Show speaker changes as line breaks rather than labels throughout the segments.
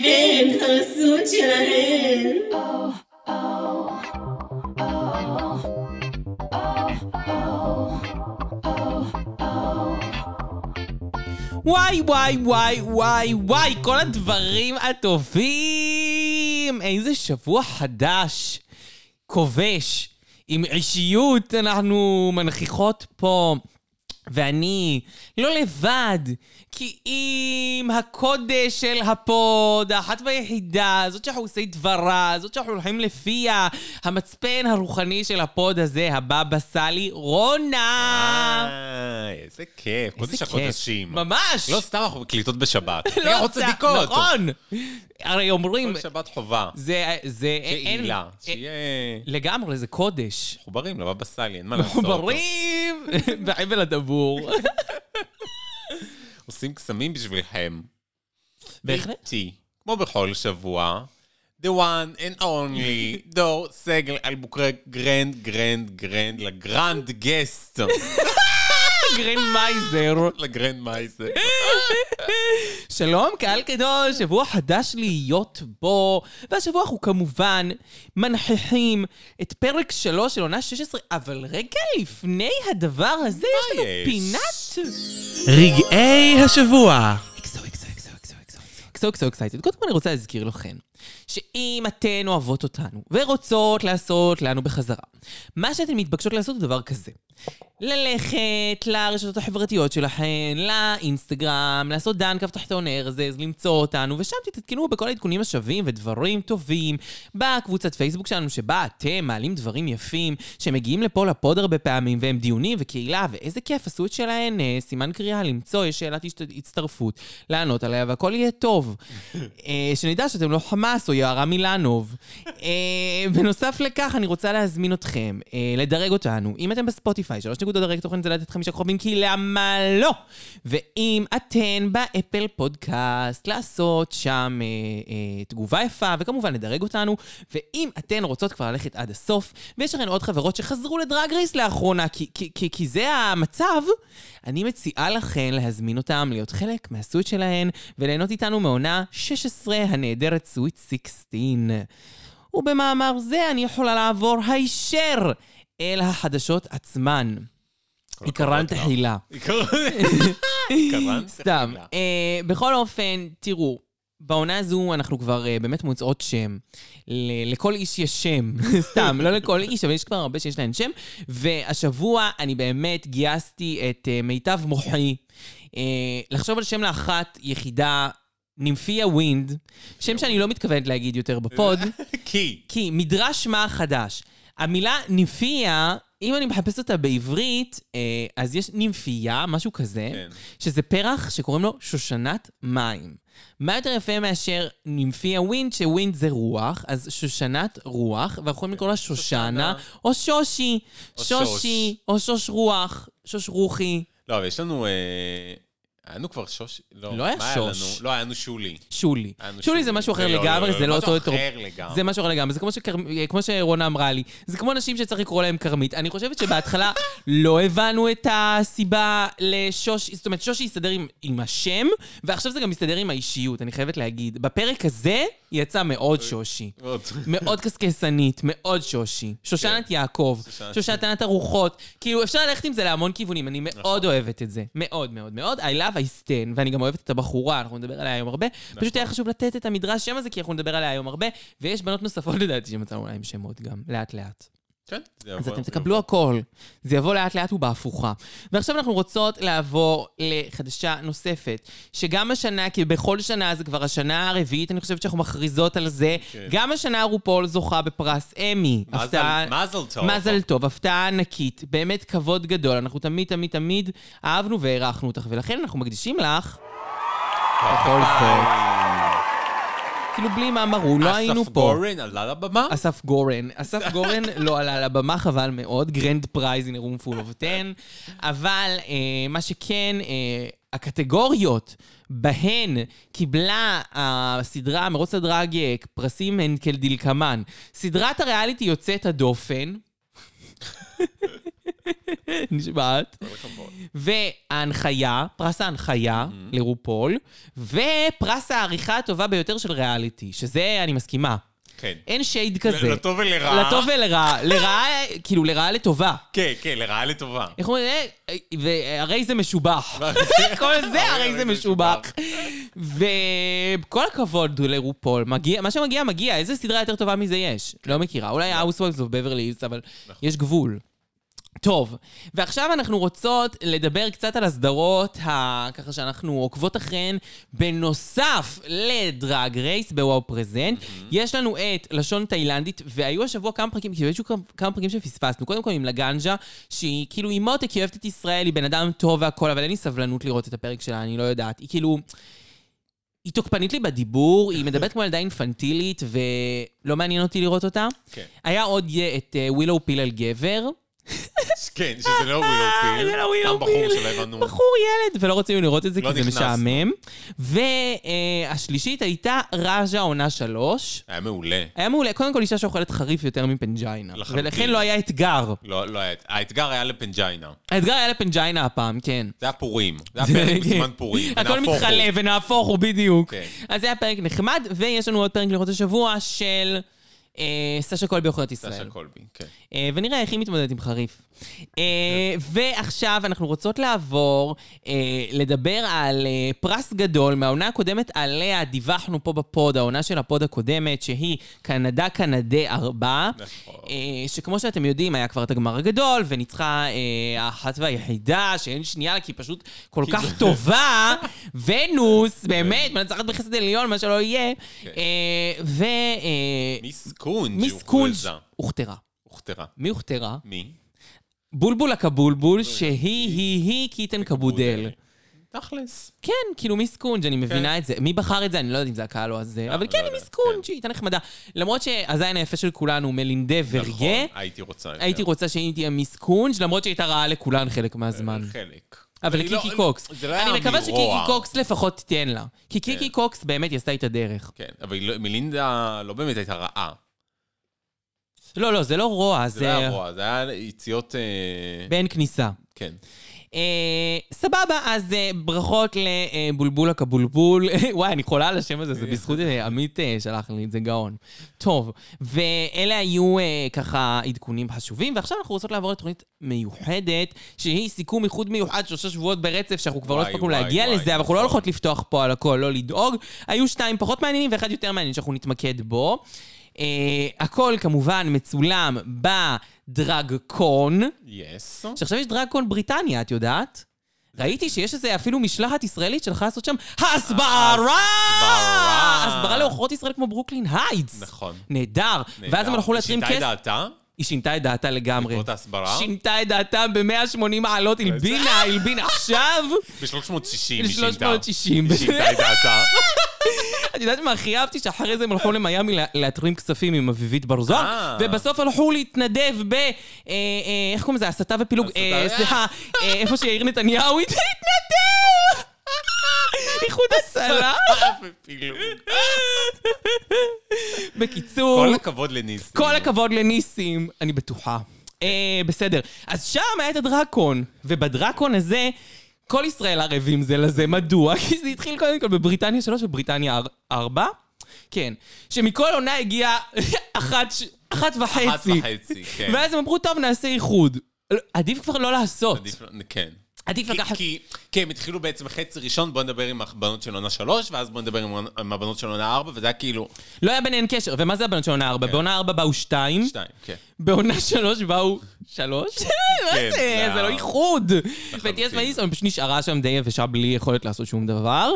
הם חרסות שלהם.
וואי, וואי, וואי, וואי, וואי, כל הדברים הטובים! איזה שבוע חדש, כובש, עם אישיות אנחנו מנכיחות פה. ואני לא לבד, כי עם הקודש של הפוד, האחת והיחידה, זאת שאנחנו עושים דברה, זאת שאנחנו הולכים לפיה, המצפן הרוחני של הפוד הזה, הבבא סאלי, רונה!
אה, איזה כיף, קודש
איזה כיף.
החודשים.
ממש!
לא סתם אנחנו מקליטות בשבת.
לא
אנחנו
עושה-
צדיקות.
נכון. הרי אומרים,
כל שבת חובה.
זה... זה
שיהיה
אין-
עילה,
אה,
שיהיה
לגמרי, זה קודש.
מחוברים לבבא סאלי, אין מה לעשות.
מחוברים בחבל הטבור.
עושים קסמים בשבילכם.
בהחלט.
איתי, כמו בכל שבוע, the one and only, דור סגל אלבוקרי גרנד גרנד גרנד לגרנד גסט.
גרין מייזר.
לגרנד מייזר.
שלום, קהל גדול, שבוע חדש להיות בו. והשבוע אנחנו כמובן מנכיחים את פרק 3 של עונה 16, אבל רגע לפני הדבר הזה, יש לנו
יש?
פינת...
רגעי השבוע.
אקסו, אקסו, אקסו, אקסו, אקסו, אקסו, אקסו, אקסייטד. קודם כל אני רוצה להזכיר לכן, שאם אתן אוהבות אותנו ורוצות לעשות לנו בחזרה, מה שאתן מתבקשות לעשות הוא דבר כזה. ללכת לרשתות החברתיות שלכן, לאינסטגרם, לעשות דן קו תחתון ארזז, למצוא אותנו, ושם תתעדכנו בכל העדכונים השווים ודברים טובים. בקבוצת פייסבוק שלנו, שבה אתם מעלים דברים יפים, שמגיעים לפה לפוד הרבה פעמים, והם דיונים וקהילה, ואיזה כיף, עשו את שלהן, אה, סימן קריאה, למצוא, יש שאלת השת- הצטרפות, לענות עליה, והכל יהיה טוב. אה, שנדע שאתם לא חמאס או יערה מילנוב. אה, בנוסף לכך, אני רוצה להזמין אתכם אה, לדרג אותנו. אם אתם בספוטיפיי, שלוש נקודות דרג תוכן זה לתת חמישה כוכבים, כי למה לא? ואם אתן באפל פודקאסט, לעשות שם אה, אה, תגובה יפה, וכמובן לדרג אותנו. ואם אתן רוצות כבר ללכת עד הסוף, ויש לכן עוד חברות שחזרו לדרג רייס לאחרונה, כי, כי, כי, כי זה המצב, אני מציעה לכן להזמין אותם להיות חלק מהסוויט שלהן, וליהנות איתנו מעונה 16 הנהדרת סוויט 16. ובמאמר זה אני יכולה לעבור הישר אל החדשות עצמן. עיקרן
הכבוד לא. לך.
תחילה.
התכוונת?
סתם.
תחילה.
אה, בכל אופן, תראו, בעונה הזו אנחנו כבר אה, באמת מוצאות שם. ל- לכל איש יש שם, סתם, לא לכל איש, אבל יש כבר הרבה שיש להם שם. והשבוע אני באמת גייסתי את אה, מיטב מוחי אה, לחשוב על שם לאחת יחידה, נימפיה ווינד, שם שאני לא מתכוונת להגיד יותר בפוד.
כי.
כי מדרש מה חדש. המילה נימפיה, אם אני מחפש אותה בעברית, אה, אז יש נימפיה, משהו כזה,
כן.
שזה פרח שקוראים לו שושנת מים. מה יותר יפה מאשר נימפיה ווינד, שווינד זה רוח, אז שושנת רוח, ואנחנו יכולים לקרוא לה שושנה,
כן. שושנה.
או שושי.
או
שושי, או שוש רוח, שוש רוחי,
לא, אבל יש לנו... אה, היה לנו כבר שוש... לא,
לא היה
מה
שוש.
לנו? לא, היה לנו שולי.
שולי.
היה לנו
שולי זה משהו אחר
לא,
לגמרי, זה לא אותו...
משהו
אותו-
אחר לגמרי.
זה משהו אחר לגמרי, זה כמו, שכר... כמו שרונה אמרה לי, זה כמו נשים שצריך לקרוא להם כרמית. אני חושבת שבהתחלה לא הבנו את הסיבה לשושי, זאת אומרת, שושי הסתדר עם, עם השם, ועכשיו זה גם מסתדר עם האישיות, אני חייבת להגיד. בפרק הזה יצא מאוד שושי.
מאוד.
מאוד קשקשנית, מאוד שושי. שושנת יעקב,
שושנת-
שושנת הרוחות. כאילו, אפשר ללכת עם זה להמון כיוונים, אני מאוד אוהבת את זה. מאוד מאוד מאוד. I love I stand, ואני גם אוהבת את הבחורה, אנחנו נדבר עליה היום הרבה. פשוט היה חשוב לתת את המדרש שם הזה, כי אנחנו נדבר עליה היום הרבה, ויש בנות נוספות לדעתי שמצאנו להם שמות גם, לאט-לאט.
כן, זה
אז
יבוא,
אתם
זה
תקבלו הכל. זה יבוא לאט לאט ובהפוכה. ועכשיו אנחנו רוצות לעבור לחדשה נוספת, שגם השנה, כי בכל שנה, זה כבר השנה הרביעית, אני חושבת שאנחנו מכריזות על זה,
כן.
גם השנה רופול זוכה בפרס אמי.
יבוא.
הפתעה-
מזל- מזל טוב.
מזל טוב, הפתעה ענקית, באמת כבוד גדול. אנחנו תמיד, תמיד, תמיד אהבנו והערכנו אותך, ולכן אנחנו מקדישים לך, בכל זאת. כאילו בלי מאמרו, לא היינו
אסף
פה.
גורן עלה לבמה?
אסף גורן. אסף גורן לא עלה לבמה, חבל מאוד. גרנד פרייז in a room full of 10. אבל אה, מה שכן, אה, הקטגוריות בהן קיבלה הסדרה, מרוץ הדרג, אה, פרסים הן כדלקמן. סדרת הריאליטי יוצאת הדופן. נשמעת.
כל הכבוד. Mhm.
וההנחיה, פרס ההנחיה לרופול, ופרס העריכה הטובה ביותר של ריאליטי, שזה, אני מסכימה.
כן.
אין שייד כזה.
לטוב ולרע.
לטוב ולרעה. לרעה, כאילו, לרעה לטובה.
כן, כן, לרעה לטובה.
איך אומרים? אה, אה, והרי זה משובח. כל זה הרי זה משובח. וכל הכבוד לרופול, מגיע- מה שמגיע מגיע, איזה סדרה יותר טובה מזה יש? לא נכון. מכירה, אולי האוסווייבס ובברלי הילס, אבל יש גבול. טוב, ועכשיו אנחנו רוצות לדבר קצת על הסדרות, ה... ככה שאנחנו עוקבות אחריהן, בנוסף לדרג רייס בוואו פרזנט. יש לנו את לשון תאילנדית, והיו השבוע כמה פרקים, כאילו, יש כמה- כמה פרקים שפספסנו. קודם כל עם לגנג'ה, שהיא כאילו, היא מותק, היא אוהבת את ישראל, היא בן אדם טוב והכול, אבל אין לי סבלנות לראות את הפרק שלה, אני לא יודעת. היא כאילו... היא תוקפנית לי בדיבור, היא מדברת כמו ילדה אינפנטילית, ולא מעניין אותי לראות אותה.
כן.
היה עוד אה, את אה, ווילאו פיל על גבר.
כן, שזה לא ווילאו פיל.
זה לא ווילאו
סתם
פיל.
בחור שלא הבנו.
בחור ילד, ולא רצינו לראות את זה,
לא
כי זה
נכנסנו.
משעמם. והשלישית הייתה רג'ה עונה שלוש.
היה מעולה.
היה מעולה, קודם כל אישה שאוכלת חריף יותר מפנג'יינה.
לחלוטין.
ולכן לא היה אתגר.
לא, לא היה... האתגר היה לפנג'יינה.
האתגר היה לפנג'יינה הפעם, כן.
זה היה פורים. זה היה פרק בזמן פורים.
הכל
ונהפוך הוא.
מתחלף, ונהפוך הוא בדיוק.
כן.
אז זה היה פרק נחמד, ויש לנו עוד פרק לראות השבוע של אה, סשה קולבי אוכלת ישראל.
סשה קולבי, כן.
אה, ונראה איך היא מתמודדת עם חריף. אה, ועכשיו אנחנו רוצות לעבור אה, לדבר על אה, פרס גדול מהעונה הקודמת עליה דיווחנו פה בפוד, העונה של הפוד הקודמת, שהיא קנדה קנדה ארבע.
נכון.
אה, שכמו שאתם יודעים, היה כבר את הגמר הגדול, וניצחה אה, האחת והיחידה, שאין שנייה לה, כי היא פשוט כל כך טובה. ונוס, באמת, מנצחת בחסד עליון, מה שלא יהיה.
כן.
אה, ו... אה,
מיס קונג'
מיס קונג'
הוכרזה.
הוכתרה.
הוכתרה.
מי הוכתרה?
מי?
בולבול
לא,
הקבולבול, שהיא היא היא קיטן קבודל.
תכלס.
כן, כאילו מיס קונג', אני מבינה
כן.
את זה. מי בחר את זה? אני לא יודעת אם זה הקהל או הזה, אבל
לא
כן, היא
יודעת,
מיס
כן.
קונג', היא הייתה נחמדה. למרות שהזין היפה של כולנו הוא מלינדה
נכון, כן.
וריה,
הייתי רוצה. יותר.
הייתי רוצה שהיא תהיה מיס קונג', למרות שהיא הייתה רעה לכולן חלק מהזמן.
חלק.
אבל
אה, כן. אני
לקיקי
לא-
קוקס.
זה לא היה כן.
אני מקווה
מרוע.
שקיקי קוקס לפחות תיתן לה. כי קיקי קוקס באמת היא עשתה איתה דרך.
כן, אבל היא לא- מלינדה לא באמת הייתה רעה.
לא, לא, זה לא רוע,
זה לא
זה
היה רוע, זה היה יציאות... אה,
בין כניסה.
כן.
אה, סבבה, אז אה, ברכות לבולבול הקבולבול. וואי, אני חולה על השם הזה, זה בזכות אה, עמית אה, שלח לי את זה גאון. טוב, ואלה היו אה, ככה עדכונים חשובים, ועכשיו אנחנו רוצות לעבור לתוכנית מיוחדת, שהיא סיכום איחוד מיוחד, שלושה שבועות ברצף, שאנחנו כבר לא
וואי,
הספקנו
וואי,
להגיע
וואי,
לזה, אבל אנחנו לא
נכון.
הולכות לפתוח פה על הכל, לא לדאוג. היו שתיים פחות מעניינים ואחד יותר מעניין שאנחנו נתמקד בו. אה, הכל כמובן מצולם בדרג קון.
יס.
שעכשיו יש דרקון בריטניה, את יודעת? ראיתי שיש איזה אפילו משלחת ישראלית שהלכה לעשות שם הסברה!
הסברה!
הסברה לעוכרות ישראל כמו ברוקלין הייטס.
נכון.
נהדר. ואז הם הלכו להתרים אוקיי.
שינתה את
כסף.
דעתה?
היא שינתה את דעתה לגמרי.
בעקבות ההסברה?
שינתה את דעתה ב-180 מעלות, הלבינה, הלבינה עכשיו.
ב-360 היא שינתה.
ל-360.
היא שינתה את דעתה.
את יודעת מה הכי אהבתי? שאחרי זה הם הלכו למיאמי לה- להתרים כספים עם אביבית בר זוהר,
אה.
ובסוף הלכו להתנדב ב... אה, אה, איך קוראים לזה? הסתה ופילוג... אה,
הסתה.
סליחה, אה, איפה שיאיר נתניהו התנדב! איחוד הצלה.
ופילוג.
בקיצור,
כל הכבוד לניסים.
כל הכבוד לניסים, אני בטוחה. אה, בסדר. אז שם היה את הדרקון, ובדרקון הזה... כל ישראל ערבים זה לזה, מדוע? כי זה התחיל קודם כל בבריטניה 3 ובריטניה 4, כן. שמכל עונה הגיעה אחת, ש- אחת
אחת
וחצי.
וחצי, כן.
ואז הם אמרו, טוב, נעשה איחוד. לא, עדיף כבר לא לעשות.
עדיף- כן.
עדיף
כי-
לקחת...
כי- כי הם התחילו בעצם חצי ראשון, בוא נדבר עם הבנות של עונה שלוש, ואז בוא נדבר עם- עם הבנות של עונה ארבע, וזה היה כאילו...
לא היה ביניהן קשר. ומה זה הבנות של עונה 4? בעונה 4 באו 2.
כן. שתיים, כן.
בעונה שלוש באו... שלוש? מה
כן,
זה?
לא.
זה לא איחוד. וטיאס מדיסון פשוט נשארה שם די יבשה בלי יכולת לעשות שום דבר.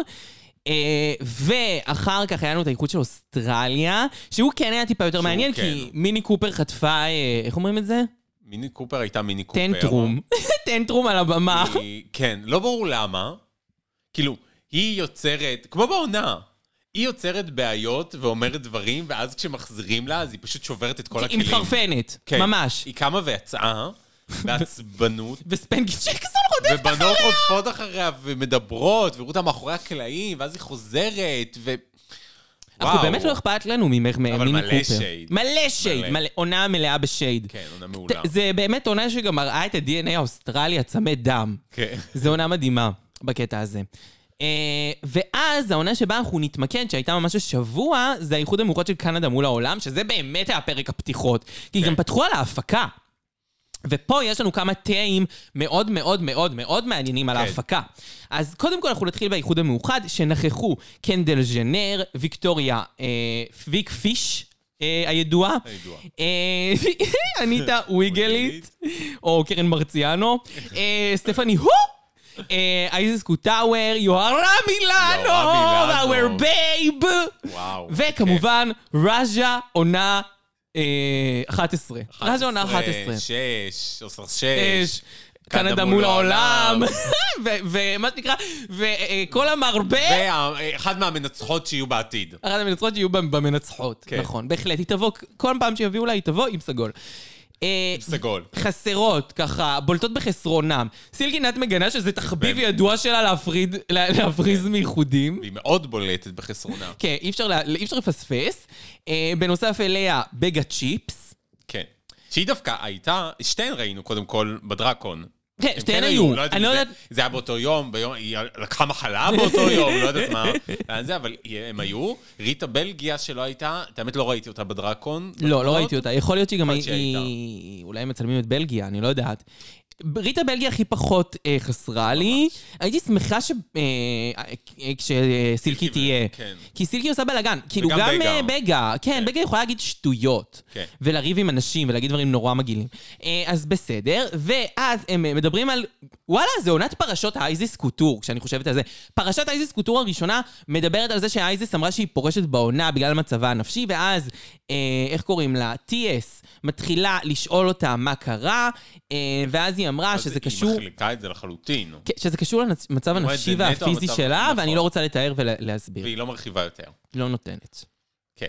אה, ואחר כך היה לנו את האיחוד של אוסטרליה, שהוא כן היה טיפה יותר מעניין,
כן.
כי מיני קופר חטפה, אה, איך אומרים את זה?
מיני קופר הייתה מיני קופר.
טנטרום. טנטרום על הבמה.
היא- כן, לא ברור למה. כאילו, היא יוצרת, כמו בעונה, היא יוצרת בעיות ואומרת דברים, ואז כשמחזירים לה, אז היא פשוט שוברת את כל
היא
הכלים.
מחרפנת,
כן.
ממש.
היא קמה ויצאה, בעצבנות,
וספנקי צ'קסון רודף
ובנות רודפות אחריה ומדברות, ורות מאחורי הקלעים, ואז היא חוזרת, ו...
אנחנו
וואו.
באמת לא אכפת לנו ממך, ממיני קופר.
מלא שייד.
מלא שייד.
מלא.
מלא- עונה מלאה בשייד.
כן, עונה מעולה.
ת- זה באמת עונה שגם מראה את ה-DNA האוסטרלי הצמא דם.
כן.
זו עונה מדהימה בקטע הזה. אה, ואז העונה שבה אנחנו נתמקד, שהייתה ממש השבוע, זה האיחוד המאוחד של קנדה מול העולם, שזה באמת היה פרק הפתיחות. כי
כן.
גם פתחו על ההפקה. ופה יש לנו כמה תאים מאוד מאוד מאוד מאוד מעניינים על
כן.
ההפקה. אז קודם כל אנחנו נתחיל באיחוד המאוחד, שנכחו קנדל ז'נר, ויקטוריה אה, ויק פיש אה, הידועה,
הידועה.
אה, אניטה וויגלית, או קרן מרציאנו, אה, סטפני הו! אה, אייזס קוטאוור, יוהרה מילאנו,
יוהרה מילאנו.
our babe!
וואו.
וכמובן, רג'ה עונה אה, 11. רג'ה עונה 11.
כן, שש, עשר שש.
אש, קנדה מול העולם, ו- ומה שנקרא, וכל המרבה,
ואחת מהמנצחות שיהיו בעתיד.
אחת המנצחות שיהיו במ- במנצחות.
כן.
נכון, בהחלט, היא תבוא, כל פעם שיביאו לה, היא תבוא עם סגול. אה,
סגול.
חסרות, ככה, בולטות בחסרונם. סילגינת מגנה שזה תחביב
ב-
ידוע שלה להפריד, לה-
כן.
להפריז מייחודים.
והיא מאוד בולטת בחסרונה.
כן, אי אפשר, לה- אי אפשר לפספס. אה, בנוסף אליה, בגה צ'יפס.
כן. שהיא דווקא הייתה, שתיהן ראינו קודם כל בדרקון.
כן,
הם
שתיהן היו.
לא יודעת
אני
אם
לא
זה-
יודעת...
זה היה באותו יום, ביום, היא לקחה מחלה באותו יום, לא יודעת מה. לאן זה, אבל הם היו. ריטה בלגיה שלא הייתה, את האמת לא ראיתי אותה בדרקון.
לא, לא ראיתי אותה. יכול להיות שהיא גם...
יכול להיות שהיא
היא- היא- אולי הם מצלמים את בלגיה, אני לא יודעת. ריטה בלגיה הכי פחות אה, חסרה לי. הייתי שמחה ש... אה, אה, כשסילקי
סילקי ו-
תהיה.
כן.
כי סילקי עושה בלאגן. כאילו
וגם
גם
בגה.
אה, בגה. כן, בגה יכולה להגיד שטויות.
כן.
ולריב עם אנשים ולהגיד דברים נורא מגעילים. אה, אז בסדר. ואז הם אה, מדברים על... וואלה, זה עונת פרשות האייזיס קוטור, כשאני חושבת על זה. פרשת האייזיס קוטור הראשונה מדברת על זה שהאייזיס אמרה שהיא פורשת בעונה בגלל מצבה הנפשי, ואז, אה, איך קוראים לה? טי.אס מתחילה לשאול אותה מה קרה, אה, ואז היא אמרה שזה
היא
קשור...
מחליקה את זה לחלוטין.
כן, שזה קשור למצב
אומרת,
הנפשי
זה נטו
והפיזי
המצב-
שלה,
נכון.
ואני לא רוצה לתאר ולהסביר.
והיא לא מרחיבה יותר.
לא נותנת.
כן.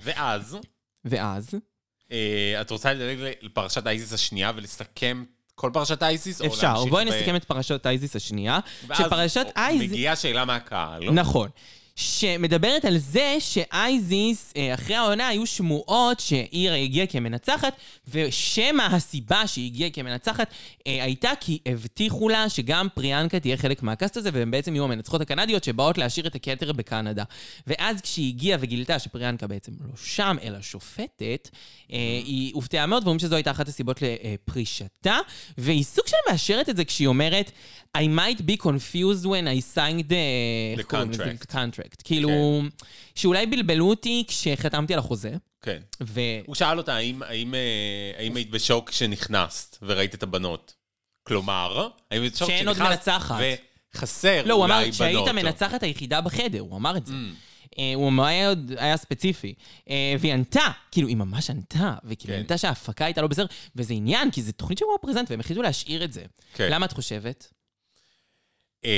ואז,
ואז,
אה, את רוצה לדלג לפרשת אייסיס השנייה ולסכם כל פרשת אייסיס? או
אפשר.
להמשיך
בואי
ב-
נסכם את פרשת אייזיס השנייה.
ואז
שפרשת אייזיס...
מגיעה שאלה מהקהל. לא?
נכון. שמדברת על זה שאייזיס, אה, אחרי העונה היו שמועות שאירה הגיעה כמנצחת, ושמא הסיבה שהיא הגיעה כמנצחת אה, הייתה כי הבטיחו לה שגם פריאנקה תהיה חלק מהקאסט הזה, והן בעצם יהיו המנצחות הקנדיות שבאות להשאיר את הכתר בקנדה. ואז כשהיא הגיעה וגילתה שפריאנקה בעצם לא שם, אלא שופטת, אה, היא הופתעה מאוד, ואומרים שזו הייתה אחת הסיבות לפרישתה, והיא סוג של מאשרת את זה כשהיא אומרת, I might be confused when I signed אה, the... איך קוראים לזה?
contract.
contract. כאילו, שאולי בלבלו אותי כשחתמתי על החוזה,
כן.
ו...
הוא שאל אותה האם, האם, אה, האם היית בשוק כשנכנסת וראית את הבנות. כלומר, האם היית בשוק
שאין עוד
כשנכנסת
מנצחת.
וחסר
לא, הוא
אולי בנות. Mm.
אמר שהיית המנצחת היחידה בחדר, הוא אמר את זה. אה, הוא אמר, היה עוד- היה ספציפי. אה, והיא ענתה, כאילו, היא ממש ענתה, וכאילו,
כן.
ענתה שההפקה הייתה לא בסדר, וזה עניין, כי זו תוכנית שבוע פרזנט, והם החליטו להשאיר את זה.
כן.
למה את חושבת?
אה,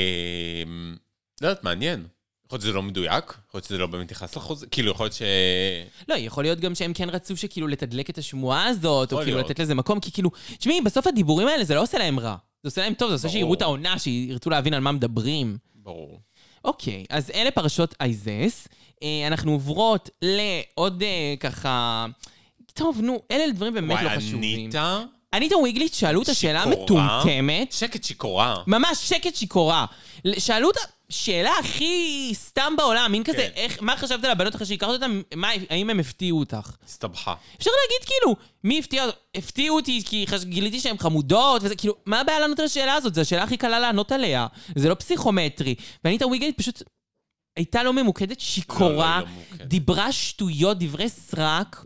לא יודעת, מעניין. יכול להיות שזה לא מדויק, יכול להיות שזה לא באמת נכנס לחוזה, כאילו, יכול להיות ש...
לא, יכול להיות גם שהם כן רצו שכאילו לתדלק את השמועה הזאת, או
יכול
כאילו
להיות.
לתת לזה מקום, כי כאילו, תשמעי, בסוף הדיבורים האלה זה לא עושה להם רע. זה עושה להם טוב, זה עושה
ברור.
שיראו את העונה, שירצו להבין על מה מדברים.
ברור.
אוקיי, אז אלה פרשות אייזס. אה, אנחנו עוברות לעוד אה, ככה... טוב, נו, אלה דברים באמת
וואי,
לא חשובים.
אניטה,
אניטה וויגלית שאלו אותה שאלה
שיכורה.
מטומטמת,
שקט שיכורה.
ממש שקט שיכורה. ל- שאלו אותה שאלה הכי סתם בעולם, מין כזה,
כן.
איך, מה חשבת על הבנות אחרי שהכרת אותן, מה- האם הם הפתיעו אותך?
הסתבכה.
אפשר להגיד כאילו, מי הפתיע אותי? הפתיעו אותי כי חש- גיליתי שהן חמודות, וזה כאילו, מה הבעיה לענות על השאלה הזאת? זו השאלה הכי קלה לענות עליה. זה לא פסיכומטרי. ואניטה וויגלית פשוט הייתה לא ממוקדת, שיכורה,
לא, לא, לא ממוקדת. כן.
דיברה שטויות, דברי סרק.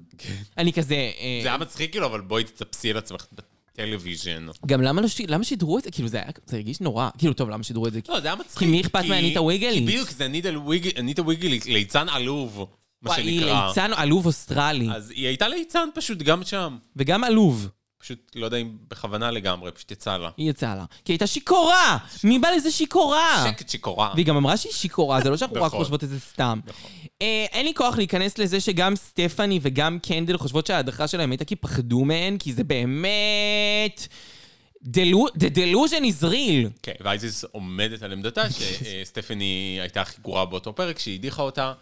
אני כזה... אה,
זה היה מצחיק כאילו, אבל בואי תטפסי על עצמך בטלוויז'ן.
גם למה לא ש... למה שידרו את זה? כאילו, זה היה... זה הרגיש נורא. כאילו, טוב, למה שידרו את זה?
לא, זה היה מצחיק.
כי מי אכפת מאניטה וויגלית?
כי בדיוק, זה אניטה וויג- אניטה וויגלית, ליצן עלוב, מה
וואי, היא
שנקרא.
ליצן עלוב אוסטרלי,
אז היא הייתה ליצן פשוט גם שם.
וגם עלוב.
פשוט לא יודע אם בכוונה לגמרי, פשוט יצא לה.
היא יצאה לה. כי היא הייתה שיכורה! מי בא לזה שיכורה?
שקט שיכורה.
והיא גם אמרה שהיא שיכורה, זה לא שאנחנו רק
נכון.
חושבות את זה סתם. אה, אין לי כוח להיכנס לזה שגם סטפני וגם קנדל חושבות שההדחה שלהם הייתה כי פחדו מהן, כי זה באמת... דלו- The delusion is real.
כן, ואייזיס עומדת על עמדתה שסטפני הייתה הכי גרועה באותו פרק, שהיא הדיחה אותה,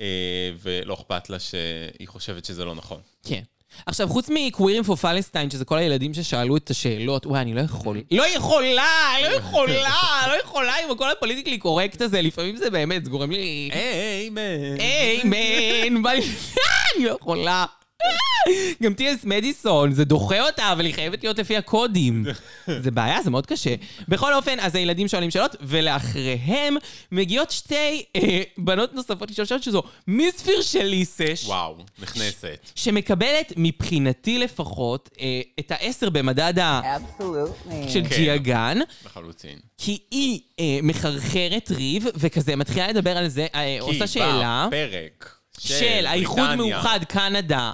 אה, ולא אכפת לה שהיא חושבת שזה לא נכון.
כן. עכשיו, חוץ מקווירים פור פלסטיין, שזה כל הילדים ששאלו את השאלות, וואי, אני לא יכול. לא יכולה, לא יכולה, לא יכולה עם הכל הפוליטיקלי קורקט הזה, לפעמים זה באמת, זה גורם לי...
היי, מן.
איימן, בא לי... אני לא יכולה. אה, גם T.S. מדיסון, זה דוחה אותה, אבל היא חייבת להיות לפי הקודים. זה בעיה, זה מאוד קשה. בכל אופן, אז הילדים שואלים שאלות, ולאחריהם מגיעות שתי אה, בנות נוספות לשאול שאלות, שזו מיס פירשליסש.
וואו, נכנסת.
שמקבלת, מבחינתי לפחות, אה, את העשר במדד ה...
Absolutely.
של
כן.
ג'יה גן,
לחלוטין.
כי היא אה, מחרחרת ריב, וכזה מתחילה לדבר על זה, אה, עושה שאלה
בפרק
של האיחוד
כן, בריטניה,
מאוחד קנדה.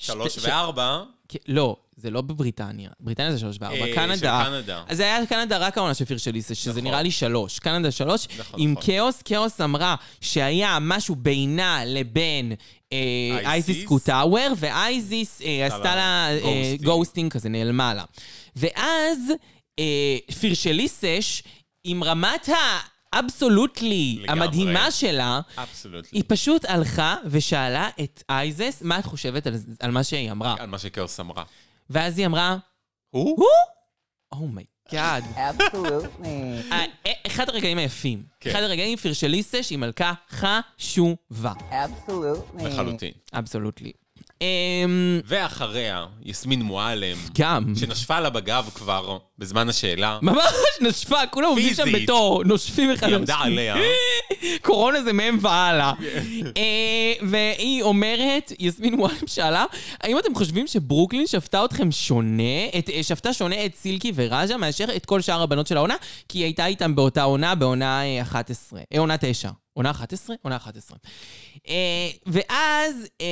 שלוש
ש-
וארבע,
כן, לא, זה לא בבריטניה. בריטניה זה שלוש וארבע.
אה,
קנדה.
של קנדה.
אז זה היה קנדה רק העונה של פירשליסה, שזה
נכון.
נראה לי שלוש. קנדה שלוש,
נכון,
עם
נכון.
כאוס. כאוס אמרה שהיה משהו בינה לבין אה,
אייסיס.
אייסיס קוטאוור, ואייזיס אה, עשתה לה אה,
גוסטינג.
גוסטינג כזה, נעלמה לה. ואז אה, פירשליסש, עם רמת ה... אבסולוטלי,
לגמרי.
המדהימה שלה,
אבסולוטלי.
היא פשוט הלכה ושאלה את אייזס, מה את חושבת על, על מה שהיא אמרה?
על מה שקאוס
אה.
אמרה.
ואז היא אמרה, Oh
הוא?
הוא? אומייגאד.
Absolutely.
אה, אחד הרגעים היפים.
כן.
אחד הרגעים פירשליסה שהיא מלכה חשובה.
Absolutely.
לחלוטין.
אבסולוטלי. אמ,
ואחריה, יסמין מועלם,
גם.
שנשפה לה בגב כבר בזמן השאלה.
ממש נשפה, כולם עומדים שם
פיזית.
בתור, נושפים אחד
היא
על
עמדה
השני.
עליה.
קורונה זה מהם והלאה. אה, והיא אומרת, יסמין וואלם שאלה, האם אתם חושבים שברוקלין שפטה אתכם שונה, את- אה, שפטה שונה את סילקי וראז'ה מאשר את כל שאר הבנות של העונה? כי היא הייתה איתם באותה עונה, בעונה אה, 11, אה, עונה 9. עונה 11? עונה 11. אה, ואז אה,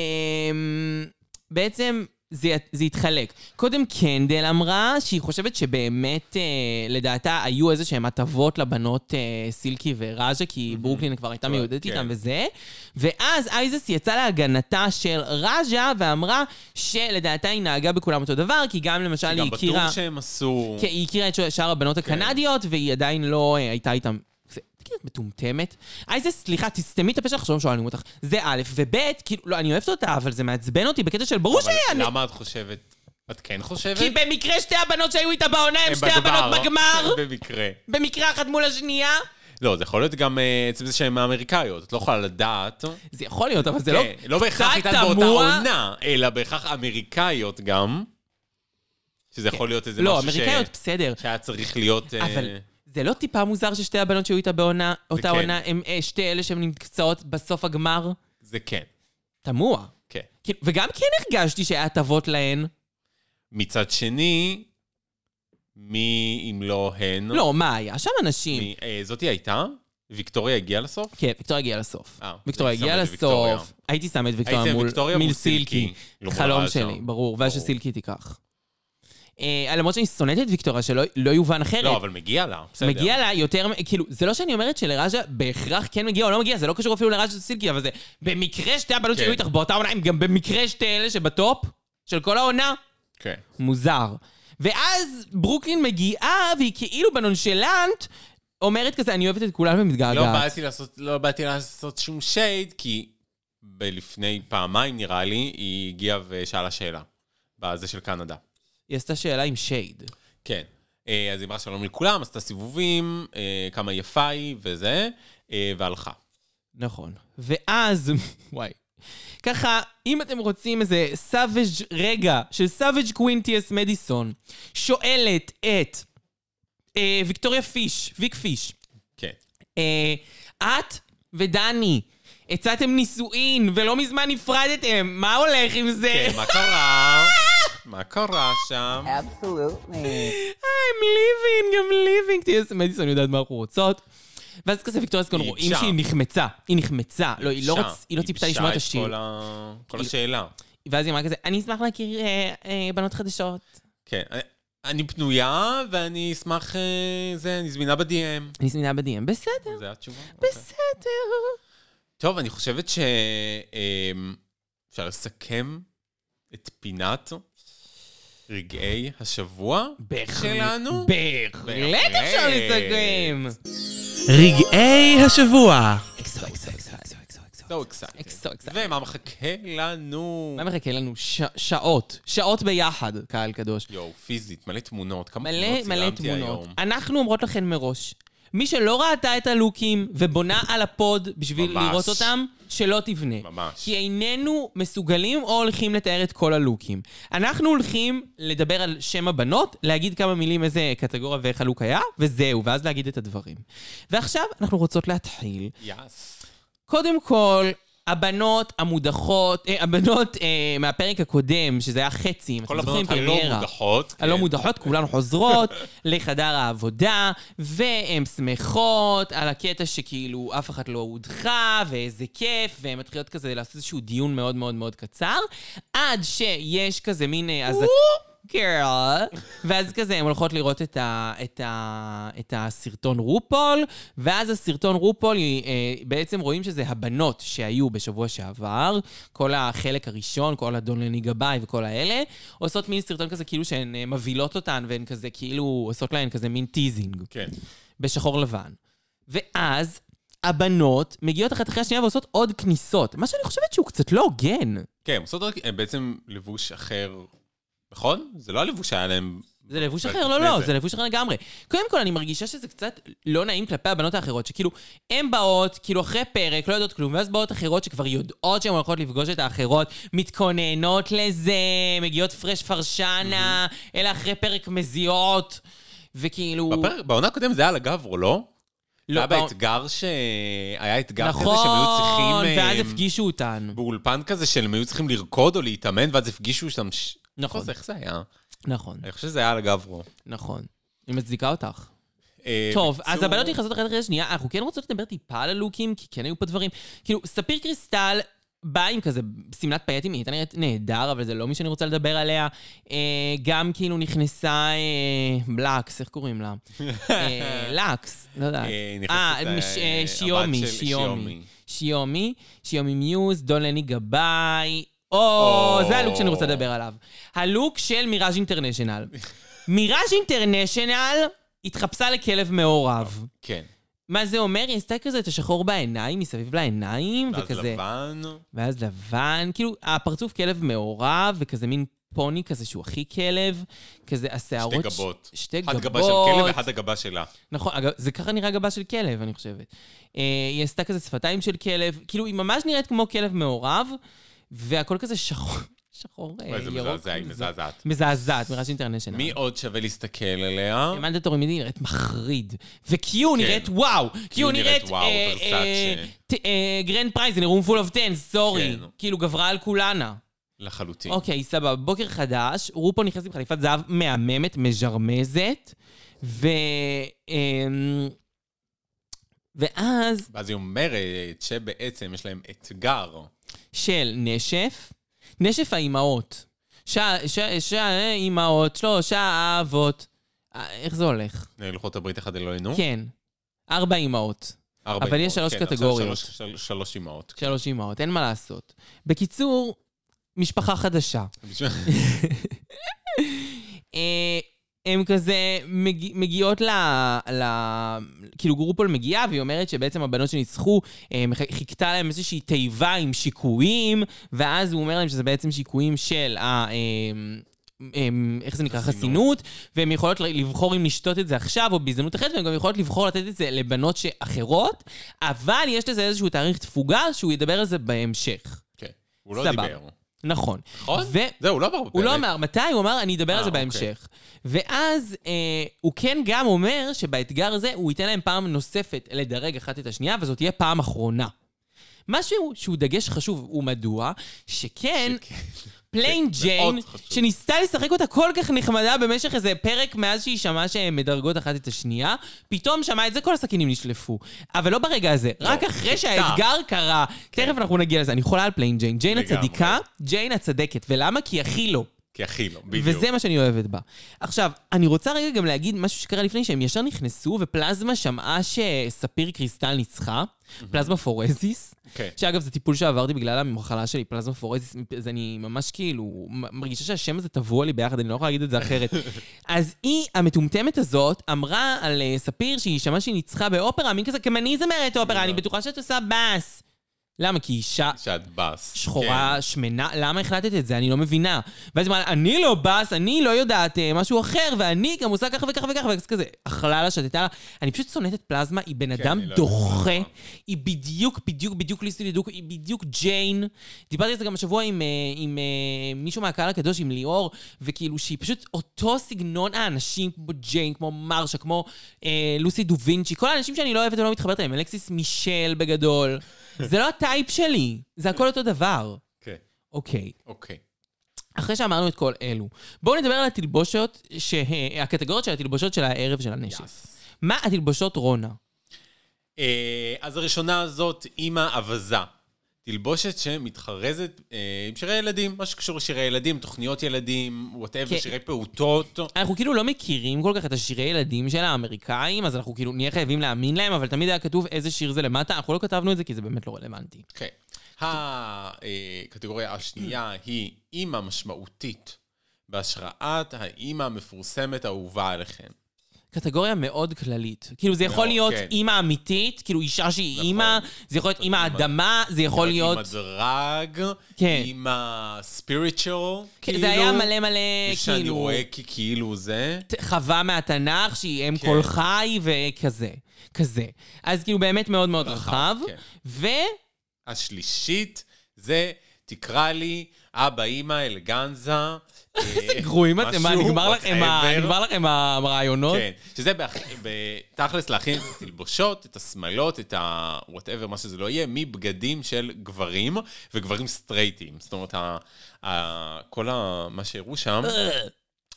בעצם זה, זה התחלק. קודם קנדל אמרה שהיא חושבת שבאמת, אה, לדעתה, היו איזה שהן הטבות לבנות אה, סילקי וראז'ה, כי ברוקלין כבר הייתה מיועדת
כן.
איתם וזה. ואז אייזס יצאה להגנתה של ראז'ה ואמרה שלדעתה היא נהגה בכולם אותו דבר, כי גם למשל היא
גם בטור
הכירה...
שהם עשו...
כן, היא הכירה את שאר הבנות
כן.
הקנדיות, והיא עדיין לא אה, הייתה איתן... זה- תגידי, את מטומטמת? אייזה, סליחה, תסתמי את הפה שלך, שלא שואלים אותך. זה א', וב', כאילו, לא, אני אוהבת אותה, אבל זה מעצבן אותי בקטע של ברור
אבל
שהיה... אני-
למה את חושבת? את כן חושבת?
כי במקרה שתי הבנות שהיו איתה בעונה
הם
הן שתי
בגמר. לא? כן,
הבנות בגמר,
במקרה.
במקרה אחת מול השנייה.
לא, זה יכול להיות גם אה, עצם זה שהן אמריקאיות. את לא יכולה לדעת.
זה יכול להיות, אבל זה לא...
כן, לא בהכרח
קצת
איתן באותה
תמוה.
עונה, אלא בהכרח אמריקאיות גם. שזה יכול להיות איזה
לא,
משהו ש-
אמריקאיות, בסדר.
שהיה צריך להיות... אה,
אבל זה לא טיפה מוזר ששתי הבנות שהיו איתה בעונה, אותה
כן.
עונה, הן אה, שתי אלה שהן נמצאות בסוף הגמר?
זה כן,
תמוה.
כן.
כאילו, וגם כן הרגשתי שהיה הטבות להן.
מצד שני, מי אם לא הן?
לא, מה היה? שם אנשים.
מי- אה, זאתי הייתה? ויקטוריה הגיעה לסוף?
כן, ויקטוריה הגיעה לסוף.
אה,
ויקטוריה
הייתי
הגיעה
שם את ויקטוריה.
לסוף. הייתי שם את
הייתי
ויקטוריה
שם
מול
ויקטוריה
מול
מול
סילקי.
סילקי. לא
חלום
מול
שלי,
ראז'ה.
ברור. ואז
ברור.
שסילקי תיקח. אה, למרות שאני שונאת את ויקטוריה, שלא לא יובן אחרת.
לא, אבל מגיע לה, בסדר.
מגיע לה יותר, כאילו, זה לא שאני אומרת שלראז'ה בהכרח כן מגיע או לא מגיע, זה לא קשור אפילו לראז'ה סילקי, אבל זה במקרה שתי הבנות
כן.
שהיו איתך באותה עונה, הם גם במקרה שתי אלה שבטופ של כל העונה,
כן.
מוזר. ואז ברוקלין מגיעה, והיא כאילו בנונשלנט, אומרת כזה, אני אוהבת את כולם
לא
ומתגעגעת.
באתי לעשות, לא באתי לעשות שום שייד, כי לפני פעמיים, נראה לי, היא הגיעה ושאלה שאלה. בזה של קנדה.
היא עשתה שאלה עם שייד.
כן. אה, אז היא אמרה שלום לכולם, עשתה סיבובים, אה, כמה יפה היא וזה, אה, והלכה.
נכון. ואז, וואי. ככה, אם אתם רוצים איזה סאביג' רגע של סאביג' קווינטיאס מדיסון, שואלת את אה, ויקטוריה פיש, ויק פיש,
כן.
אה, את ודני הצעתם נישואין ולא מזמן נפרדתם, מה הולך עם זה?
כן, מה קרה? מה קרה שם?
Absolutely.
I'm living, גם living. תהיה מדיסון יודעת מה אנחנו רוצות. ואז כזה ויקטוריה סקון
היא
רואים
ייבשה.
שהיא נחמצה. היא נחמצה. לא, היא לא
אישה,
רצ- היא לא ציפתה לשמוע את
ייבשה
השיר.
כל ה- כל
היא-
השאלה.
ואז היא אמרה כזה, אני אשמח להכיר אה, אה, בנות חדשות.
כן. אני- אני פנויה, ואני אשמח... אה, זה, אני זמינה ב-DM.
אני זמינה ב-DM. בסדר,
זה התשובה? אוקיי.
בסדר.
טוב, אני חושבת ש... אמ, אפשר לסכם את פינת רגעי השבוע שלנו.
בהחלט אפשר לסכם.
רגעי השבוע.
אקסו, אקסו, אקסו, אקסו, אקסו, אקסו.
so excited.
So excited.
ומה מחכה לא לנו?
לא מה מחכה לנו? ש- שעות. שעות ביחד, קהל קדוש.
יואו, פיזית, מלא תמונות. כמה
מלא
תמונות
מלא
לא צילמתי
תמונות.
היום.
אנחנו אומרות לכן מראש, מי שלא ראתה את הלוקים ובונה על הפוד בשביל
ממש.
לראות אותם, שלא תבנה.
ממש.
כי איננו מסוגלים או הולכים לתאר את כל הלוקים. אנחנו הולכים לדבר על שם הבנות, להגיד כמה מילים, איזה קטגוריה ואיך הלוק היה, וזהו, ואז להגיד את הדברים. ועכשיו אנחנו רוצות להתחיל.
יאס.
קודם כל... הבנות המודחות, אה, הבנות אה, מהפרק הקודם, שזה היה חצי, אם אתם
כל
זוכרים,
הבנות הלא
פרמיירה.
מודחות. כן.
הלא מודחות, כולן חוזרות לחדר העבודה, והן שמחות על הקטע שכאילו אף אחת לא הודחה, ואיזה כיף, והן מתחילות כזה לעשות איזשהו דיון מאוד מאוד מאוד קצר, עד שיש כזה מין אה, אזעק... גרל, ואז כזה הן הולכות לראות את, ה, את, ה, את הסרטון רופול, ואז הסרטון רופול, היא, אה, בעצם רואים שזה הבנות שהיו בשבוע שעבר, כל החלק הראשון, כל אדון לני גבאי וכל האלה, עושות מין סרטון כזה כאילו שהן אה, מבהילות אותן, והן כזה כאילו עושות להן כזה מין טיזינג.
כן.
בשחור לבן. ואז הבנות מגיעות אחת אחרי השנייה ועושות עוד כניסות, מה שאני חושבת שהוא קצת לא הוגן.
כן, הם עושות רק- הם בעצם לבוש אחר, נכון? זה לא הלבוש שהיה להם...
זה לבוש
בפרק
אחר, לא,
לפני
לא,
זה.
זה לבוש אחר לגמרי. קודם כל, אני מרגישה שזה קצת לא נעים כלפי הבנות האחרות, שכאילו, הן באות, כאילו, אחרי פרק, לא יודעות כלום, ואז באות אחרות שכבר יודעות שהן הולכות לפגוש את האחרות, מתכוננות לזה, מגיעות פרש פרשנה, אלה אחרי פרק מזיעות, וכאילו...
בפרק- בעונה הקודמת זה היה על הגברו, לא?
לא,
היה
בא-
באתגר ש... היה אתגר כזה שהם היו
נכון,
צריכים...
ואז
אה,
הפגישו אותן.
באולפן כזה שהם היו צריכים לרקוד או להתאמן, ואז הפגישו שם... ש-
נכון.
איך זה היה?
נכון,
אני חושב שזה היה על הגברו.
נכון. היא מצדיקה אותך.
אה,
טוב,
בקיצור-
אז הבנות נכנסות אחת אחרי השנייה, אנחנו כן רוצות לדבר טיפה על הלוקים, כי כן היו פה דברים. כאילו, ספיר קריסטל באה עם כזה שמלת פייטים, היא הייתה נראית נהדר, אבל זה לא מי שאני רוצה לדבר עליה. אה, גם כאילו נכנסה אה, לקס, איך קוראים לה? אה, לקס, לא יודעת.
אה, נכנסת,
אה,
אה,
מש-
אה,
אה,
הבת
שיומי,
של-
שיומי.
שיומי.
שיומי, שיומי מיוז, דון לני גבאי. או,
או.
זה הלוק שאני רוצה לדבר עליו. הלוק של מיראז' אינטרנשיונל. מיראז' אינטרנשיונל התחפשה לכלב מעורב.
כן.
מה זה אומר? היא עשתה כזה את השחור בעיניים, מסביב לעיניים,
ואז
וכזה...
לבן.
ואז לבן, כאילו, הפרצוף כלב מעורב, וכזה מין פוני כזה שהוא הכי כלב, כזה
שתי
השערות...
גבות.
ש- שתי
אחת
גבות.
גבה של כלב ואחת הגבה שלה.
נכון, אגב, זה ככה נראה גבה של כלב, אני חושבת. אה, היא עשתה כזה שפתיים של כלב, כאילו, היא ממש נראית כמו כלב מעורב, והכל כזה שחור, שחור, אה,
וואי, זה
ירוק.
מזעזע, היא
כזה.
מזעזעת.
מזעזעת, מראש אינטרנשיונל.
מי עוד שווה להסתכל עליה?
אמנדה טורמידי נראית מחריד, וקיו נראית וואו, קיו נראית
כן. וואו,
אה,
ורסאצ'ה.
אה, ת- אה, גרנד פרייז, רום פול אוף טן, סורי,
כן.
כאילו גברה על כולנה.
לחלוטין.
אוקיי, סבבה, בוקר חדש, רופו נכנס עם חליפת זהב מהממת, מז'רמזת, ו... אמ, ואז
ואז היא אומרת שבעצם יש להם אתגר.
של נשף, נשף האימהות. שהאימהות, שלושה האבות. אה, איך זה הולך?
ללוחות הברית אחד אלוהינו.
כן. ארבע אימהות.
ארבע
אבל יש
אמהות,
שלוש
כן, עכשיו
קטגוריות.
שלוש- של- שלוש אמהות.
שלוש אימהות, אין מה לעשות. בקיצור, משפחה חדשה.
כן.
אה, הם כזה מג... מגיעות ל... ל... כאילו גרופול מגיעה והיא אומרת שבעצם הבנות שניצחו, אה, מח- חיכתה להם איזושהי תיבה עם שיקויים, ואז הוא אומר להם שזה בעצם שיקויים של ה... אה, אה, איך זה נקרא?
חסינות.
חסינות, והן יכולות לבחור אם לשתות את זה עכשיו או בהזדמנות אחרת, והן גם יכולות לבחור לתת את זה לבנות ש- אחרות, אבל יש לזה איזשהו תאריך תפוגה שהוא ידבר על זה בהמשך.
כן. הוא לא
סבבה.
דיבר.
נכון.
נכון?
ו-
זהו, הוא לא אמר בפרק.
הוא לא אמר מתי, הוא אמר, אני אדבר על
אה,
זה
אוקיי.
בהמשך. ואז אה, הוא כן גם אומר שבאתגר הזה הוא ייתן להם פעם נוספת לדרג אחת את השנייה, וזאת תהיה פעם אחרונה. משהו שהוא דגש חשוב, ומדוע? שכן, פליין ג'יין,
כן, מאוד חשוב.
שניסתה לשחק אותה כל כך נחמדה במשך איזה פרק מאז שהיא שמעה שהן מדרגות אחת את השנייה, פתאום שמעה את זה, כל הסכינים נשלפו. אבל לא ברגע הזה, רק אחרי שהאתגר קרה. תכף אנחנו נגיע לזה, אני חולה על פליין ג'יין. ג'יין
כן. לגמרי.
הצדיקה, ג'יין הצדקת. ולמה? כי הכי לא.
כי הכי לא, בדיוק.
וזה מה שאני אוהבת בה. עכשיו, אני רוצה רגע גם להגיד משהו שקרה לפני שהם ישר נכנסו, ופלזמה שמעה שספיר קריסטל ניצחה, פלזמה פורזיס.
כן.
שאגב, זה טיפול שעברתי בגלל המחלה שלי, פלזמה פורזיס, אז אני ממש כאילו מ- מרגישה שהשם הזה טבוע לי ביחד, אני לא יכולה להגיד את זה אחרת. אז היא, המטומטמת הזאת, אמרה על אה, ספיר שהיא שמעה שהיא ניצחה באופרה, מין כזה, גם אני זמרת אופרה, אני בטוחה שאת עושה בס. למה? כי אישה
שאת בס.
שחורה, שמנה, למה החלטת את זה? אני לא מבינה. ואז היא אמרה, אני לא בס, אני לא יודעת אה, משהו אחר, ואני גם עושה ככה וככה וככה, וכזה, אכלה לה, שתתה לה. אני פשוט שונאת את פלזמה, היא בן אדם
אני לא
דוחה,
יודעת.
היא בדיוק, בדיוק, בדיוק ליסטי לידוק, היא בדיוק ג'יין. דיברתי על זה גם השבוע עם, אה, עם אה, מישהו מהקהל הקדוש, עם ליאור, וכאילו שהיא פשוט אותו סגנון האנשים, כמו ג'יין, כמו מרשה, כמו אה, לוסי דו וינצ'י, כל האנשים שאני לא אוהבת ולא מתחברת אליהם, אלכסיס מישל בגדול. זה לא הטייפ שלי, זה הכל אותו דבר.
כן, כן,
אוקיי,
אוקיי.
אחרי שאמרנו את כל אלו, בואו נדבר על התלבושות, שה- הקטגוריות של התלבושות של הערב של הנשף.
יס.
מה התלבושות רונה?
אה, אז הראשונה הזאת, אימא אווזה. תלבושת שמתחרזת אה, עם שירי ילדים, מה שקשור לשירי ילדים, תוכניות ילדים,
כן.
וואטאבר, שירי פעוטות.
אנחנו כאילו לא מכירים כל כך את השירי ילדים של האמריקאים, אז אנחנו כאילו נהיה חייבים להאמין להם, אבל תמיד היה כתוב איזה שיר זה למטה, אנחנו לא כתבנו את זה כי זה באמת לא רלוונטי.
כן. הקטגוריה השנייה היא אימא משמעותית, בהשראת האימא המפורסמת האהובה עליכם.
קטגוריה מאוד כללית. כאילו, זה יכול
מאוד,
להיות
כן.
אימא אמיתית, כאילו אישה שהיא
נכון.
אימא, זה יכול להיות אימא
אימא-
אדמה, זה יכול להיות...
עם הדרג,
כן.
עם הספיריטואל, כאילו.
זה היה מלא מלא,
שאני
כאילו...
רואה כי- כאילו זה.
ת- חווה מהתנ"ך, שהיא אם
כן.
כל חי וכזה. כזה. אז כאילו באמת מאוד מאוד רחב.
רחב, כן.
ו-
השלישית זה, תקרא לי, אבא, אימא, אלגנזה. אה, איזה
גרועים אתם, מה, נגמר לכם ה- נגמר לכם הרעיונות?
כן, שזה באח- בתכלס להכין את התלבושות, את השמלות, את ה... וואטאבר, מה שזה לא יהיה, מבגדים של גברים, וגברים סטרייטים. זאת אומרת, ה... ה... כל ה... מה שהראו שם,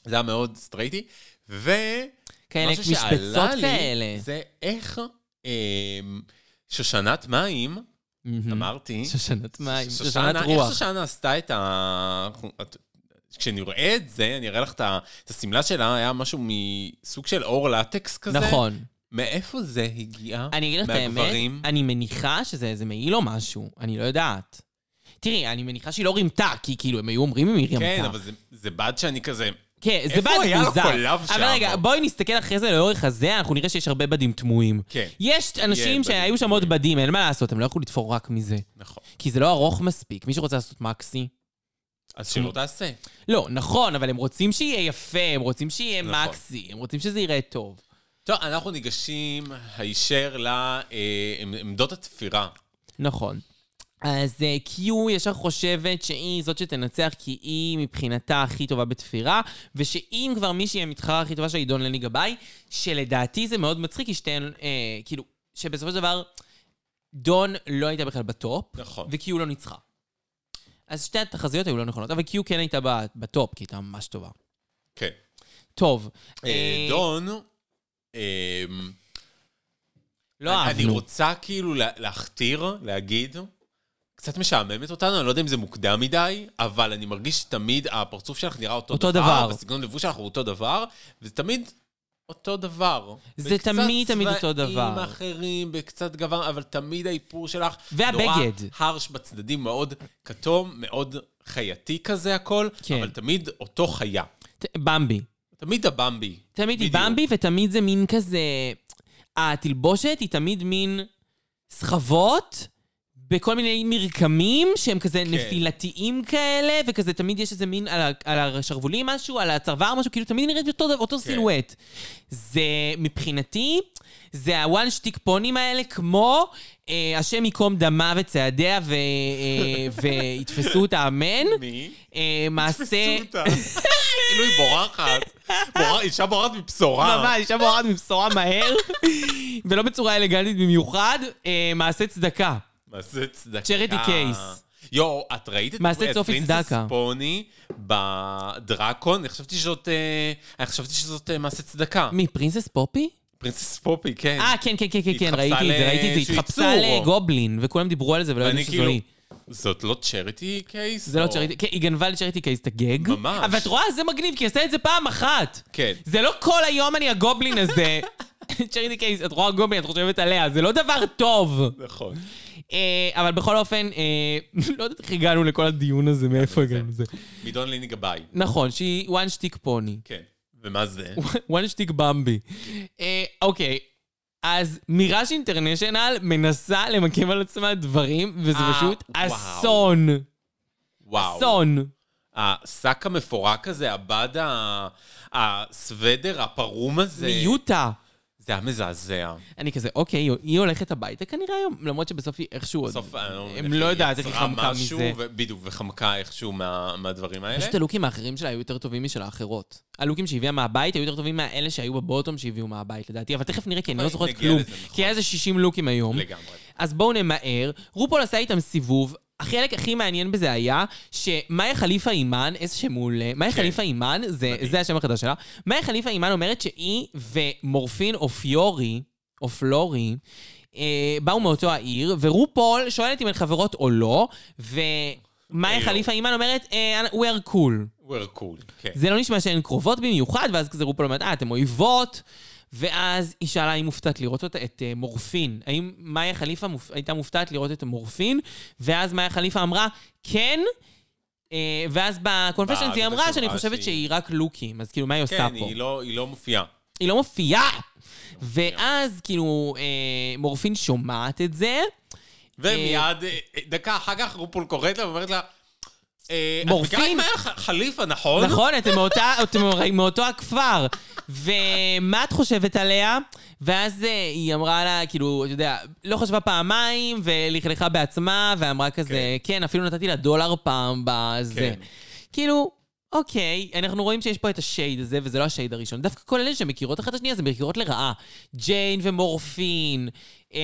זה היה מאוד סטרייטי. ו...
כאלה
משהו שעלה
משבצות
לי
כאלה.
זה איך אה, שושנת מים,
מהמם.
אמרתי,
שושנת מים,
ש-
שושנת
איך
רוח.
שושנה עשתה את ה... את- כשנראה את זה, אני אראה לך את ה- את השמלה שלה, היה משהו מסוג של אור לטקס כזה.
נכון.
מאיפה זה הגיע?
אני אגיד לך את האמת,
מהגברים?
אני מניחה שזה איזה מעיל או משהו, אני לא יודעת. תראי, אני מניחה שהיא לא רימתה, כי כאילו הם היו אומרים אם היא רימתה.
כן, אבל זה- זה בד שאני כזה...
כן, זה
איפה
בד
היה לו
מוזר.
קולב שם?
אבל רגע, בואי נסתכל אחרי זה לאורך הזה, אנחנו נראה שיש הרבה בדים תמוהים.
כן.
יש אנשים
בדים
שהיו שם עוד
תמוהים.
בדים, אין מה לעשות, הם לא יכלו לתפור רק מזה.
נכון.
כי זה לא ארוך מספיק, מי שרוצה לעשות מקסי.
אז שלא תעשה.
לא, נכון, אבל הם רוצים שיהיה יפה, הם רוצים שיהיה
נכון.
מקסי, הם רוצים שזה ייראה טוב.
טוב, אנחנו ניגשים הישר לעמדות התפירה.
נכון. אז אה, קיו ישר חושבת שהיא זאת שתנצח כי היא מבחינתה הכי טובה בתפירה, ושאם כבר מישהי המתחרה הכי טובה שלה היא דון לני גבאי, שלדעתי זה מאוד מצחיק, כי שתיהן, אה, כאילו, שבסופו של דבר, דון לא הייתה בכלל בטופ,
נכון.
וקיו לא ניצחה. אז שתי התחזיות היו לא נכונות, אבל קיו כן הייתה ב- בטופ, כי היא הייתה ממש טובה.
כן.
טוב.
אה,
אה,
דון, אמ,
לא
אני- אני
אהבנו.
רוצה כאילו לה- להכתיר, להגיד, קצת משעממת אותנו, אני לא יודע אם זה מוקדם מדי, אבל אני מרגיש שתמיד הפרצוף שלך נראה אותו,
אותו דבר.
דבר, והסגנון לבוש שלך הוא אותו דבר, וזה תמיד אותו דבר.
זה
בקצת
תמיד, תמיד אותו
צבעים
דבר.
אחרים, בקצת גוון, אבל תמיד האיפור שלך...
והבגד.
נורא הרש בצדדים, מאוד כתום, מאוד חייתי כזה הכל,
כן.
אבל תמיד אותו חיה.
ת- במבי.
תמיד הבמבי.
תמיד היא
בדיוק.
במבי, ותמיד זה מין כזה... התלבושת היא תמיד מין סחבות בכל מיני מרקמים שהם כזה כן. נפילתיים כאלה, וכזה תמיד יש איזה מין על, ה- על השרוולים משהו, על הצוואר משהו, כאילו תמיד היא נראית אותו, אותו כן. סילואט. זה מבחינתי, זה הוואן שטיק פונים האלה, כמו אה, השם ייקום דמה וצעדיה, ו, אה, ויתפסו אותה אמן.
מי?
אה, מעשה...
תפסו אותה. כאילו היא בורחת. בורח- אישה בורחת מבשורה.
ממש, אישה בורחת מבשורה מהר, ולא בצורה אלגנטית במיוחד, אה, מעשה צדקה.
מעשה צדקה.
Charity case.
יואו, את ראית את
מעשה
את
צופי
פרינסס
צדקה.
פוני בדרקון? אני חשבתי שזאת... אה, אני חשבתי שזאת אה, מעשה צדקה.
מי, פרינסס פופי?
פרינסס פופי, כן.
אה, כן, כן, כן, כן, כן,
התחפשה
ראיתי את זה, ראיתי את זה.
לאיזשהו
התחפשה
יצור.
לגובלין, וכולם דיברו על זה ולא ידעו
ואני
שזו
כאילו...
היא.
זאת לא צ'ריטי קייס?
זה לא צ'ריטי, כן, היא גנבה לצ'ריטי קייס את הגג.
ממש.
אבל את רואה, זה מגניב, כי היא עשתה את זה פעם אחת.
כן.
זה לא כל היום אני הגובלין הזה. צ'ריטי קייס, את רואה גובלין, את חושבת עליה, זה לא דבר טוב.
נכון.
אה, אבל בכל אופן, אה, לא יודעת איך הגענו לכל הדיון הזה, מאיפה הגענו לזה.
מדון ליני גבאי.
נכון, שהיא one stick pony.
כן. ומה זה?
one stick במבי. אה, אוקיי, אז מיראז' אינטרנשיונל מנסה למקם על עצמה דברים, וזה
אה,
פשוט
וואו. אה,
אסון.
וואו.
אסון.
השק המפורק הזה, הבד ה... הסוודר הפרום הזה.
מיוטה.
זה היה מזעזע.
אני כזה, אוקיי, היא- היא הולכת הביתה כנראה היום, למרות שבסוף היא איכשהו עוד...
בסוף, אני מבין
הם לא יודעת איך היא
יצרה
חמקה
משהו,
מזה.
ו- בדיוק, וחמקה איכשהו מה- מהדברים האלה.
פשוט הלוקים האחרים שלה היו יותר טובים משל האחרות. הלוקים שהביאה מהבית היו יותר טובים מהאלה שהיו בבוטום שהביאו מהבית, לדעתי, אבל תכף נראה, כי אני לא
אוקיי,
זוכרת
נגיע
כלום.
לזה, נכון.
כי היה איזה 60 לוקים היום.
לגמרי.
אז בואו נמהר. רופול עשה איתם סיבוב. החלק הכי מעניין בזה היה שמאיה חליפה אימן, איזה שם מעולה, מאיה חליפה אימן, זה, זה השם החדש שלה, מאיה חליפה אימן אומרת שהיא ומורפין או פיורי, או פלורי, אה, באו מאותו העיר, ורופול שואלת אם הן חברות או לא, ומאיה
היו.
חליפה אימן אומרת, אה, we are cool.
We're cool, כן.
זה לא נשמע שהן קרובות במיוחד, ואז כזה רופול אומרת, אה, אתן אויבות. ואז היא שאלה אם מופתעת לראות אותה, את אה, מורפין. האם מאיה חליפה מופ... הייתה מופתעת לראות את מורפין? ואז מאיה חליפה אמרה, כן. אה, ואז בקונפשנס היא
בקונפשנס
אמרה שאני
אמרה
חושבת
אה, שהיא-
שהיא רק לוקים, אז כאילו, מה היא עושה
כן,
פה?
היא לא- היא לא מופיעה.
היא לא מופיעה! ואז כאילו, אה, מורפין שומעת את זה.
ומיד, אה, אה, דקה אחר כך רופול קוראת לה ואומרת לה, אה, את מכירה את
מורפין?
מאיה ח- חליפה, נכון?
נכון, אתם מאותה- אתם הרי מאותו הכפר. ומה את חושבת עליה? ואז אה, היא אמרה לה, כאילו, אתה יודע, לא חשבה פעמיים, ולכלכה בעצמה, ואמרה כזה, כן, אפילו נתתי לה דולר פעם בזה.
כן.
כאילו, אוקיי, אנחנו רואים שיש פה את השייד הזה, וזה לא השייד הראשון. דווקא כל אלה שמכירות אחת את השנייה, זה מכירות לרעה. ג'יין ומורפין, אה,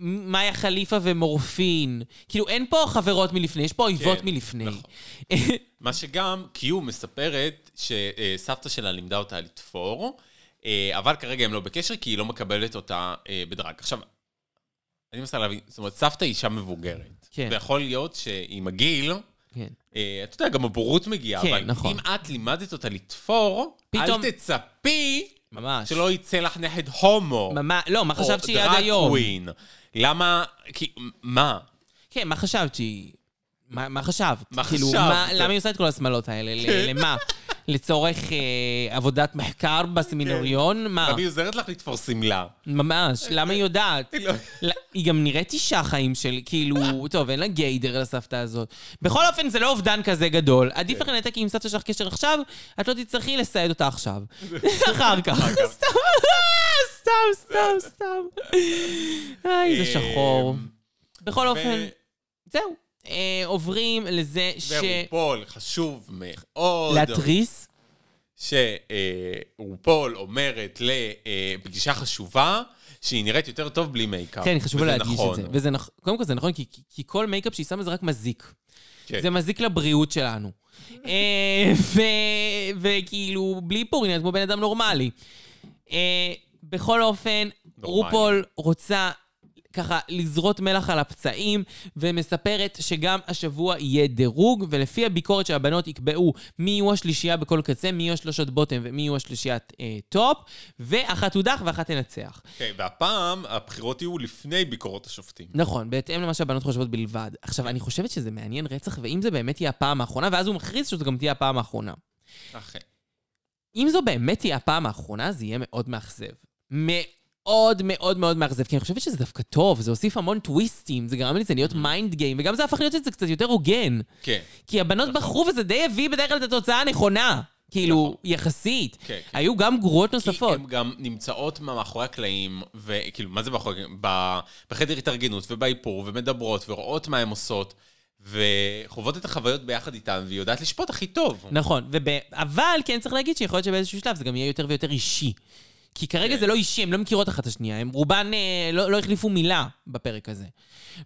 מאיה חליפה ומורפין. כאילו, אין פה חברות מלפני, יש פה אויבות
כן,
מלפני.
נכון. מה שגם קיו מספרת שסבתא שלה לימדה אותה לתפור, אה, אבל כרגע הם לא בקשר כי היא לא מקבלת אותה אה, בדרג. עכשיו, אני מנסה להבין, זאת אומרת, סבתא היא אישה מבוגרת.
כן.
ויכול להיות שעם הגיל,
כן.
אה, אתה יודע, גם הבורות מגיעה.
כן,
אבל
נכון.
אם את לימדת אותה לתפור,
פתאום-
אל תצפי
ממש.
שלא יצא לך נכד הומו.
ממש, לא, מה
או
חשבת שהיא עד
drag
היום?
queen. למה, כי, מה?
כן, מה חשבת שהיא... מה, מה חשבת?
מה
כאילו,
חשבת? כן.
מה, למה היא עושה את כל השמלות האלה? ל- למה? לצורך אה, עבודת מחקר בסמינריון? מה?
למה היא עוזרת לך לתפור שמלה?
ממש, למה היא יודעת?
לא.
ל- היא גם נראית אישה חיים של, כאילו, טוב, אין לה גיידר לסבתא הזאת. בכל אופן, זה לא אובדן כזה גדול.
כן.
עדיף לך לנתק עם סבתא שלך קשר עכשיו, את לא תצטרכי לסעד אותה עכשיו. אחר כך. סתם, סתם, סתם, סתם.
אה,
איי, זה שחור.
אמ,
בכל אופן, זהו. אה, עוברים לזה ש...
ורופול, חשוב מאוד,
להתריס.
שרופול אומרת לפגישה חשובה, שהיא נראית יותר טוב בלי מייקאפ.
כן, חשוב
וזה
להדגיש את
נכון.
זה. וזה נכון. קודם כל זה נכון, כי- כי- כי כל מייקאפ שהיא שמה זה רק מזיק.
כן.
זה מזיק לבריאות שלנו. אה, ו- וכאילו, בלי פורין, את כמו בן אדם נורמלי. אה, בכל אופן,
נורמלי.
רופול רוצה ככה לזרות מלח על הפצעים, ומספרת שגם השבוע יהיה דירוג, ולפי הביקורת של הבנות יקבעו מי יהיו השלישייה בכל קצה, מי יהיו השלושות בוטם ומי יהיו השלישיית אה, טופ, ואחת תודח ואחת תנצח.
כן, והפעם הבחירות יהיו לפני ביקורות השופטים.
נכון, בהתאם למה שהבנות חושבות בלבד. עכשיו, אני חושבת שזה מעניין רצח, ואם זה באמת יהיה הפעם האחרונה, ואז הוא מכריז שזו גם תהיה הפעם האחרונה.
אכן.
אם זו באמת תהיה הפעם האחרונה, זה יהיה מאוד מאכזב. מאוד מאוד מאוד מאכזב, כי אני חושבת שזה דווקא טוב, זה הוסיף המון טוויסטים, זה גרם לזה להיות
Mm-hmm.
מיינד גיים, וגם זה הפך להיות את זה קצת יותר הוגן.
כן.
כי הבנות בחרו וזה די הביא בדרך כלל את התוצאה הנכונה. כאילו, יחסית.
נכון. כן, כן.
היו גם גרועות נוספות.
כי הן גם נמצאות מאחורי הקלעים, וכאילו, מה זה מאחורי הקלעים? ב- בחדר התארגנות ובאיפור, ומדברות, ורואות מה הן עושות, וחוות את החוויות ביחד איתן, והיא יודעת לשפוט הכי טוב.
נכון, וב... אבל כן צריך להגיד שיכול להיות שבאיזשהו שלב זה גם יהיה יותר ויותר אישי. כי כרגע
כן.
זה לא אישי, הן לא מכירות אחת את השנייה, הן רובן אה, לא, לא החליפו מילה בפרק הזה.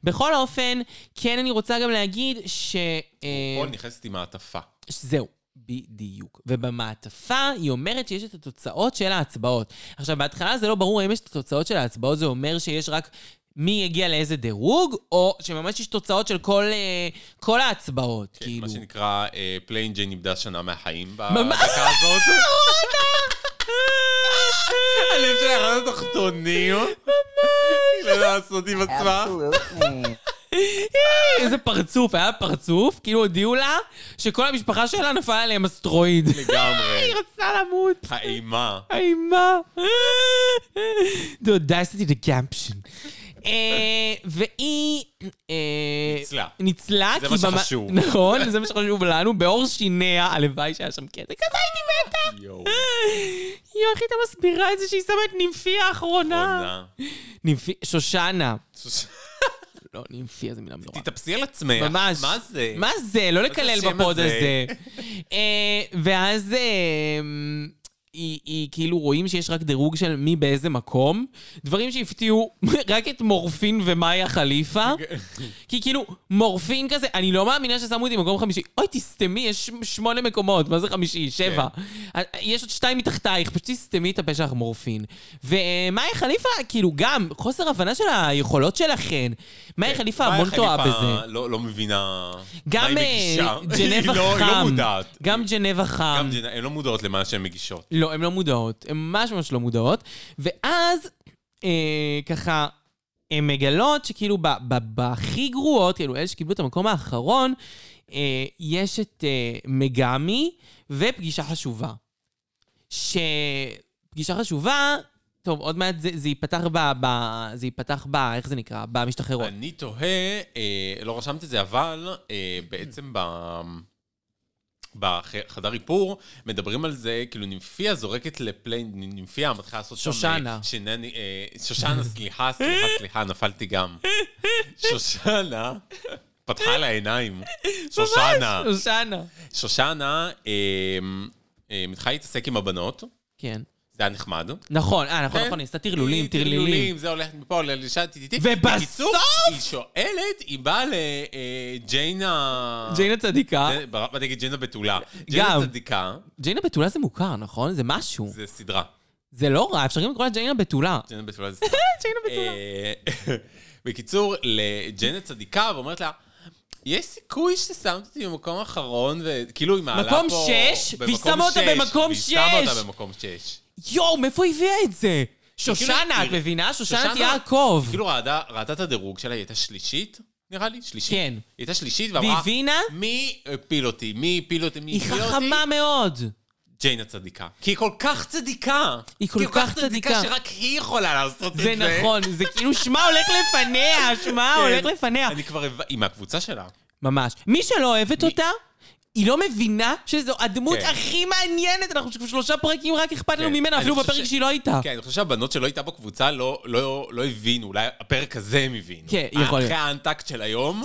בכל אופן, כן אני רוצה גם להגיד ש... אה,
פה נכון, נכנסת עם מעטפה.
זהו, בדיוק. ובמעטפה היא אומרת שיש את התוצאות של ההצבעות. עכשיו, בהתחלה זה לא ברור האם יש את התוצאות של ההצבעות, זה אומר שיש רק מי יגיע לאיזה דירוג, או שממש יש תוצאות של כל, אה, כל ההצבעות,
כן,
כאילו.
מה שנקרא, אה, פליין ג'יין איבדה שנה מהחיים
ממש.
בדקה הזאת. הלב שלה ירד לתחתונים. ממש. היא לא יודעת כאילו, לעשות עם עצמה.
Absolute name.
איזה פרצוף, היה פרצוף, כאילו הודיעו לה שכל המשפחה שלה נפל עליהם אסטרואיד.
לגמרי.
היא רצתה למות.
האימה.
אימה. דודה, עשיתי דקמפשן. והיא... אה,
ניצלה.
ניצלה,
זה
כי
מה
במה-
שחשוב.
נכון, זה מה שחשוב לנו, בעור שיניה, הלוואי שהיה שם קטע כזה, הייתי מתה.
יואו.
יואו, איך הייתה מסבירה את זה שהיא שמה את נימפי האחרונה?
עונה.
נימפי, שושנה. לא, נימפי, זו מילה נוראה.
תתאפסי על עצמך.
ממש.
מה זה?
מה זה? לא לקלל
השם
בפוד
הזה?
הזה. אה, ואז אה, היא, היא כאילו רואים שיש רק דירוג של מי באיזה מקום. דברים שהפתיעו רק את מורפין ומאיה חליפה. כי כאילו, מורפין כזה, אני לא מאמינה ששמו אותי במקום חמישי. אוי, תסתמי, יש שמונה מקומות, מה זה חמישי? שבע.
כן.
אה, יש עוד שתיים מתחתייך, פשוט תסתמי את הפה שלך, מורפין. ומאיה חליפה, כאילו, גם חוסר הבנה של היכולות שלכן. מאיה חליפה
כן, מאיה
המון טועה
חליפה
בזה.
לא לא מבינה מה
גם
היא
אה,
מגישה.
ג'נבה
היא לא-
חם.
היא לא מודעת.
גם ג'נבה חם.
גם ג'נ- הן לא מודעות למה שהן מגישות.
לא, הן לא מודעות. הן ממש ממש לא מודעות. ואז, אה, ככה, הן מגלות שכאילו ב- ב- בהכי גרועות, כאילו אלה שקיבלו את המקום האחרון, אה, יש את אה, מגמי ופגישה חשובה. שפגישה חשובה, טוב, עוד מעט זה, זה ייפתח ב, ב... זה ייפתח ב... איך זה נקרא? במשתחררות.
אני תוהה, אה, לא רשמת את זה, אבל אה, בעצם ב- בחדר איפור מדברים על זה, כאילו נימפיה זורקת לפליין, נימפיה מתחילה לעשות שם... אה,
שושנה.
שנני- אה, שושנה, סליחה, סליחה, סליחה, נפלתי גם. שושנה פתחה לה עיניים. שושנה.
שושנה.
שושנה אה, אה, מתחילה להתעסק עם הבנות,
כן.
זה היה נחמד.
נכון, אה, נכון,
כן.
נכון, היא עשתה טרלולים, טרלילים.
טרלולים, זה הולך מפה ללשת טיטיטי.
ובסוף-
בקיצור, היא שואלת, היא באה לג'יינה...
ג'יינה צדיקה.
ברמה תגיד ג'יינה בתולה. ג'יינה צדיקה
ג'יינה בתולה זה מוכר, נכון? זה משהו.
זה סדרה.
זה לא רע, אפשר גם לקרוא לה ג'יינה בתולה.
ג'יינה בתולה זה סדרה.
ג'יינה
אה, בקיצור, לג'יינה צדיקה, ואומרת לה... יש סיכוי ששמת אותי במקום אחרון, וכאילו היא מעלה פה...
מקום שש? והיא שמה אותה
שש,
במקום
והיא שמה
שש!
אותה במקום שש.
אה, יואו, מאיפה היא הביאה את זה?
כאילו,
שושנה, את
היא-
מבינה? שושנת יעקב.
היא כאילו ראתה, ראתה את הדירוג שלה, היא הייתה שלישית, נראה לי, שלישית.
כן.
היא הייתה שלישית
והיא
ואמרה,
הבינה?
מי הפיל אותי? מי הפיל אותי? מי
היא
הפיל אותי?
חכמה מאוד.
ג'יין הצדיקה. כי היא כל כך צדיקה.
היא כל
כי היא
כך צדיקה.
שרק היא יכולה לעשות את זה.
זה נכון, זה כאילו שמה הולך לפניה, שמה
כן.
הולך לפניה. לא,
אני כבר... הבנ- היא מהקבוצה שלה.
ממש. מי שלא אוהבת אותה, היא לא מבינה שזו הדמות
כן.
הכי מעניינת. אנחנו כבר שלושה פרקים, רק אכפת לנו
כן.
ממנה,
אני
אפילו
חושב
בפרק
ש-
שהיא לא הייתה.
כן, אני חושב שהבנות שלא הייתה בקבוצה לא- לא לא הבינו, אולי הפרק הזה הם הבינו.
כן, יכול להיות.
אחרי האנטקט של היום,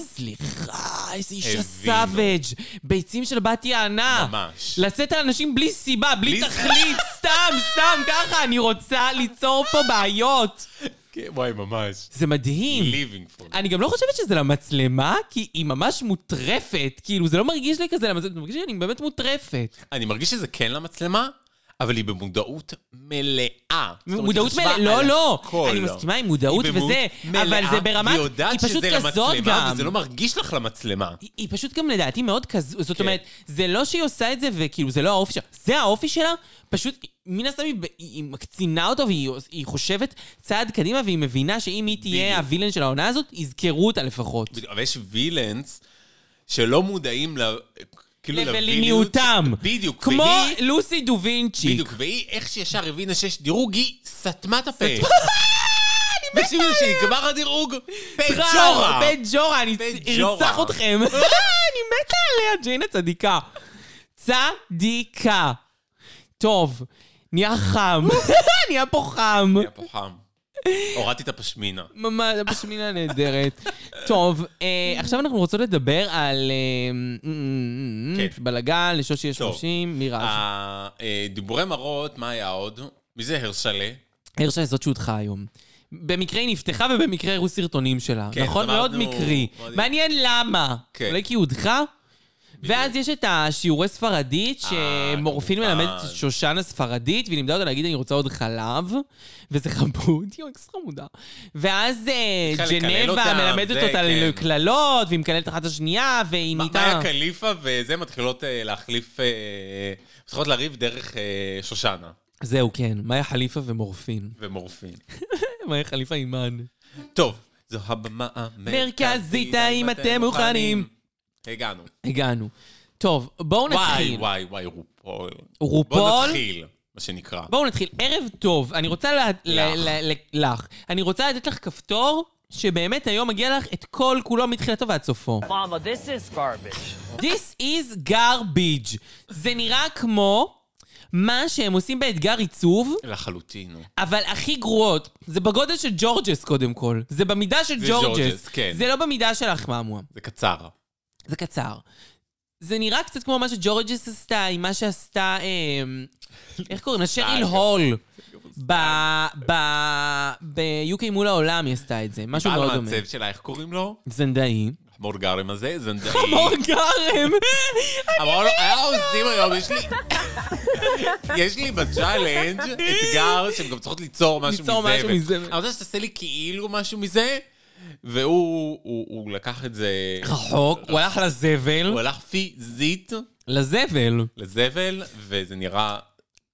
סליחה, איזה אישה
הבינו.
סאביג'. ביצים של בת יענה.
ממש.
לשאת על אנשים בלי סיבה, בלי
בלי
תכלית, סתם, סתם, ככה, אני רוצה ליצור פה בעיות.
כן, וואי, ממש.
זה מדהים.
living for it.
אני גם לא חושבת שזה למצלמה, כי היא ממש מוטרפת. כאילו, זה לא מרגיש לי כזה למצלמה, זה מרגיש לי שאני באמת מוטרפת.
אני מרגיש שזה כן למצלמה, אבל היא במודעות מלאה. זאת אומרת,
מודעות
היא חשבה
מלאה, לא,
על
לא.
הכל.
אני מסכימה עם מודעות
היא
וזה, אבל
במודעות מלאה,
זה ברמת,
והיא יודעת
היא פשוט
שזה
כזאת
למצלמה,
גם.
וזה לא מרגיש לך למצלמה.
היא, היא פשוט גם לדעתי מאוד כזו,
כן.
זאת אומרת, זה לא שהיא עושה את זה וכאילו זה לא האופי שלה, זה האופי שלה, פשוט מן הסתם היא, ב- היא, היא מקצינה אותו והיא עוש- היא חושבת צעד קדימה והיא מבינה שאם היא תהיה
בדיוק.
הווילן של העונה הזאת, יזכרו אותה לפחות.
בדיוק, אבל יש וילאנס שלא מודעים ל... כאילו
לבליניותם.
לוויליות- בדיוק,
כמו
והיא...
לוסי דו וינצ'י.
בדיוק, והיא, איך שישר הבינה שיש דירוג, היא סתמה את הפה. תקשיבו, שנגמר הדירוג, פג'ורה.
בית ג'ורה, אני
בג'ורה.
ארצח אתכם. אני מתה עליה, ג'יינה צדיקה. צדיקה. טוב, נהיה חם. נהיה פה חם.
היה פה חם. הורדתי את הפשמינה.
ממש, בשמינה נהדרת. טוב, אה, עכשיו אנחנו רוצות לדבר על אה,
כן. אה,
בלאגן, לשושי יש
טוב.
30, מירה.
הדיבורי מראות, מה היה עוד? מי זה הרשלה?
הרשה זאת שהודחה היום. במקרה היא נפתחה ובמקרה הראו סרטונים שלה.
כן,
נכון? מאוד
אמרנו-
מקרי.
מאוד-
מעניין למה.
כן.
אולי כי היא הודחה? ואז יש את השיעורי ספרדית,
אה,
שמורפין
כמובן.
מלמד את שושנה ספרדית, והיא לימדה אותה להגיד, אני רוצה עוד חלב, וזה חמוד, היא אקס חמודה. ואז אה,
צריכה לקלל
ג'נבה
אותם,
מלמדת
זה,
אותה
כן.
לקללות, והיא מקללת אחת את השנייה, והיא
מה-
נהייתה...
מאיה קליפה וזה מתחילות אה, להחליף, אה, מתחילות לריב דרך אה, שושנה
זהו, כן, מאיה חליפה ומורפין.
ומורפין.
מאיה חליפה אימן.
טוב, זו הבמה
מרכזית, האם אתם מוכנים?
הגענו.
הגענו. טוב, בואו
וואי,
נתחיל.
וואי, וואי, רופול.
רופול?
בוא נתחיל, מה שנקרא.
בואו נתחיל. ערב טוב, אני רוצה לה- ל- ל- ל- לך. אני רוצה לתת לך כפתור שבאמת היום מגיע לך את כל כולו מתחילתו ועד סופו.
Mama, this is garbage.
This is garbage. זה נראה כמו מה שהם עושים באתגר עיצוב,
לחלוטין. נו.
אבל הכי גרועות. זה בגודל של ג'ורג'ס קודם כל. זה במידה של
זה
ג'ורג'ס.
ג'ורג'ס, כן.
זה לא במידה שלך, מאמואם.
זה קצר.
זה קצר. זה נראה קצת כמו מה שג'ורג'ס עשתה עם מה שעשתה, אמ, איך קוראים לה? שריל הול. ב-UK מול העולם היא עשתה את זה, משהו מאוד
בעל
דומה.
מעצב שלה, איך קוראים לו?
זנדאי.
חמור גרם הזה, זנדאי.
מור גרם!
אמרנו, היה עושים היום, יש לי... יש לי בצ'אלנג' אתגר שהן גם צריכות ליצור משהו
ליצור משהו מזבל.
מזבל. אני רוצה שתעשה לי כאילו משהו מזה, והוא הוא- הוא לקח את זה...
רחוק, הוא הלך לזבל.
הוא הלך פיזית
לזבל.
לזבל, וזה נראה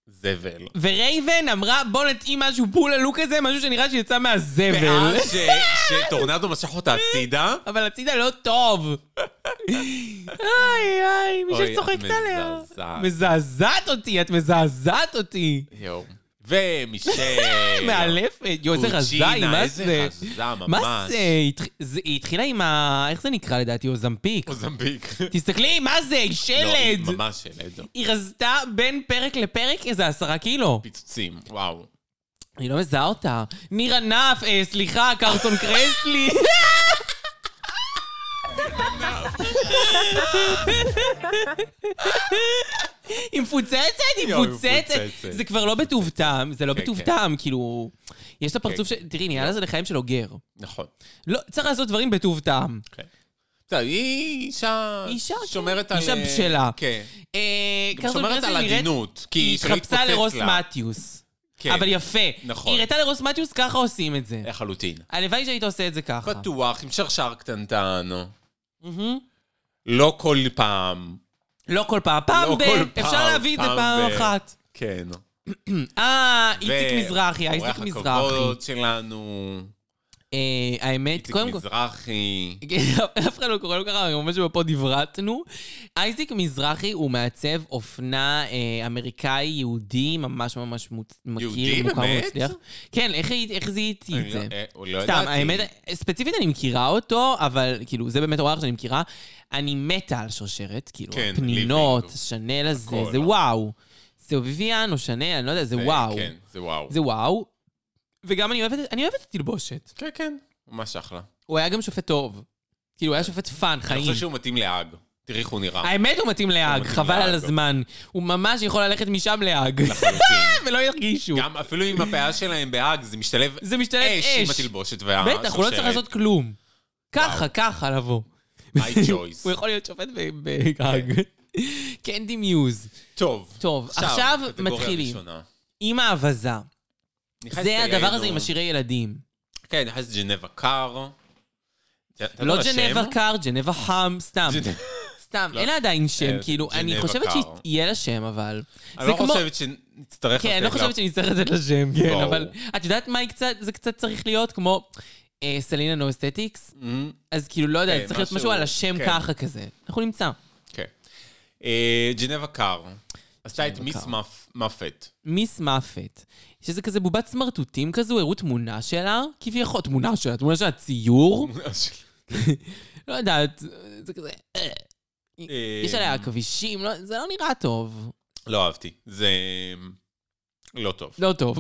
זבל.
ורייבן אמרה, בוא נתאים משהו בול ללוק הזה, משהו שנראה שיצא מהזבל.
ואז ש- שטורנדו משך אותה הצידה.
אבל הצידה לא טוב. איי, איי, מי
אוי,
שצוחקת עליה.
מזעזעת.
מזעזעת אותי, את מזעזעת אותי.
יואו. ומישל.
מאלפת, יואו, איזה רזה היא,
קוצ'ינה,
מה
אה, איזה
זה?
רזה ממש.
מה זה? היא התח- זה- היא התחילה עם ה... איך זה נקרא לדעתי? אוזמפיק.
מוזמביק.
תסתכלי, מה זה? היא
לא, היא
שלד!
ממש שלד.
היא רזתה בין פרק לפרק איזה עשרה קילו.
פיצוצים, וואו.
אני לא מזהה אותה. ניר ענף, אה, סליחה, קרסון קרסלי. היא מפוצצת, היא
יואו, היא
מפוצצת.
מפוצצת.
זה כבר לא בטוב טעם, זה לא
כן,
בטוב
כן.
טעם, כאילו... יש לה פרצוף ש...
כן,
תראי, נהיה לזה לחיים של אוגר.
נכון.
לא, צריך לעשות דברים בטוב טעם.
כן. בסדר, היא אישה...
אישה, כן.
שומרת על...
אישה בשלה.
כן.
אה,
גם
קרסון
שומרת על
קרסלי נראית...
עדינות, כי
היא
שלא
התחפשה
יתפוצץ
לרוס
לה.
מתיוס.
כן.
אבל יפה.
נכון. אה.
היא הראתה לרוס מתיוס, ככה עושים את זה.
לחלוטין.
הלוואי שהיית עושה את זה ככה.
פתוח, עם שרשר קטנטן.
מהמם.
לא כל פעם.
לא כל פעם, פעם
לא
ב...
כל פעם,
אפשר להביא את זה
פעם
פעם
ב-
אחת.
כן.
אה, איציק
ו-
מזרחי, איציק
אורח
מזרחי.
הכבוד שלנו.
אה, האמת,
איציק
קודם כל...
מזרחי.
אף אחד לא קורא לו ככה, ממש בפוד הברטנו. אייזיק מזרחי הוא מעצב אופנה אה, אמריקאי יהודי, ממש ממש מוצ- מכיר,
יהודי,
מוכר
באמת?
ומצליח. כן, איך, היא- איך זיהיתי את
אני לא-
זה?
אה, הוא לא
סתם,
ידעתי.
האמת, ספציפית אני מכירה אותו, אבל כאילו, זה באמת אורח שאני מכירה. אני מתה על שרשרת, כאילו,
כן,
הפנינות,
living.
השנל הזה,
הכל.
זה וואו. זה ויויאן או שנל, אני לא יודע, זה
אה,
וואו.
כן, זה וואו.
זה וואו. וגם אני אוהבת, אני אוהבת את התלבושת.
כן, כן. ממש אחלה.
הוא היה גם שופט טוב. כאילו, הוא היה שופט פאן,
אני
חיים.
חושב שהוא מתאים להאג. תראי איך הוא נראה.
האמת, הוא מתאים להאג,
מתאים לא.
חבל
להאג.
על הזמן. הוא ממש יכול ללכת משם להאג.
לחלוטין.
ולא ירגישו.
נכון. גם אפילו עם הפאה שלהם בהאג, זה משתלב
זה משתלב
אש עם
אש.
התלבושת והשושרת.
בטח, הוא לא צריך לעשות כלום. ככה, ככה לבוא.
מיי צ'וייס.
הוא יכול להיות שופט ב- בהאג. קנדי מיוז.
טוב.
טוב, עכשיו מתחילים. עם האבזה. זה הדבר הזה עם השירי ילדים.
כן, נכנס ג'נבה קאר.
לא ג'נבה קר, ג'נבה חם, סתם.
ג'נ-
סתם,
לא.
אין לה עדיין שם,
אה,
כאילו, אני
ג'נבה
חושבת
קר.
שיהיה לה שם, אבל...
אני
זה
לא
כמו-
חושבת שנצטרך לתת
כן, אני לא
לה.
חושבת שנצטרך לתת לה שם, כן,
ברור.
אבל... את יודעת מה היא קצת, זה קצת צריך להיות כמו אה, סלינה נו אסתטיקס?
אמ,
אז כאילו, לא יודעת,
כן,
צריך להיות משהו
משהו-
על השם
כן.
ככה כזה. אנחנו נמצא.
כן. אה, ג'נבה קאר. עשתה את
ג'נבה
מיס
קאר.
מאפ- מאפט.
מיס מאפט, שזה כזה בובת סמרטוטים כזו, הראו תמונה שלה, כביכול, תמונה שלה, תמונה שלה, ציור, לא יודעת, זה כזה, אה, יש
אה,
עליה עכבישים, לא- זה לא נראה טוב.
לא אהבתי. זה... לא טוב.
לא טוב,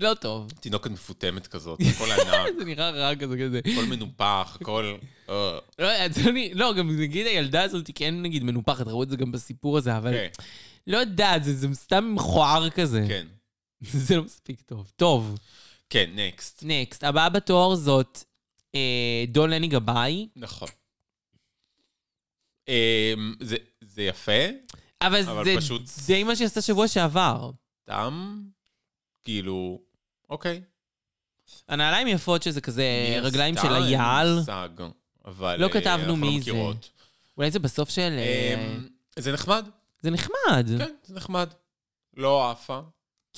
לא טוב.
תינוקת מפותמת כזאת, הכל ענק,
זה נראה רע כזה כזה.
הכל מנופח, הכל... אה,
לא, יודעת, זה לא נראה- לא, גם נגיד הילדה הזאת היא כן נגיד מנופחת, ראו את זה גם בסיפור הזה, אבל
כן,
לא יודעת, זה זה סתם מכוער כזה.
כן.
זה לא מספיק טוב. טוב,
כן, נקסט.
נקסט, הבאה בתואר זאת אה, דון לני גבאי,
נכון. אמ, זה- זה יפה,
אבל
אבל
זה
פשוט-
די מה שעשתה שבוע שעבר.
טעם, כאילו, אוקיי.
הנעליים יפות שזה כזה
מי
אה, רגליים
עשתה?
של
אין לי
היעל.
מושג, אבל...
לא
אה,
כתבנו
אנחנו
מי זה.
מכירות.
אולי זה בסוף של... אה,
אמ, זה נחמד,
זה נחמד. כן,
כן, זה נחמד. לא עפה.
לא,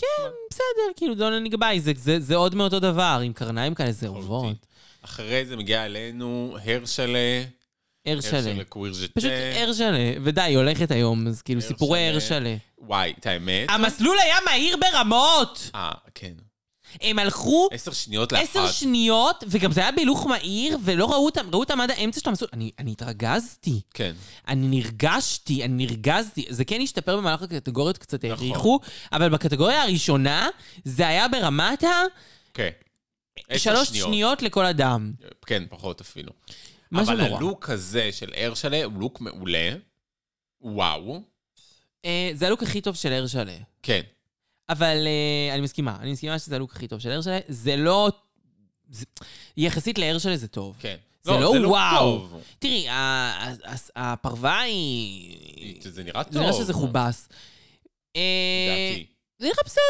אוקיי.
בסדר, כאילו דונלד גבאי, זה- זה- זה עוד מאותו דבר, עם קרניים כאלה זהובות.
אחרי זה מגיע אלינו הרשלה,
ער שלם.
הרשלה קווירג'טה.
פשוט ער שלם, ודי, היא הולכת היום, אז כאילו
אה, ער
סיפורי
שלם.
ער שלם.
וואי, את האמת?
המסלול היה מהיר ברמות!
אה, כן.
הם הלכו
עשר שניות לאחת.
עשר שניות, וגם זה היה בהילוך מהיר, ולא ראו אותם, ראו אותם עד האמצע של המסלול. אני, אני התרגזתי.
כן.
אני נרגשתי, אני נרגזתי. זה כן השתפר במהלך הקטגוריות, קצת
נכון.
העריכו, אבל בקטגוריה הראשונה, זה היה ברמת ה...
כן. עשר
שלוש שניות לכל אדם.
כן, פחות אפילו.
משהו
אבל
נורא.
הלוק הזה של הרשלה הוא לוק מעולה. וואו.
אה, זה הלוק הכי טוב של ער שלם.
כן.
אבל אה, אני מסכימה, אני מסכימה שזה הלוק הכי טוב של הרשלה. זה לא... זה... יחסית להרשלה זה טוב.
כן.
זה לא
לוק
וואו.
טוב.
תראי, ה- ה- ה- הפרווה היא...
זה נראה טוב.
זה נראה שזה חובס. אה,
לדעתי.
זה נראה בסדר.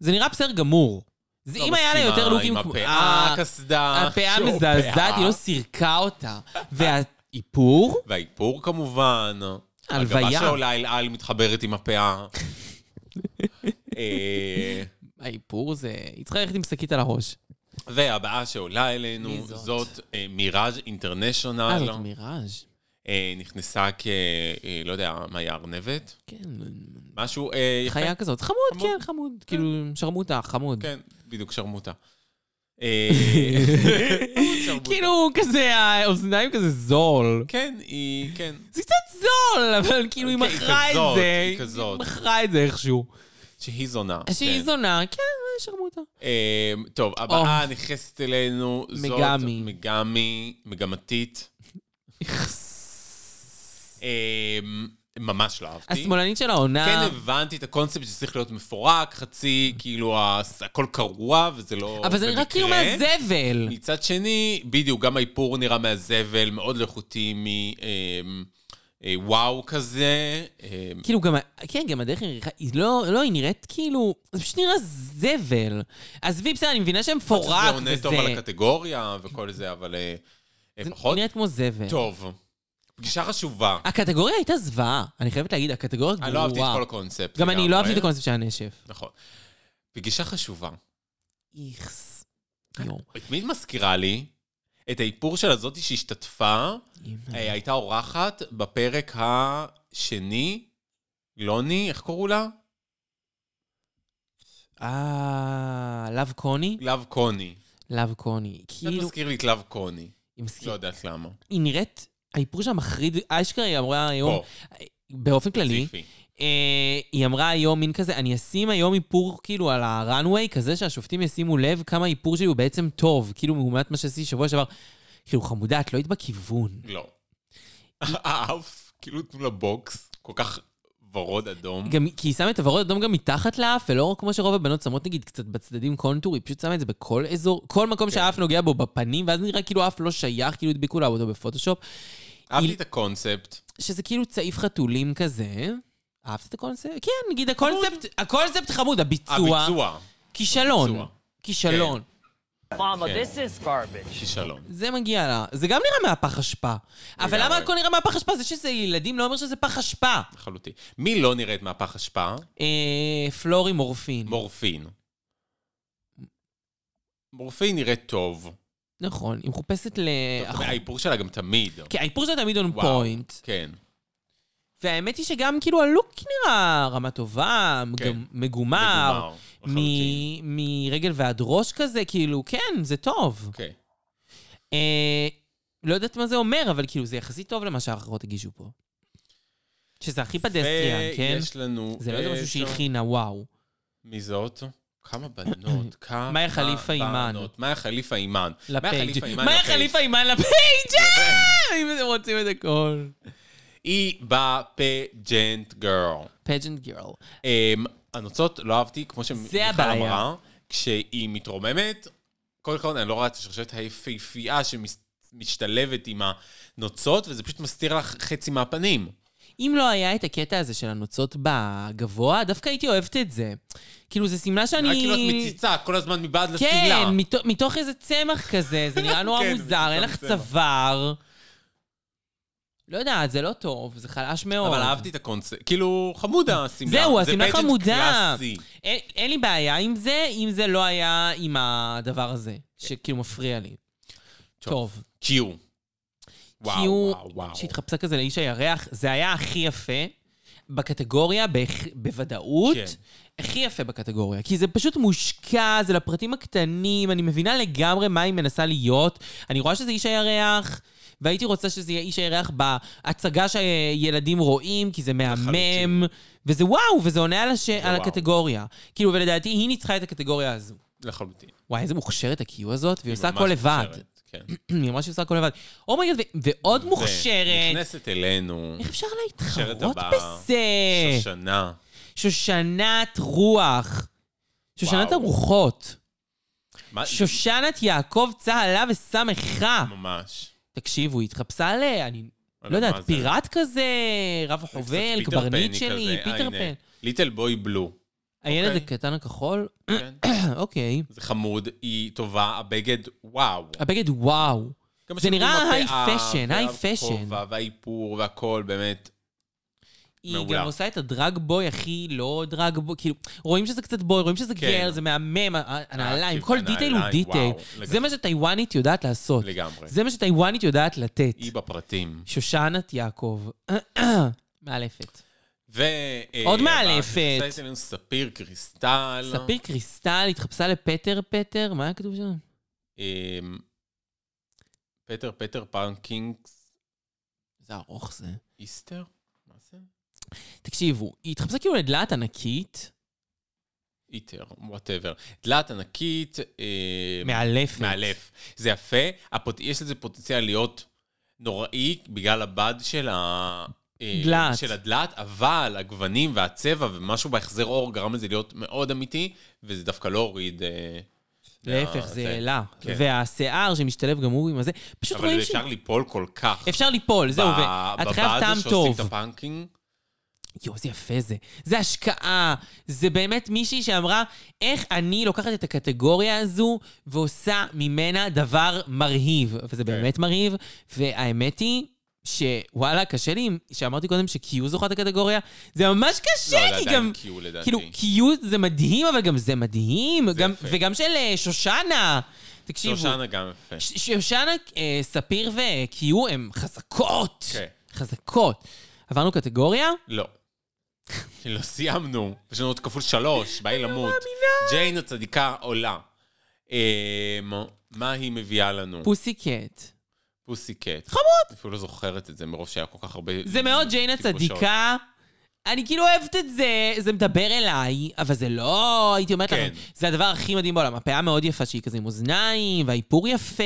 זה נראה בסדר גמור. זה,
לא
אם היה לה
מסכימה
יותר לוקים...
עם אה,
כמו- אה,
הפאה,
ה-
הקסדה.
הפאה
שוב,
מזעזעת,
פאה.
היא לא סירקה אותה. והאיפור?
והאיפור כמובן.
הלוויה.
הגבה שעולה אל על מתחברת עם הפאה. אה,
האיפור זה... היא צריכה ללכת עם שקית על הראש.
והבאה שעולה
מי
אלינו
זאת?
זאת אה, מיראז'
אה,
אינטרנשיונל.
זאת מיראז'.
אה, נכנסה כ... אה, לא יודע, מה היא ארנבת?
כן,
משהו אה, יפה.
חיה כזאת. חמוד,
חמוד.
כן, חמוד. כאילו, שרמוטה, חמוד.
כן, בדיוק, שרמוטה. אה, שרמוטה.
כאילו, כזה, האוזניים כזה זול.
כן, היא... כן.
זה קצת זול, אבל כאילו, היא
כן, היא
מכרה את
כזאת,
זה.
היא כזאת.
מכרה את זה איכשהו.
שהיא זונה.
שהיא
כן.
זונה, כן, שרמוטה.
אה, טוב, הבאה נכנסת אלינו. זאת
מגמי.
מגמי, מגמתית. אה, ממש לא אהבתי.
השמאלנית של
כן
העונה.
הבנתי את הקונספט שצריך להיות מפורק, חצי, כאילו ה- הכל קרוע, וזה לא...
אבל זה נראה
במקרה.
כאילו מהזבל.
מצד שני, בדיוק, גם האיפור נראה מהזבל, מאוד אה, לא איכותי מוואו כזה. אה,
כאילו גם, ה- כן, גם הדרך נראית, היא לא, לא, היא נראית כאילו, זה פשוט נראה זבל. עזבי, בסדר, אני מבינה שהם פורק וזה.
זה עונה טוב על הקטגוריה וכל זה, אבל אה, אה,
זה- אה, היא
פחות
נראית כמו זבל.
טוב. פגישה חשובה.
הקטגוריה הייתה זוועה, אני חייבת להגיד, הקטגוריה גרועה.
אני לא אהבתי את כל הקונספט.
גם אני לא אהבתי את
לגמרי.
הקונספט של הנשף.
נכון. פגישה חשובה.
איכס. יואו.
את מי את מזכירה לי? את האיפור של הזאתי שהשתתפה, אה, הייתה אורחת בפרק השני, לוני, איך קראו לה?
אה, לאב קוני?
לאב קוני.
לאב קוני.
קצת
כאילו,
מזכיר לי את לאב קוני.
היא מסכימה.
לא יודעת למה.
היא נראית, האיפור שלה מחריד, אשכרה היא אמרה היום,
פה,
באופן כללי,
ציפי.
אה, היא אמרה היום מין כזה, אני אשים היום איפור כאילו על הראנוויי, כזה שהשופטים ישימו לב כמה האיפור שלי הוא בעצם טוב, כאילו לעומת מה שעשיתי שבוע שעבר. כאילו, חמודה, את לא היית בכיוון.
לא. האף, כאילו תנו לה בוקס, כל כך ורוד אדום.
גם כי היא שמה את הוורוד אדום גם מתחת לאף, ולא כמו שרוב הבנות שמות נגיד קצת בצדדים קונטור, היא פשוט שמה את זה בכל אזור, כל מקום שהאף נוגע בו בפנים, ואז נראה כאילו האף לא שייך, כאילו הדביקו לה אותו בפוטושופ,
אהבתי
היא-
את הקונספט. אה,
שזה כאילו צעיף חתולים כזה. אהבת את הקונספט? כן, נגיד הקונספט, הקונספט חמוד, הביצוע,
הביצוע.
כישלון,
הביצוע.
כישלון.
Mama,
Okay.
this is garbage.
כישלון.
זה מגיע לה, זה גם נראה מהפח אשפה. אבל
לגמרי.
למה הכל נראה מהפח אשפה? זה שזה ילדים לא אומר שזה פח אשפה.
לחלוטין. מי לא נראית מהפח השפעה?
אה, פלורי מורפין.
מורפין. מורפין נראית טוב.
נכון, היא מחופשת לאח...
האיפור שלה גם תמיד.
כי האיפור זה תמיד און
וואו,
פוינט.
כן.
אה, והאמת היא שגם כאילו הלוק נראה רמה טובה,
כן.
מגומ- מגומר,
מגומר,
מ-
לחלוטין.
מרגל ועד ראש כזה, כאילו, כן, זה טוב.
אוקיי.
אה, לא יודעת מה זה אומר, אבל כאילו זה יחסית טוב למה שהאחרות הגישו פה. שזה הכי פדסטריאן, כן?
ויש לנו...
זה לא איזה משהו שהיא
עשר-
הכינה, וואו.
מי זאת? כמה בנות, כמה
מאיה חליפה אימן.
בנות. מאיה חליפה אימן. מאיה
לפייג'.
חליפה אימן
מה
לפייג'.
יחליף האימן לפייג'? אה, אם אתם רוצים את הכל.
היא בפג'נט גרל.
פג'נט גירל.
אמ, הנוצות לא אהבתי, כמו שמיכל
הבעיה.
אמרה, כשהיא מתרוממת, קודם כל אני לא רואה את השרשרת היפהפייה שמשתלבת עם הנוצות, וזה פשוט מסתיר לך חצי מהפנים.
אם לא היה את הקטע הזה של הנוצות בגבוה, דווקא הייתי אוהבת את זה. כאילו, זו שמלה שאני...
רק כאילו את מציצה כל הזמן מבעד לסילה.
כן, מתו- מתוך איזה צמח כזה, זה נראה נורא
כן,
מוזר, אין
מתוך
לך
צמח.
צוואר. לא יודעת, זה לא טוב, זה חלש מאוד.
אבל אהבתי את הקונספט, כאילו, חמודה השמלה.
זהו,
זה
השמלה
pageant
חמודה.
קלאסי.
אין, אין לי
כן.
בעיה עם זה, אם זה לא היה עם הדבר הזה, שכאילו מפריע לי. טוב.
קיו. וואו,
קיו
וואו, וואו.
שהתחפשה כזה לאיש הירח, זה היה הכי יפה בקטגוריה, בהכ- בוודאות.
כן.
הכי יפה בקטגוריה, כי זה פשוט מושקע, זה לפרטים הקטנים, אני מבינה לגמרי מה היא מנסה להיות. אני רואה שזה איש הירח, והייתי רוצה שזה יהיה איש הירח בהצגה שילדים רואים, כי זה מהמם,
לחלוטין.
וזה וואו, וזה עונה על, הש... על
וואו.
הקטגוריה. כאילו, ולדעתי היא ניצחה את הקטגוריה הזו.
לחלוטין.
וואי, איזה מוכשרת הקיו הזאת, והיא
היא
עושה
ממש
כאילו, הכל לבד.
מוכשרת, כן.
היא אמרה שהיא עושה הכל לבד. אומייגד, ועוד מוכשרת.
נכנסת אלינו,
איך אפשר
מוכשרת
להתחרות
הבאה.
בזה? אה.
שושנה.
שושנת רוח. שושנת
וואו. אה,
הרוחות.
מה-
שושנת יעקב צהלה וסמכה.
ממש.
תקשיבו, היא התחפשה ל... אני
לא
לא
יודע
יודעת,
מה זה.
פיראט כזה, רב החובל,
קצת פיטר
קברניט
פני
שלי,
כזה.
פיטר פן.
ליטל בוי בלו.
הילד
אוקיי.
הקטן הכחול?
כן.
אוקיי.
זה חמוד, היא טובה, הבגד, וואו.
הבגד וואו.
גם
זה
השילוב
נראה
עם
היי
הפאה,
פשן, היי
והכובע,
פשן.
והאיפור והכל, באמת.
היא
מעולה.
גם עושה את הדרג בוי הכי לא דרג בוי, כאילו, רואים שזה קצת בוי, רואים שזה
כן.
גר, זה מהמם, ה- ה- הנעליים,
כאילו,
כל דיטייל הוא
הנעליים,
דיטייל.
וואו, לגמרי.
זה מה שטיוואנית יודעת לעשות.
לגמרי.
זה מה שטיוואנית יודעת לתת.
היא בפרטים.
שושנת יעקב. מאלפת.
ו...
עוד
אה,
מאלפת.
נכנסה אלינו ספיר קריסטל.
ספיר קריסטל התחפשה לפטר פטר, מה היה כתוב שם?
אמ, פטר פטר פנקינגס
זה ארוך זה.
איסטר? מה זה?
תקשיבו, היא התחפשה כאילו לדלעת ענקית,
איטר, וואטאבר. דלת ענקית. אה,
מאלפת.
מאלף. זה יפה, הפוט... יש לזה פוטנציאל להיות נוראי בגלל הבד של, ה... אה,
דלעת.
של הדלעת, אבל הגוונים והצבע ומשהו בהחזר אור גרם לזה להיות מאוד אמיתי, וזה דווקא לא הוריד... אה,
להפך, זה
זה-
העלה.
כן.
והשיער שמשתלב גם הוא עם הזה, פשוט
אבל
רואים ש...
אפשר ליפול כל כך.
אפשר ליפול, זהו,
ב-
ואת
בבד
חייבת טעם
שעושים
טוב.
את הפאנקינג,
יואו, איזה יפה זה. זה השקעה. זה באמת מישהי שאמרה, איך אני לוקחת את הקטגוריה הזו ועושה ממנה דבר מרהיב.
כן.
וזה באמת מרהיב, והאמת היא... שוואלה, קשה לי, עם- שאמרתי קודם שקיו זוכה את הקטגוריה, זה ממש
לא,
קשה
זה
לי
עדיין
גם...
קיו לדעתי.
כאילו, קיו זה מדהים, אבל גם זה מדהים. גם-
יפה.
וגם של אה, שושנה. תקשיבו,
שושנה גם יפה.
ש- שושנה, אה, ספיר וקיו הן חזקות.
כן.
חזקות. עברנו קטגוריה?
לא. לא סיימנו, יש לנו עוד כפול שלוש, באי
לא
למות. ג'יין הצדיקה עולה. אמ, מה היא מביאה לנו?
פוסי קט.
פוסי קט. חמוד! אפילו לא זוכרת את זה מרוב שהיה כל כך הרבה...
זה מאוד ג'יין
תלבושות.
הצדיקה. אני כאילו אוהבת את זה, זה מדבר אליי, אבל זה לא, הייתי אומרת
כן.
לכם, זה הדבר הכי מדהים בעולם. הפאה מאוד יפה שהיא כזה עם אוזניים, והאיפור יפה,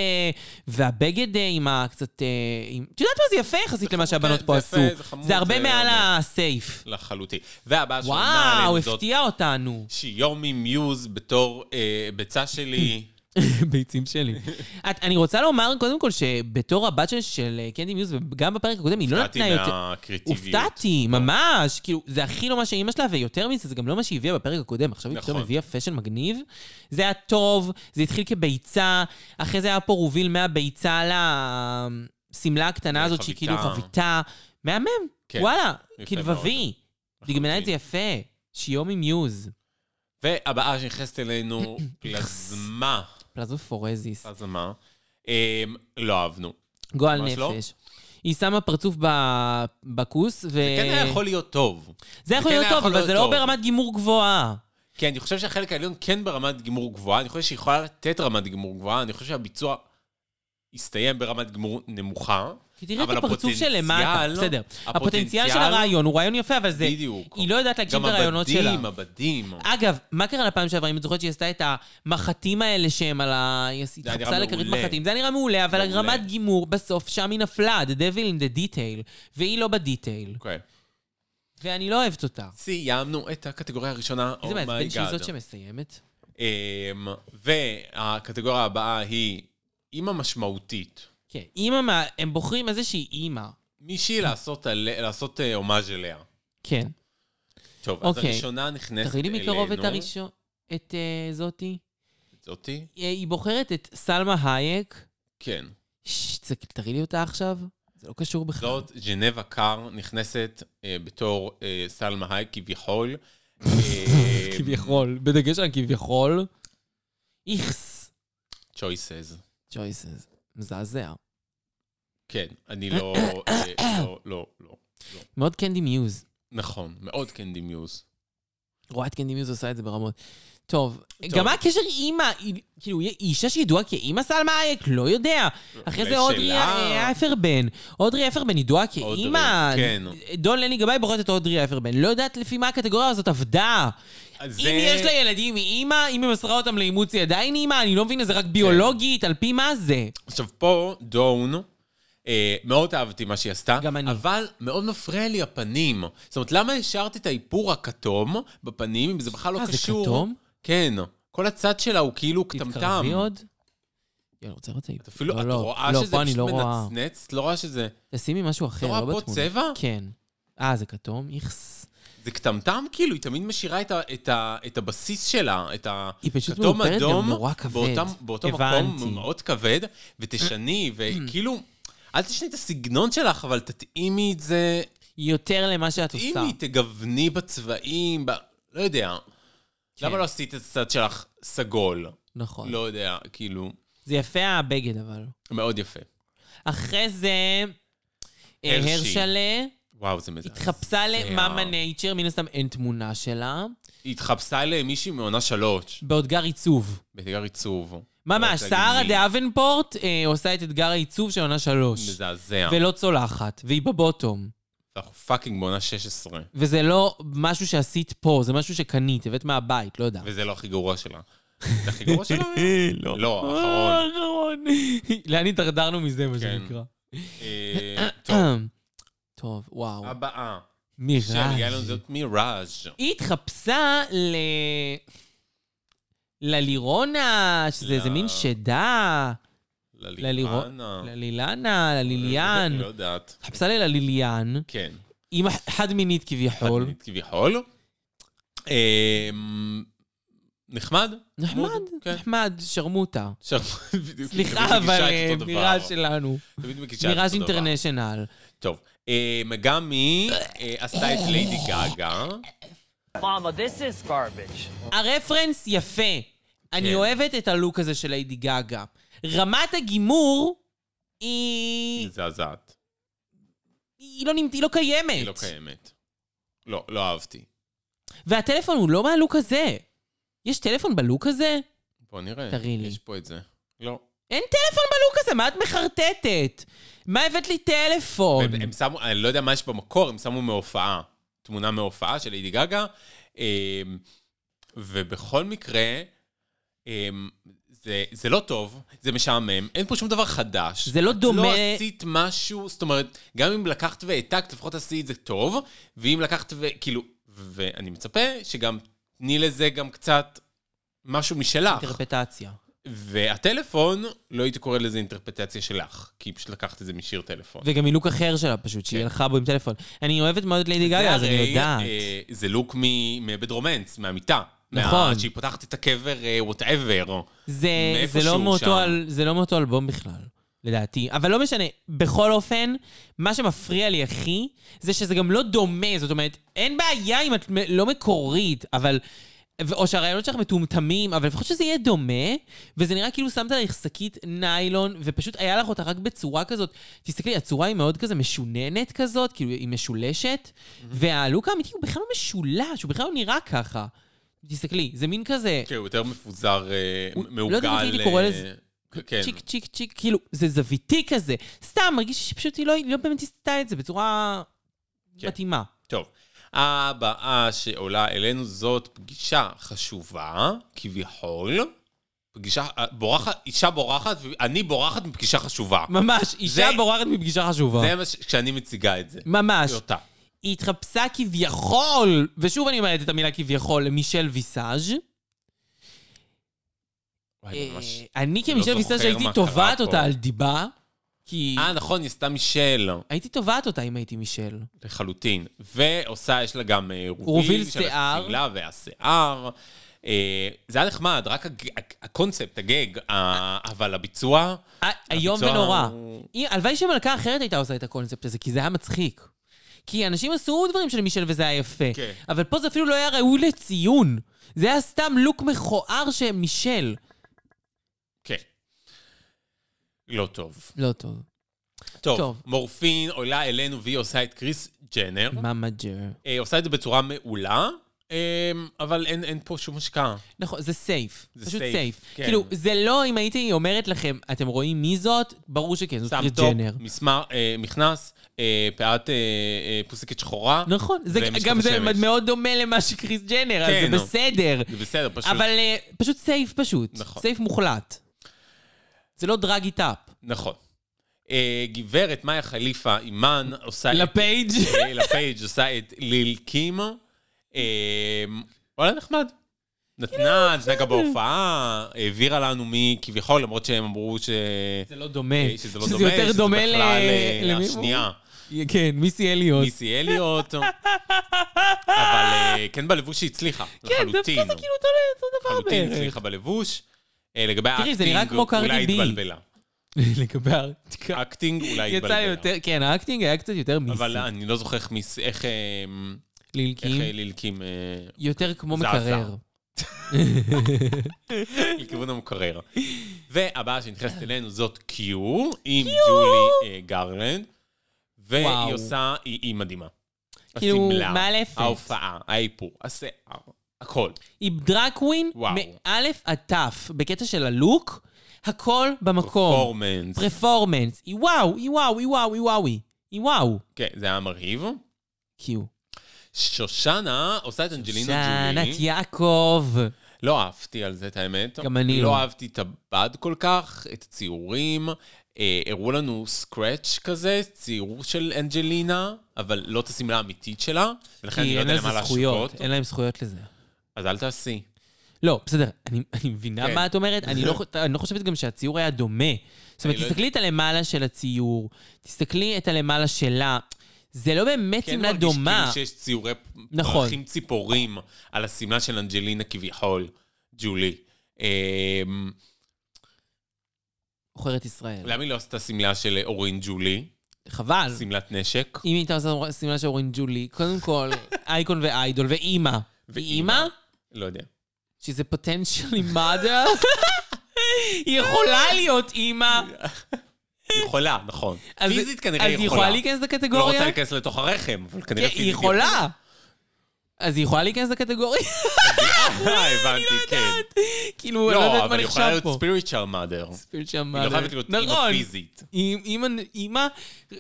והבגד אה, עם ה... קצת... אה, עם... את יודעת מה? זה יפה יחסית למה
חמוד,
שהבנות
כן,
פה
זה
עשו.
יפה, זה חמוד, אה,
זה הרבה
זה
מעל
אומר.
הסייף.
לחלוטין. והבאה שעונה
וואו,
עלינו זאת
הפתיע אותנו.
שיומי מיוז בתור אה, ביצה שלי.
ביצים שלי. את, אני רוצה לומר קודם כל שבתור הבת של, של אה, קנדי מיוז, וגם בפרק הקודם, היא לא
הופתעתי
נתנה יותר...
מהקריטיביות.
הופתעתי, ממש. כאילו, זה הכי לא מה שאימא שלה, ויותר מזה, זה גם לא מה שהיא הביאה בפרק הקודם. עכשיו היא פתאום
נכון.
הביאה פשן מגניב. זה היה טוב, זה התחיל כביצה, אחרי זה היה פה רוביל מהביצה לשמלה הקטנה הזאת, שהיא כאילו
לחביתה.
חביתה. מהמם,
אה, כן,
וואלה,
יפה נכון,
כלבבי. דגמנה את זה יפה. שיומי מיוז,
והבאה שנכנסת אלינו, פלזמה.
פלזופורזיס,
פלזמה. אמ, לא אהבנו.
אה. גועל
ממש לא.
נפש. היא שמה פרצוף ב- בכוס, ו...
כן היה יכול להיות טוב.
זה יכול
כן
להיות
היה
טוב,
יכול
אבל
להיות
זה לא
טוב.
ברמת גימור גבוהה.
כי אני חושב שהחלק העליון כן ברמת גימור גבוהה, אני חושב שהיא יכולה לתת רמת גימור גבוהה, אני חושב שהביצוע יסתיים ברמת גימור נמוכה.
כי תראה את
אבל
הפרצוף של למטה,
הפוטנציאל-
בסדר. הפוטנציאל של הרעיון הוא רעיון יפה, אבל זה...
בדיוק.
היא לא יודעת להגשים את הרעיונות שלה.
גם הבדים, הבדים.
אגב, מה קרה לפעם שעברה, אם את זוכרת שהיא עשתה את המחטים האלה שהם על ה... היא
היה נראה
התחפשה לכרית
מעולה.
מחטים. זה היה נראה מעולה, אבל
מעולה.
הגרמת גימור, בסוף שם היא נפלה, The devil in the detail, והיא לא בדיטייל.
אוקיי.
ואני לא אוהבת אותה.
Oh סיימנו את הקטגוריה הראשונה, Oh
איזה מעצבן שהיא
אומייגאד.
זאת שמסיימת.
אמ, והקטגוריה הבאה היא אימא משמעותית.
כן, אימא, מה- הם בוחרים איזושהי אימא. Mm.
מישהי לעשות עלי- לעשות אה, הומאז' אליה.
כן.
טוב, אז
אוקיי.
הראשונה נכנסת
תראי
אלינו.
לי מקרוב את הראשון... את אה, זאתי.
זאתי?
אה, היא בוחרת את סלמה הייק.
כן.
ששש, צ- תראי לי אותה עכשיו. זה לא קשור בכלל.
זאת ז'נבה קאר נכנסת אה, בתור אה, סלמה היי כביכול. אה,
כביכול, בדגש על כביכול. איכס.
choices.
choices. מזעזע.
כן, אני לא... אה, לא, לא, לא.
מאוד קנדי מיוז.
נכון, מאוד קנדי מיוז.
רואה את קנדי מיוז עושה את זה ברמות. טוב, גם מה הקשר אימא? היא- כאילו, היא אישה שידועה כאימא סלמה אייק? לא יודע. אחרי זה
אולי
אודרי
שלה.
אה, אפרבן. אודרי אפרבן ידועה
אודרי,
כאימא.
כן.
דון לני גבאי בוחרת את אודרי אפרבן. לא יודעת לפי מה הקטגוריה הזאת עבדה.
אז
אם
זה-
יש לה ילדים מאימא, אם היא מסרה אותם לאימוץ היא עדיין אימא, אני לא מבינה, זה רק
כן.
ביולוגית, על פי מה זה?
עכשיו, פה דון, אה, מאוד אהבתי מה שהיא עשתה,
גם אני.
אבל מאוד מפריע לי הפנים. זאת אומרת, למה השארת את האיפור הכתום בפנים, אם זה בכלל לא
אה, זה
קשור?
כתום?
כן. כל הצד שלה הוא כאילו קטמטם.
תתקרבי עוד? יאללה, רוצה לראות את האיפור.
את אפילו,
לא,
את
לא,
רואה
לא,
שזה
פה אני
פשוט
לא רואה.
מנצנץ? את לא רואה שזה...
תשימי משהו אחר,
רואה
לא
פה
בתמונה.
צבע?
כן. אה, זה כתום? איכס.
זה קטמטם? כאילו, היא תמיד משאירה את, ה, את, ה, את הבסיס שלה, את
היא פשוט
הכתום
מאופרת גם
אדום,
נורא כבד.
באותם, באותו
הבנתי.
מקום מאוד כבד, ותשני, וכאילו, אל תשני את הסגנון שלך, אבל תתאימי את זה,
יותר למה שאת עושה.
תתאימי, תגווני בצבעים, ב... לא יודע.
כן.
למה לא עשית את הצד שלך סגול?
נכון.
לא יודע, כאילו,
זה יפה הבגד, אבל.
מאוד יפה.
אחרי זה, אה,
הרשי.
הרשלה
וואו, זה מזעזע.
התחפשה למאמה נייצ'ר, מן הסתם אין תמונה שלה,
היא התחפשה למישהי מעונה שלוש,
באותגר עיצוב.
באתגר עיצוב. לא
ממש,
יודעת להגיד
סערה
מי.
דאבנפורט אה, עושה את אתגר העיצוב של עונה שלוש.
מזעזע.
ולא צולחת, והיא בבוטום.
אנחנו פאקינג בעונה 16,
וזה לא משהו שעשית פה, זה משהו שקנית, הבאת מהבית, לא יודעת.
וזה לא הכי גרוע שלה. זה הכי גרוע שלה?
לא.
לא,
אה,
האחרון.
אחרון. לאן התדרדרנו מזה, מה
כן.
שנקרא.
אה, טוב,
טוב, וואו.
הבאה.
מיראז'.
שלי איילון זאת מיראז'.
היא התחפשה ל... ללירונה, שזה
ל-
איזה מין שדה.
ללירונה.
ללילנה, לליליאן.
לא יודעת.
התחפשה ללליליאן.
כן.
היא מח- חד-מינית כביכול.
כביכול. אמ, נחמד.
נחמד,
כן.
נחמד, שרמוטה.
שם- בדיוק,
סליחה,
תמיד מגישה
אבל
את
אה,
אותו דבר.
מיראז' שלנו.
תמיד מגישה את
מיראז'
אותו דבר.
אינטרנשיונל.
טוב. אמ, גם היא אה, עשתה את ליידי גאגה.
Mama, this is garbage.
הרפרנס יפה.
כן.
אני אוהבת את הלוק הזה של ליידי גאגה. רמת הגימור היא...
מזעזעת.
היא לא נמת- היא לא קיימת.
היא לא קיימת. לא, לא אהבתי.
והטלפון הוא לא מהלוק הזה. יש טלפון בלוק הזה?
בוא נראה.
תראי לי.
יש פה את זה. לא.
אין טלפון בלוק הזה, מה את מחרטטת? מה הבאת לי טלפון?
הם הם שמו, אני לא יודע מה יש במקור, הם שמו מהופעה. תמונה מהופעה של ליידי גגה. אמ, ובכל מקרה, אמ, זה, זה לא טוב, זה משעמם, אין פה שום דבר חדש.
זה לא דומה-
את לא עשית משהו, זאת אומרת, גם אם לקחת והעתקת, לפחות עשי את זה טוב, ואם לקחת ו... כאילו, ואני מצפה שגם תני לזה גם קצת משהו משלך.
אינטרפטציה.
והטלפון, לא הייתי קורא לזה אינטרפטציה שלך, כי פשוט לקחת את זה משיר טלפון.
וגם מלוק אחר שלה פשוט, שהיא
כן.
הלכה בו עם טלפון. אני אוהבת מאוד את ליידי גאגה, אז אני
הרי,
יודעת.
אה, זה לוק מ- מבית רומנס, מהמיטה.
נכון.
מה- שהיא פותחת את הקבר, אה, וואטאבר.
זה,
מאיפה
זה, לא
שהוא
מאותו
שם.
אל, זה לא מאותו אלבום בכלל, לדעתי. אבל לא משנה. בכל אופן, מה שמפריע לי הכי, זה שזה גם לא דומה. זאת אומרת, אין בעיה אם את מ- לא מקורית, אבל... ו- או שהרעיונות שלך מטומטמים, אבל לפחות שזה יהיה דומה, וזה נראה כאילו שמת עלייך שקית ניילון, ופשוט היה לך אותה רק בצורה כזאת. תסתכלי, הצורה היא מאוד כזה משוננת כזאת, כאילו היא משולשת, והלוק האמיתי הוא בכלל לא משולש, הוא בכלל לא נראה ככה. תסתכלי, זה מין כזה...
כן, הוא יותר מפוזר, אה,
הוא-
מעוגל.
לא יודעת איך הייתי
אה,
קורא לזה.
כן.
צ'יק צ'יק צ'יק, כאילו, זה זוויתי כזה. סתם, מרגיש לי שפשוט היא לא, היא לא באמת עשתה את זה בצורה
כן.
מתאימה.
טוב. הבאה שעולה אלינו זאת פגישה חשובה, כביכול. פגישה, אה, בורחת, אישה בורחת, אני בורחת מפגישה חשובה.
ממש, אישה
זה-
בוררת מפגישה חשובה.
זה מה ש... כשאני מציגה את זה.
ממש.
היא אותה.
היא התחפשה כביכול, ושוב אני אומרת את המילה כביכול, למישל ויסאז'.
וואי, ממש.
אה, אני כמישל
לא
ויסאז'
זוכר
הייתי
מה קרה
תובעת
פה.
אותה על דיבה, כי...
אה, נכון, היא עשתה מישל.
הייתי תובעת אותה אם הייתי מישל.
לחלוטין. ועושה, יש לה גם אה, רוביל,
רוביל
של
שיער.
השמלה והשיער. אה, זה היה נחמד, רק הג... הק- הקונספט, הגג, ה... אבל הביצוע...
ה- איום
הביצוע
ונורא.
הוא-
היא- הלוואי שמלכה אחרת הייתה עושה את הקונספט הזה, כי זה היה מצחיק. כי אנשים עשו דברים של מישל וזה היה יפה.
כן.
אבל פה זה אפילו לא היה ראוי לציון. זה היה סתם לוק מכוער של מישל.
כן. לא טוב.
לא טוב.
טוב,
טוב.
מורפין עולה אלינו והיא עושה את קריס ג'נר.
ממג'ר.
אה, עושה את זה בצורה מעולה, אה, אבל אין, אין פה שום השקעה.
נכון, זה סייף.
זה
פשוט
safe,
סייף.
כן.
כאילו, זה לא אם הייתי אומרת לכם, אתם רואים מי זאת? ברור שכן, זאת
שם
קריס
טופ,
ג'נר.
מסמר, אה, מכנס, אה, פאת אה, אה, פוסקת שחורה.
נכון, זה,
ומשקפי
גם זה
שמש.
מאוד דומה למה שקריס ג'נר,
כן,
אז
נו.
זה בסדר.
זה בסדר, פשוט.
אבל אה, פשוט סייף פשוט.
נכון.
סייף מוחלט. זה לא דרג איט אפ.
נכון. אה, גברת מאיה חליפה אימן עושה... את-
לפייג'.
אה, לפייג' עושה את ליל קים. אה, וואלה נחמד. נתנה, נתנה גם בהופעה, העבירה לנו מכביכול, למרות שהם אמרו ש...
זה לא דומה.
אה, שזה לא דומה,
שזה יותר דומה ל...
בכלל, אה,
למי-
השנייה.
כן, מיסי אליוט.
מיסי אליוט. אבל אה, כן בלבוש היא הצליחה,
כן,
לחלוטין.
דווקא זה כאילו אותו אותו דבר
לחלוטין
בערך.
הצליחה בלבוש. אה, לגבי
תראי, זה
האקטינג,
נראה כמו קרדי
אולי
בי.
התבלבלה.
לגבי הארטיקה.
אקטינג, אולי
יצא
התבלבלה.
יותר, כן, האקטינג היה קצת יותר מיסי.
אבל אני לא זוכר איך מיס... איך אה, איך,
לילקים,
אה, לילקים... אה,
יותר כמו
זעזע.
מקרר.
לכיוון המקרר. והבאה שנכנסת אלינו זאת קיו, עם ג'ולי אה, גרלנד, והיא
וואו.
עושה, היא היא מדהימה.
כאילו,
השמלה,
מה לאפקט?
ההופעה, האיפור, השיער, הכל.
היא דרג קווין
וואו.
מאלף עד תף, בקטע של הלוק, הכל במקום.
פורמנס.
פרפורמנס. היא וואו, היא וואו, היא וואו, היא וואו, היא. היא וואו. כאילו.
כן, זה היה מרהיב.
קיו.
שושנה עושה את אנג'לינה
שנת
ג'ולי.
יעקב.
לא אהבתי על זה, את האמת.
גם אני
לא
לא.
אהבתי את הבד כל כך, את הציורים. אה, הראו לנו סקרץ' כזה, ציור של אנג'לינה, אבל לא את השמלה האמיתית שלה, ולכן אני
כי
לא
אין
יודע
לזה
למה
זכויות,
להשוות.
אין להם זכויות לזה.
אז אל תעשי.
לא, בסדר, אני, אני מבינה
כן.
מה את אומרת, אני לא, ח- אני לא חושבת גם שהציור היה דומה. זאת אומרת,
אני לא-
תסתכלי את הלמעלה של הציור, תסתכלי את הלמעלה שלה. זה לא באמת שמלה דומה.
כאילו שיש ציורי
נכון.
פרחים ציפורים על השמלה של אנג'לינה כביכול, ג'ולי. אה,
עוכרת ישראל.
למה היא לא עשתה שמלה של אורין ג'ולי?
חבל.
שמלת נשק?
אם הייתה עושה שמלה של אורין ג'ולי, קודם כל, אייקון ואיידול, ואימא. ואימא,
לא יודע.
שזה פוטנציאלי mother, היא יכולה להיות אימא.
יכולה, נכון.
אז-
פיזית כנראה
אז היא יכולה להיכנס
לא
לקטגוריה?
רוצה להיכנס לתוך הרחם, אבל
כן,
כנראה פיזית.
היא יכולה. אז היא יכולה להיכנס לקטגוריה?
אה, הבנתי, כן.
כאילו, לא אני לא
לא,
יודעת מה
אבל היא יכולה
נחשב
להיות
פה.
ספיריטואל מאדר. היא לא חייבת להיות
אה,
אימא
נכון.
פיזית.
אימא, אימא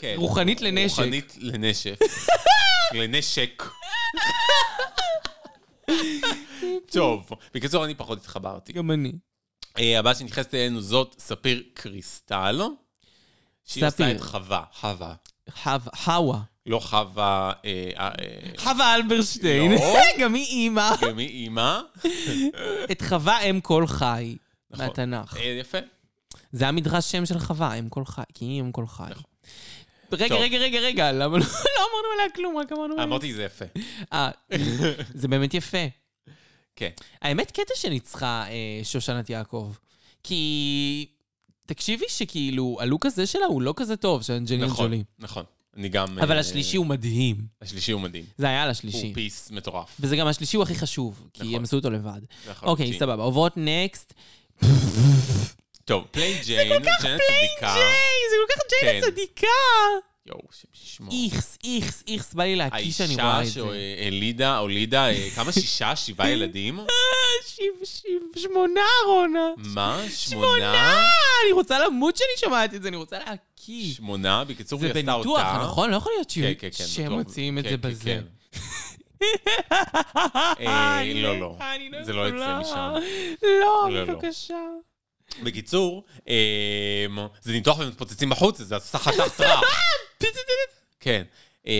כן.
רוחנית לנשק.
רוחנית לנשק. לנשק. טוב, בקיצור, אני פחות התחברתי.
גם אני.
אה, הבאה שנכנסת אלינו זאת ספיר קריסטל. שהיא עושה
ספיר.
את חווה. חווה.
חו- חווה.
לא חווה... אה, אה, אה,
חווה אלברשטיין.
לא.
גם היא אימא.
גם היא אימא.
את חווה אם כל חי.
כן. נכון.
מהתנ"ך.
אה, יפה.
זה המדרש שם של חווה, אם כל חי. כי היא אם כל חי. רגע,
נכון. טוב.
רגע, רגע, רגע, למה לא לא אמרנו עליה כלום, רק אמרנו עליה.
אמרתי זה יפה.
אה, זה באמת יפה.
כן.
האמת, קטע שניצחה אה, שושנת יעקב. כי... תקשיבי שכאילו, הלוק הזה שלה הוא לא כזה טוב, של אנג'לין
נכון,
ג'ולי.
נכון. אני גם...
אבל
אה,
השלישי הוא מדהים.
השלישי הוא מדהים.
זה היה על
הוא
השלישי.
פיס מטורף.
וזה גם השלישי הוא הכי חשוב,
נכון.
כי הם עשו אותו לבד.
לחלוטין.
אוקיי, סבבה, עוברות נקסט.
טוב, פליין ג'יין, ג'יין הצדיקה.
היי, זה כל כך ג'יין
כן.
הצדיקה!
יואו, שמשמור.
איכס, איכס, איכס, בא לי להקיש שאני רואה את זה.
שהולידה, הולידה, אה, כמה? שישה? שבעה ילדים?
אה, שיב, שיב, שמונה, רונה.
מה? שמונה?
שמונה! אני רוצה למות שאני שומעת את זה, אני רוצה להקיש.
שמונה, בקיצור,
זה
היא עשתה אותה.
בניתוח, נכון? לא יכול להיות
כן,
שהוא-
כן, כן.
שהם
בטוח.
מוציאים את
כן,
זה
כן,
בזה.
כן. אה, לא, לא. זה לא יוצא משם.
לא,
לא, לא.
בבקשה.
בקיצור, אמ, זה ניתוח ומתפוצצים בחוץ, זה עשה חתך רע. כן. אמ,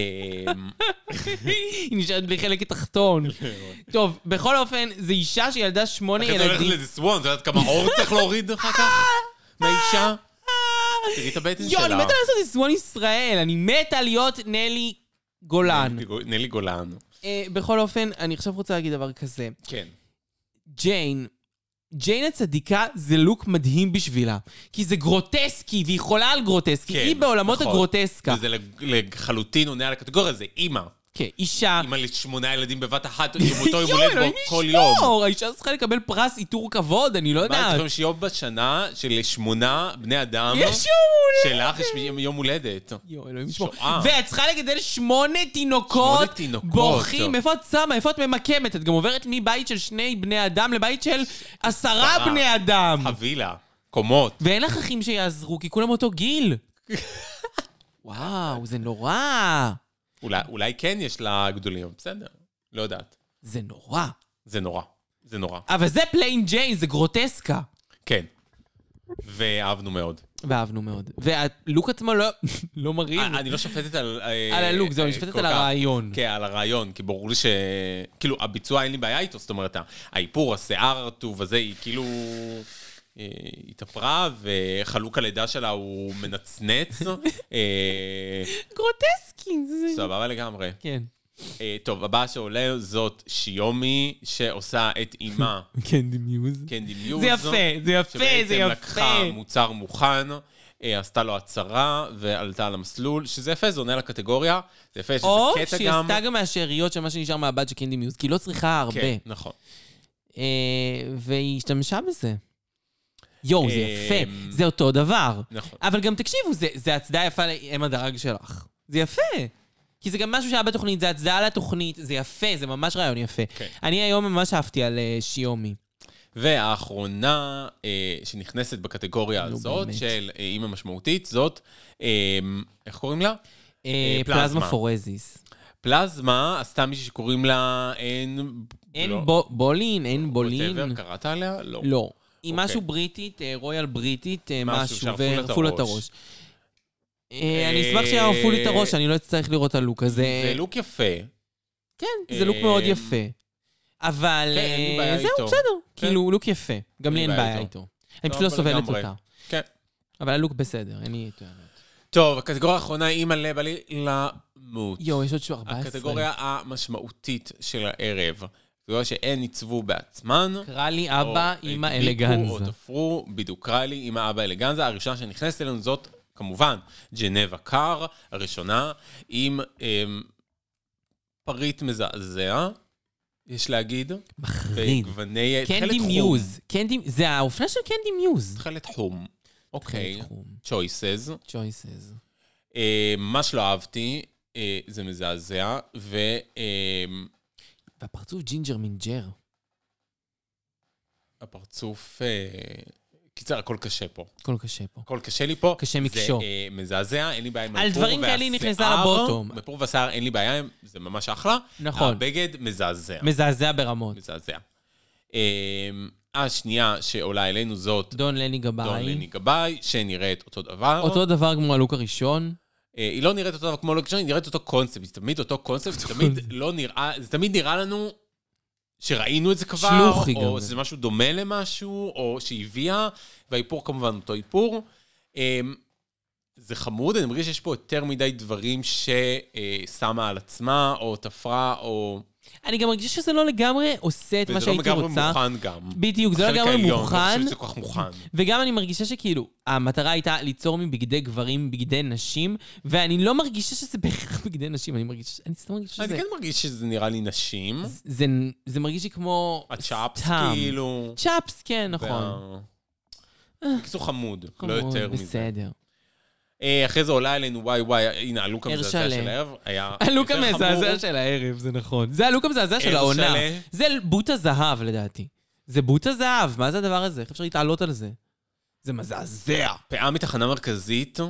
היא נשארת בלי חלק תחתון. טוב, בכל אופן, זו אישה שילדה שמונה
אחרי זה הולכת
ילדים.
לאיזה סוואן, את יודעת כמה עור צריך להוריד אחר כך? מהאישה? תראי את הבטן שלה.
יואו, אני מתה לעשות את סוואן ישראל, אני מתה להיות נלי גולן.
נלי גולן.
אה, בכל אופן, אני עכשיו רוצה להגיד דבר כזה.
כן.
ג'יין, ג'יין הצדיקה זה לוק מדהים בשבילה. כי זה גרוטסקי, והיא חולה על גרוטסקי.
כן,
היא בעולמות
נכון.
הגרוטסקה.
וזה לג- לחלוטין עונה על הקטגוריה, זה אימא.
כן, אישה...
אימא לשמונה ילדים בבת אחת, יום אותו יום
יואו,
הולדת
אלוהים
בו כל יום.
ישמור, האישה צריכה לקבל פרס עיטור כבוד, אני לא
מה,
יודעת.
צריכים שיש יום בשנה שלשמונה בני אדם,
יש יום הולדת.
שלך יש יום- יום הולדת.
יואו, אלוהים ישמור.
שואה.
ואת צריכה לגדל שמונה תינוקות,
שמונה תינוקות.
בוכים, איפה את שמה, איפה את ממקמת? את גם עוברת מבית של שני בני אדם לבית של עשרה
עשרה.
בני אדם.
חבילה, קומות.
ואין לך אחים שיעזרו, כי כולם אותו גיל. וואו, זה נורא.
אולי- אולי כן יש לה גדולים, בסדר, לא יודעת.
זה נורא.
זה נורא, זה נורא.
אבל זה פליין ג'יין, זה גרוטסקה.
כן. ואהבנו מאוד.
ואהבנו מאוד. והלוק עצמו לא, לא מראים.
אה, אני לא שופטת על... אה,
על הלוק, זהו, אני
אה,
שופטת
כל
על
כך.
הרעיון.
כן, על הרעיון, כי ברור לי ש... כאילו, הביצוע אין לי בעיה איתו, זאת אומרת, האיפור, השיער הרטוב הזה, היא כאילו... אה, התאפרה, וחלוק הלידה שלה הוא מנצנץ. אה,
גרוטסקי. זה-
סבבה לגמרי.
כן.
אה, טוב, הבאה שעולה זאת שיומי, שעושה את אימה,
קנדי מיוז.
קנדי מיוז.
זה יפה, זה יפה, זה
כן, שבעצם
יפה.
לקחה מוצר מוכן, אה, עשתה לו הצהרה ועלתה על המסלול, שזה יפה, זה עונה לקטגוריה. זה יפה, יש
או
איזה קטע
שהיא
גם.
עשתה גם מהשאריות של מה שנשאר מהבת של קנדי מיוז, כי היא לא צריכה הרבה.
כן, נכון.
אה, והיא השתמשה בזה. יואו, זה יפה,
אמ,
זה אותו דבר.
נכון.
אבל גם תקשיבו, זה- זה הצדעה יפה לאם הדרג שלך. זה יפה. כי זה גם משהו שהיה בתוכנית, זה הצדעה לתוכנית, זה יפה, זה ממש רעיון יפה.
כן.
אני היום ממש אהבתי על אה, שיומי.
והאחרונה אה, שנכנסת בקטגוריה
נו,
הזאת,
באמת.
של אה, אימא משמעותית, זאת, אה, איך קוראים לה?
אה,
פלזמה.
פלזמה פורזיס.
פלזמה עשתה מישהי שקוראים לה אין...
אין
לא,
בו- בולין, אין בולין.
whatever, קראת עליה? לא.
לא. היא
אוקיי.
משהו בריטית, אה, רויאל בריטית, אה,
משהו
משהו,
שערפו לה את
וערפו לה את
הראש.
הראש. אה, אני
אה,
אשמח שיערפו לי את הראש, אני לא אצטרך לראות את הלוק הזה.
זה לוק יפה.
כן, זה לוק מאוד
אה,
יפה. אבל
כן, אין לי
אה,
בעיה
זהו,
איתו.
בסדר.
כן.
כאילו, לוק יפה. גם לי אין בעיה איתו. אני פשוט לא
אבל
סובלת
לגמרי.
אותה.
כן.
אבל הלוק בסדר, אין לי טענות.
טוב, הקטגוריה האחרונה היא מלא בא לי למות.
יואו, יש עוד שהוא 14.
הקטגוריה המשמעותית של הערב. קטגוריה שהן עיצבו בעצמן.
קרא לי
או
אוקיי.
אה,
אבא, אימא,
הדביקו או
אלגנזה.
תפרו, בדיוק קרא לי אימא, אבא, אלגנזה. הראשונה שנכנסת אלינו זאת, כמובן, ג'נבה קאר, הראשונה, עם אמ, פריט מזעזע, יש להגיד.
מחריד.
בגווני...
קנדי
תכלת חום.
מיוז. קנדי- זה האופנה של קנדי מיוז.
תכלת חום. אוקיי. choices.
צ'ויסס.
אה, מה שלא אהבתי, אה, זה מזעזע, אה, והפרצוף,
והפרצוף ג'ינג'ר מינג'ר.
אה, קיצר, הכל קשה פה.
הכל קשה פה.
הכל קשה לי פה.
קשה מקשור.
זה אה, מזעזע, אין לי בעיה עם
על
הפור
דברים כאלה היא
והשיער.
נכנסה לבוטום.
בפור והשיער אין לי בעיה, זה ממש אחלה.
נכון.
הבגד מזעזע.
מזעזע ברמות.
מזעזע. אה, השנייה שעולה אלינו זאת
דון לני
דון
גבאי.
לני גבאי, שנראית אותו דבר.
אותו דבר כמו הלוק הראשון.
אה, היא לא נראית אותו דבר כמו לוקשן, היא נראית אותו קונספט, היא תמיד אותו קונספט, זה תמיד לא נראה, זה תמיד נראה לנו שראינו את זה כבר,
שלוחי
או
גם. אה.
שזה משהו דומה למשהו, או שהביאה, והאיפור כמובן אותו איפור. אה, זה חמוד, אני מרגיש שיש פה יותר מדי דברים ששמה על עצמה, או תפרה, או...
אני גם מרגישה שזה לא לגמרי עושה את מה
וזה לא
שהייתי
לגמרי
רוצה.
מוכן גם.
בדיוק, זה לא
החלק
לגמרי
העליון, אני לא
מוכן.
חושב שזה כל כך מוכן.
וגם אני מרגישה שכאילו, המטרה הייתה ליצור מבגדי גברים בגדי נשים, ואני לא מרגישה שזה בהכרח בגדי נשים, אני מרגישה, ש- אני סתם מרגישה שזה...
אני כן מרגיש שזה נראה לי נשים.
זה, זה מרגיש לי כמו...
הצ'אפס,
סתם.
כאילו.
צ'אפס, כן, נכון.
וה- בקיצור חמוד, לא
חמוד,
יותר מזה.
בסדר.
אה, אחרי זה עולה אלינו, וואי וואי, הנה הלוק
ער
המזעזע
שלם.
של הערב. היה
הלוק
יותר חמור.
המזעזע של הערב, זה נכון. זה הלוק המזעזע של
ער
העונה.
שלם.
זה בוט הזהב, לדעתי. זה בוט הזהב, מה זה הדבר הזה? איך אפשר להתעלות על זה? זה מזעזע.
פאה מתחנה מרכזית,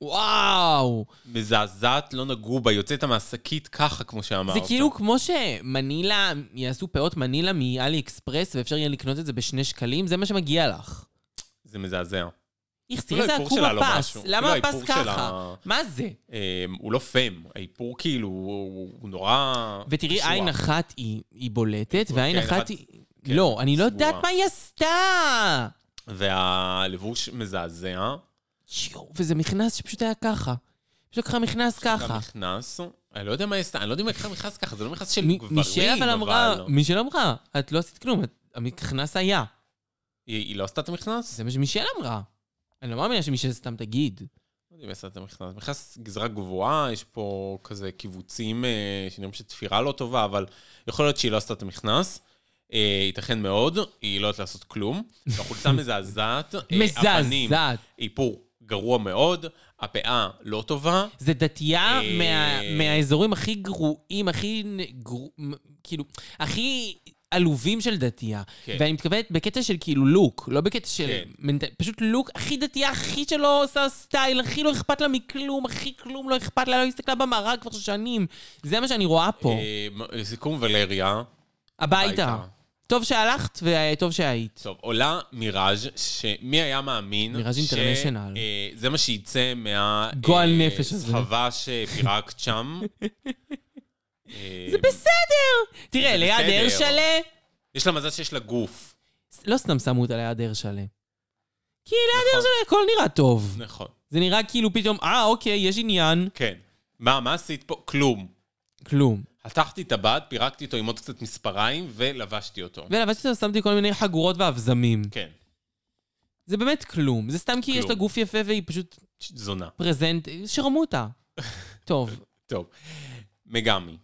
וואו!
מזעזעת, לא נגעו בה, יוצאת מהשקית ככה, כמו שאמרת.
זה כאילו כמו שמנילה, יעשו פאות מנילה מאלי אקספרס ואפשר יהיה לקנות את זה בשני שקלים, זה מה שמגיע לך.
זה מזעזע.
איך תראה
אפילו
איזה עקום
האיפור שלה לא
הפס,
משהו.
למה
אפילו
הפס
האיפור
ככה?
שלה-
מה זה?
אה, הוא לא פם, האיפור כאילו, הוא הוא נורא...
ותראי,
קשוח.
עין אחת היא היא בולטת,
אוקיי,
והעין
עין
אחת
אחת-
היא...
כן,
לא, אני לא
סגורה.
יודעת מה היא עשתה!
והלבוש מזעזע.
יואו, וזה מכנס שפשוט היה ככה. פשוט לקחה מכנס ככה.
נכנס, אני לא יודע מה היא עשתה, אני לא יודע אם היא לקחה מכרז ככה, זה לא מכרז של
מ-
גברים,
מישל אבל אמרה,
אבל- לא.
מישל אמרה, את לא עשית כלום, את- המכנס היה.
היא היא לא עשתה את המכנס?
זה מה שמישל אמרה. אני לא מאמינה שמישל סתם תגיד.
יודעים איך אתה נכנס. נכנס גזרה גבוהה, יש פה כזה קיבוצים אה, שנראים שתפירה לא טובה, אבל יכול להיות שהיא לא עשתה את המכנס. אה, ייתכן מאוד, היא לא יודעת לעשות כלום. החולצה מזעזעת. אה, הפנים,
מזעזעת.
איפור גרוע מאוד, הפאה לא טובה.
זה דתייה
אה.
מה- מהאזורים הכי גרועים, הכי נ- גרו- מ- כאילו, הכי עלובים של דתייה.
כן.
ואני מתכוונת בקטע של כאילו לוק, לא בקטע של...
כן.
מנט- פשוט לוק הכי דתייה, הכי שלא עושה סטייל, הכי לא אכפת לה מכלום, הכי כלום לא אכפת לה, לא הסתכלה במראה כבר שנים. זה מה שאני רואה פה.
אה, מ- לסיכום, ולריה.
הביתה.
הביתה.
טוב שהלכת וטוב שהיית.
טוב, עולה מיראז' שמי היה מאמין...
מיראז'
ש-
אינטרנשיונל.
אה, זה מה שיצא מה...
גועל
אה,
נפש הזה.
סחבה שפירקת שם. אה,
זה בסדר! תראה,
זה
ליד
בסדר.
הרשלה,
יש לה מזל שיש לה גוף.
לא סתם שמו אותה ליד הרשלה. כי ליד
נכון.
הרשלה הכל נראה טוב.
נכון.
זה נראה כאילו פתאום, אה, אוקיי, יש עניין.
כן. מה, מה עשית פה? כלום.
כלום.
חתכתי טבעת, פירקתי אותו עם עוד קצת מספריים ולבשתי אותו.
ולבשתי אותו, שמתי כל מיני חגורות ואבזמים.
כן.
זה באמת כלום. זה סתם כי יש לה
כלום.
גוף יפה והיא פשוט
ש- זונה.
פרזנט, שרמו אותה. טוב.
טוב. מגמי.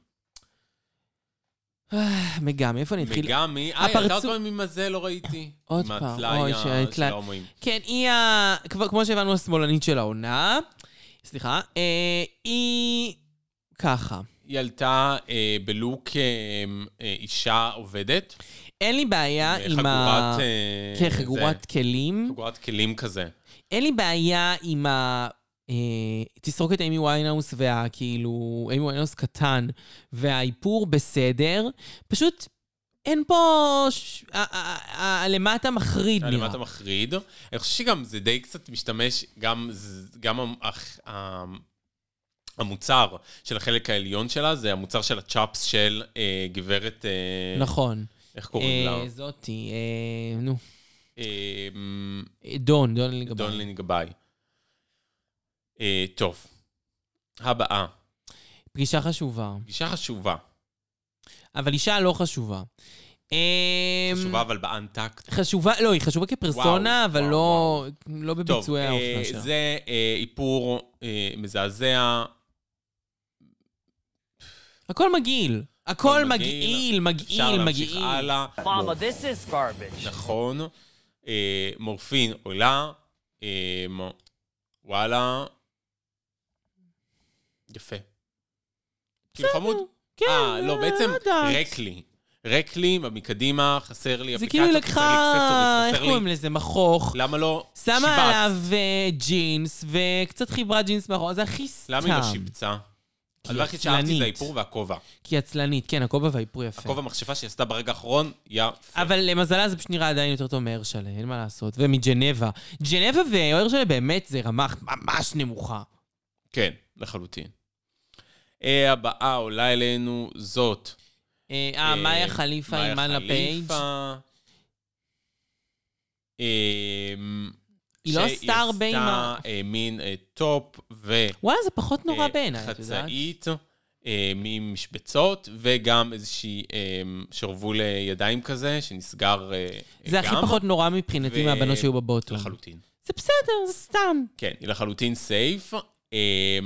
אה, מגמי, איפה אני אתחיל?
מגמי. אה, היא עלתה עוד
הפרצוף-
פעם עם הזה, לא ראיתי.
עוד
עם
פעם,
הטלאי
אוי,
ה-
שהטלאי-
של ההומואים.
כן, היא ה... כבר, כמו שהבנו, השמאלנית של העונה. סליחה. אה, היא... ככה.
היא עלתה אה, בלוק אה, אה, אישה עובדת. אה,
אין לי בעיה עם ה...
חגורת... אה,
כן, חגורת
זה,
כלים.
חגורת כלים כזה.
אין לי בעיה עם ה... אה, תסרוקת אימי ויינהאוס והכאילו, אימי ויינהאוס קטן והאיפור בסדר, פשוט אין פה... ש... ה- ה- ה- הלמטה מחריד נראה.
למה אתה מחריד? אני חושב שגם זה די קצת משתמש, גם, ז- גם המ- הח- המ- המוצר של החלק העליון שלה, זה המוצר של הצ'אפס של אה, גברת... אה,
נכון.
איך קוראים לה?
אה, זאתי, אה, נו,
אה, מ-
אה, דון, דון לגבי.
דונלין גבאי. אה, טוב. הבאה.
פגישה חשובה.
פגישה חשובה.
אבל אישה לא חשובה. אה,
חשובה אבל באנטקט.
חשובה, לא, היא חשובה כפרסונה,
וואו,
אבל
וואו,
לא, לא
טוב,
בביצועי
אה,
האופנה שלה.
זה אה, איפור אה, מזעזע,
הכל מגעיל. הכל
הכל
מגעיל,
אפשר
מגעיל,
להמשיך
מגעיל.
הלאה.
Mama, this is garbage.
נכון. אה, מורפין עולה. אה, מ- וואלה. יפה. כאילו חמוד.
כן,
אה, לא, בעצם
לא יודעת.
רק לי. רק לי, מקדימה, חסר לי
זה
אפליקציה,
כאילו היא
חסר לי
לקחה,
אקססוריז,
איך
חסר לי.
קוראים לזה? מכוך.
למה לא
שמה
שיבצת?
עליו אה, ג'ינס, וקצת חיברה ג'ינס מאחור, זה הכי סתם.
למה היא לא שיבצה?
כי
הדבר היחיד שאהבתי זה האיפור והכובע.
כי עצלנית, כן, הכובע והאיפור יפה.
הכובע המכשפה שהיא עשתה ברגע האחרון, יפה.
אבל למזלה זה פשוט נראה עדיין יותר טוב מהרשלה, אין מה לעשות. ומג'נבה. ג'נבה והרשלה באמת זה רמה ממש נמוכה.
כן, לחלוטין. אה, הבאה עולה אלינו זאת.
אה, אה, מאיה חליפה עם מנה פייג'. היא לא עשתה הרבה עם ה-
שהיא אמ, עשתה אה, מין אה, טופ ו...
וואלה, זה פחות נורא
אה,
בעיניי, את יודעת?
חצאית, אה, ממשבצות, וגם איזושהי אה, שרוול אה, ידיים כזה, שנסגר אה,
זה
גם.
הכי פחות נורא מבחינתי
ו-
מהבנות שהיו בבוטום.
לחלוטין.
זה בסדר, זה סתם.
כן, היא לחלוטין סייף. אה,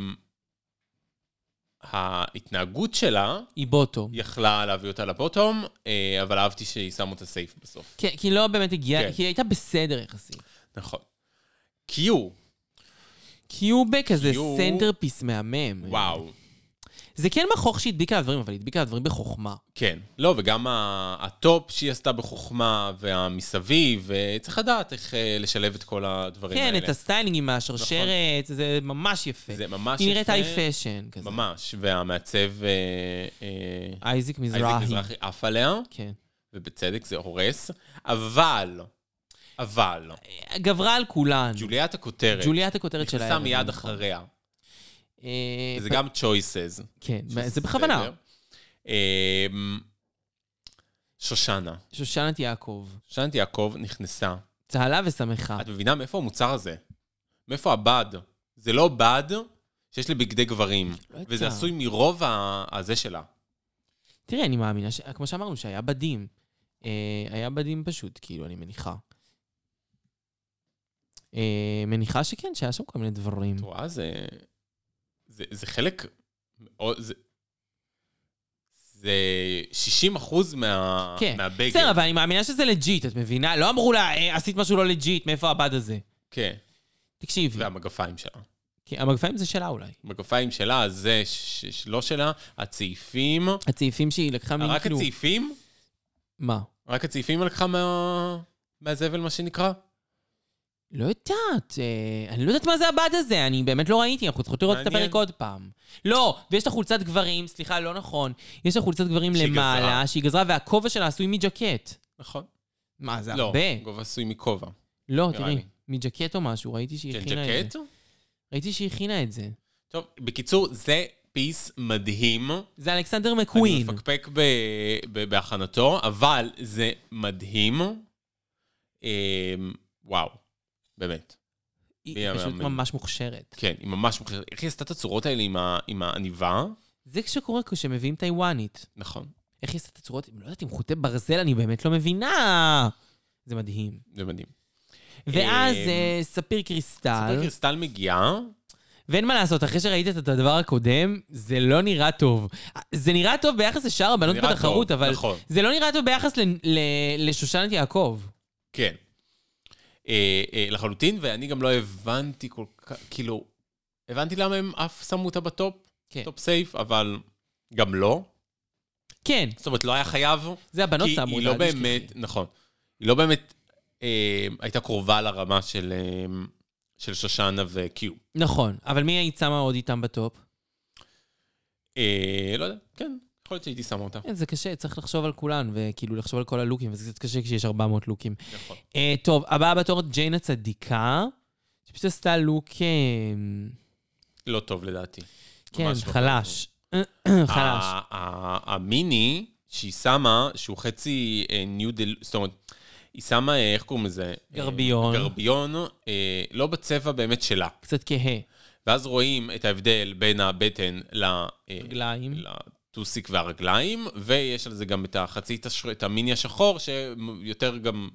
ההתנהגות שלה
היא בוטום.
יכלה להביא אותה לבוטום, אה, אבל אהבתי שהיא שמה אותה סייף בסוף.
כן, כי היא לא באמת הגיעה,
כן.
כי היא הייתה בסדר יחסית.
נכון. קיו,
קיובה כזה
קיו-
סנטרפיס מהמם.
וואו,
זה כן מכוך שהדביקה על דברים, אבל הדביקה על דברים בחוכמה.
כן. לא, וגם ה- הטופ שהיא עשתה בחוכמה, והמסביב, וצריך לדעת איך אה, לשלב את כל הדברים
כן,
האלה. נכון.
את הסטיילינג עם השרשרת, זה ממש יפה.
זה ממש
היא נראית
יפה.
היי פאשן כזה.
ממש, והמעצב... אה, אה,
אייזיק
אייזק
מזרחי.
מזרחי עף עליה,
כן.
ובצדק זה הורס, אבל, אבל,
אה, גברה על כולן.
ג'וליית הכותרת,
ג'וליית הכותרת שלה.
נכנסה מיד אחריה,
אה,
זה גם choices.
כן, זה
שזה
בכוונה.
בסדר. אה, שושנה,
שושנת יעקב.
שושנת יעקב נכנסה
צהלה ושמחה.
את מבינה מאיפה המוצר הזה? מאיפה הבד? זה לא בד שיש לבגדי גברים,
יודעת.
וזה עשוי מרוב ה- הזה שלה.
תראה, אני מאמינה, ש... כמו שאמרנו, שהיה בדים. אה, היה בדים פשוט, כאילו, אני מניחה. אה, מניחה שכן, שהיה שם כל מיני דברים.
את רואה, זה... זה, זה חלק... מאוד- זה, זה 60 אחוז מה,
כן.
מהבגד.
בסדר, אבל אני מאמינה שזה לג'יט, את מבינה? לא אמרו לה, "אה, עשית משהו לא לג'יט, מאיפה הבד הזה?
כן,
תקשיבי,
והמגפיים שלה.
כי המגפיים זה שלה אולי.
המגפיים שלה, זה ש- ש- לא שלה, הצעיפים.
הצעיפים שהיא לקחה מין
רק
כאילו...
הצעיפים?
מה?
רק הצעיפים לקחה מה... מהזבל, מה שנקרא?
לא יודעת, אה, אני לא יודעת מה זה הבד הזה, אני באמת לא ראיתי, אנחנו צריכות לראות את
מעניין.
הפרק עוד פעם. לא, ויש לה חולצת גברים, סליחה, לא נכון. יש לה חולצת גברים
שהיא
למעלה,
גזרה.
שהיא גזרה, והכובע שלה עשוי מג'קט.
נכון.
מה, זה
לא,
הרבה.
גובה עשוי מכובע.
לא,
נראה
תראי,
לי.
מג'קט או משהו, ראיתי שהיא
כן,
הכינה את
ג'קט?
זה. ראיתי שהיא הכינה את זה.
טוב, בקיצור, זה פיס מדהים.
זה אלכסנדר
אני לא
מקווין.
מפקפק ב- ב- בהכנתו, אבל זה מדהים. אמ, וואו, באמת.
היא
מי
פשוט
המאמן?
ממש מוכשרת.
כן, היא ממש מוכשרת. איך היא עשתה את הצורות האלה עם ה- עם העניבה?
זה כשקורה כשמביאים טיוואנית.
נכון,
איך היא עשתה את הצורות? לא יודעת, עם חוטי ברזל, אני באמת לא מבינה. זה מדהים.
זה מדהים.
ואז
אמ,
אה, ספיר קריסטל,
סופר קריסטל מגיעה,
ואין מה לעשות, אחרי שראית את הדבר הקודם, זה לא נראה טוב. זה נראה טוב ביחס לשאר הבנות
נראה
בתחרות,
טוב,
אבל
נכון.
זה לא נראה טוב ביחס ל- ל- לשושנת יעקב.
כן. אה, אה, לחלוטין, ואני גם לא הבנתי כל כך, כאילו, הבנתי למה הם אף שמו אותה בטופ,
כן.
טופ סייף, אבל גם לא.
כן,
זאת אומרת, לא היה חייב.
זה הבנות שמו
כי
אותה,
היא לא
אל תשכחי.
באמת, נכון. היא לא באמת אה, הייתה קרובה לרמה של, אה, של שושנה וקיו.
נכון. אבל מי היית שמה עוד איתם בטופ?
אה, לא יודע, כן, יכול להיות שהייתי שמה אותה.
כן, זה קשה, צריך לחשוב על כולן, וכאילו לחשוב על כל הלוקים, וזה קצת קשה כשיש 400 לוקים.
נכון.
אה, טוב, הבאה בתור ג'יין הצדיקה, שפשוט עשתה לוק, אה,
לא טוב לדעתי.
כן,
ממש לא אה,
חלש. חלש.
ה- ה- המיני שהיא שמה, שהוא חצי אה, ניו דל... זאת אומרת, היא שמה, אה, איך קוראים לזה? אה,
גרביון.
גרביון, אה, לא בצבע באמת שלה.
קצת כהה.
ואז רואים את ההבדל בין הבטן ל... אה,
רגליים.
לטוסיק והרגליים, ויש על זה גם את החצי, השר... את המיני השחור, שיותר גם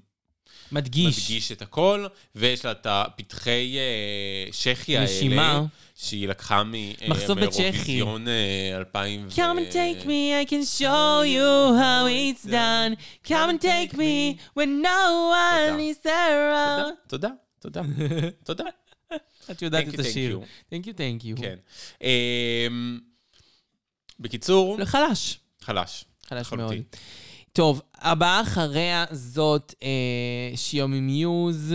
מדגיש.
מדגיש את הכל, ויש לה את הפתחי אה, שחי האלה.
נשימה.
שהיא לקחה מ... אה,
מחסום בצ'כי.
מאירוויזיון אה, 2000 ו-
Come and take me, I can
אה,
show you how it's done. Come and take me when no one
תודה.
is around.
תודה, תודה, תודה.
את יודעת
Thank
את
you, thank
השיר.
you.
Thank you, thank you.
כן. אמ, בקיצור,
לא, חלש.
חלש.
חלש
לחלוטין.
מאוד. טוב, הבאה אחריה זאת אה, שיומי מיוז,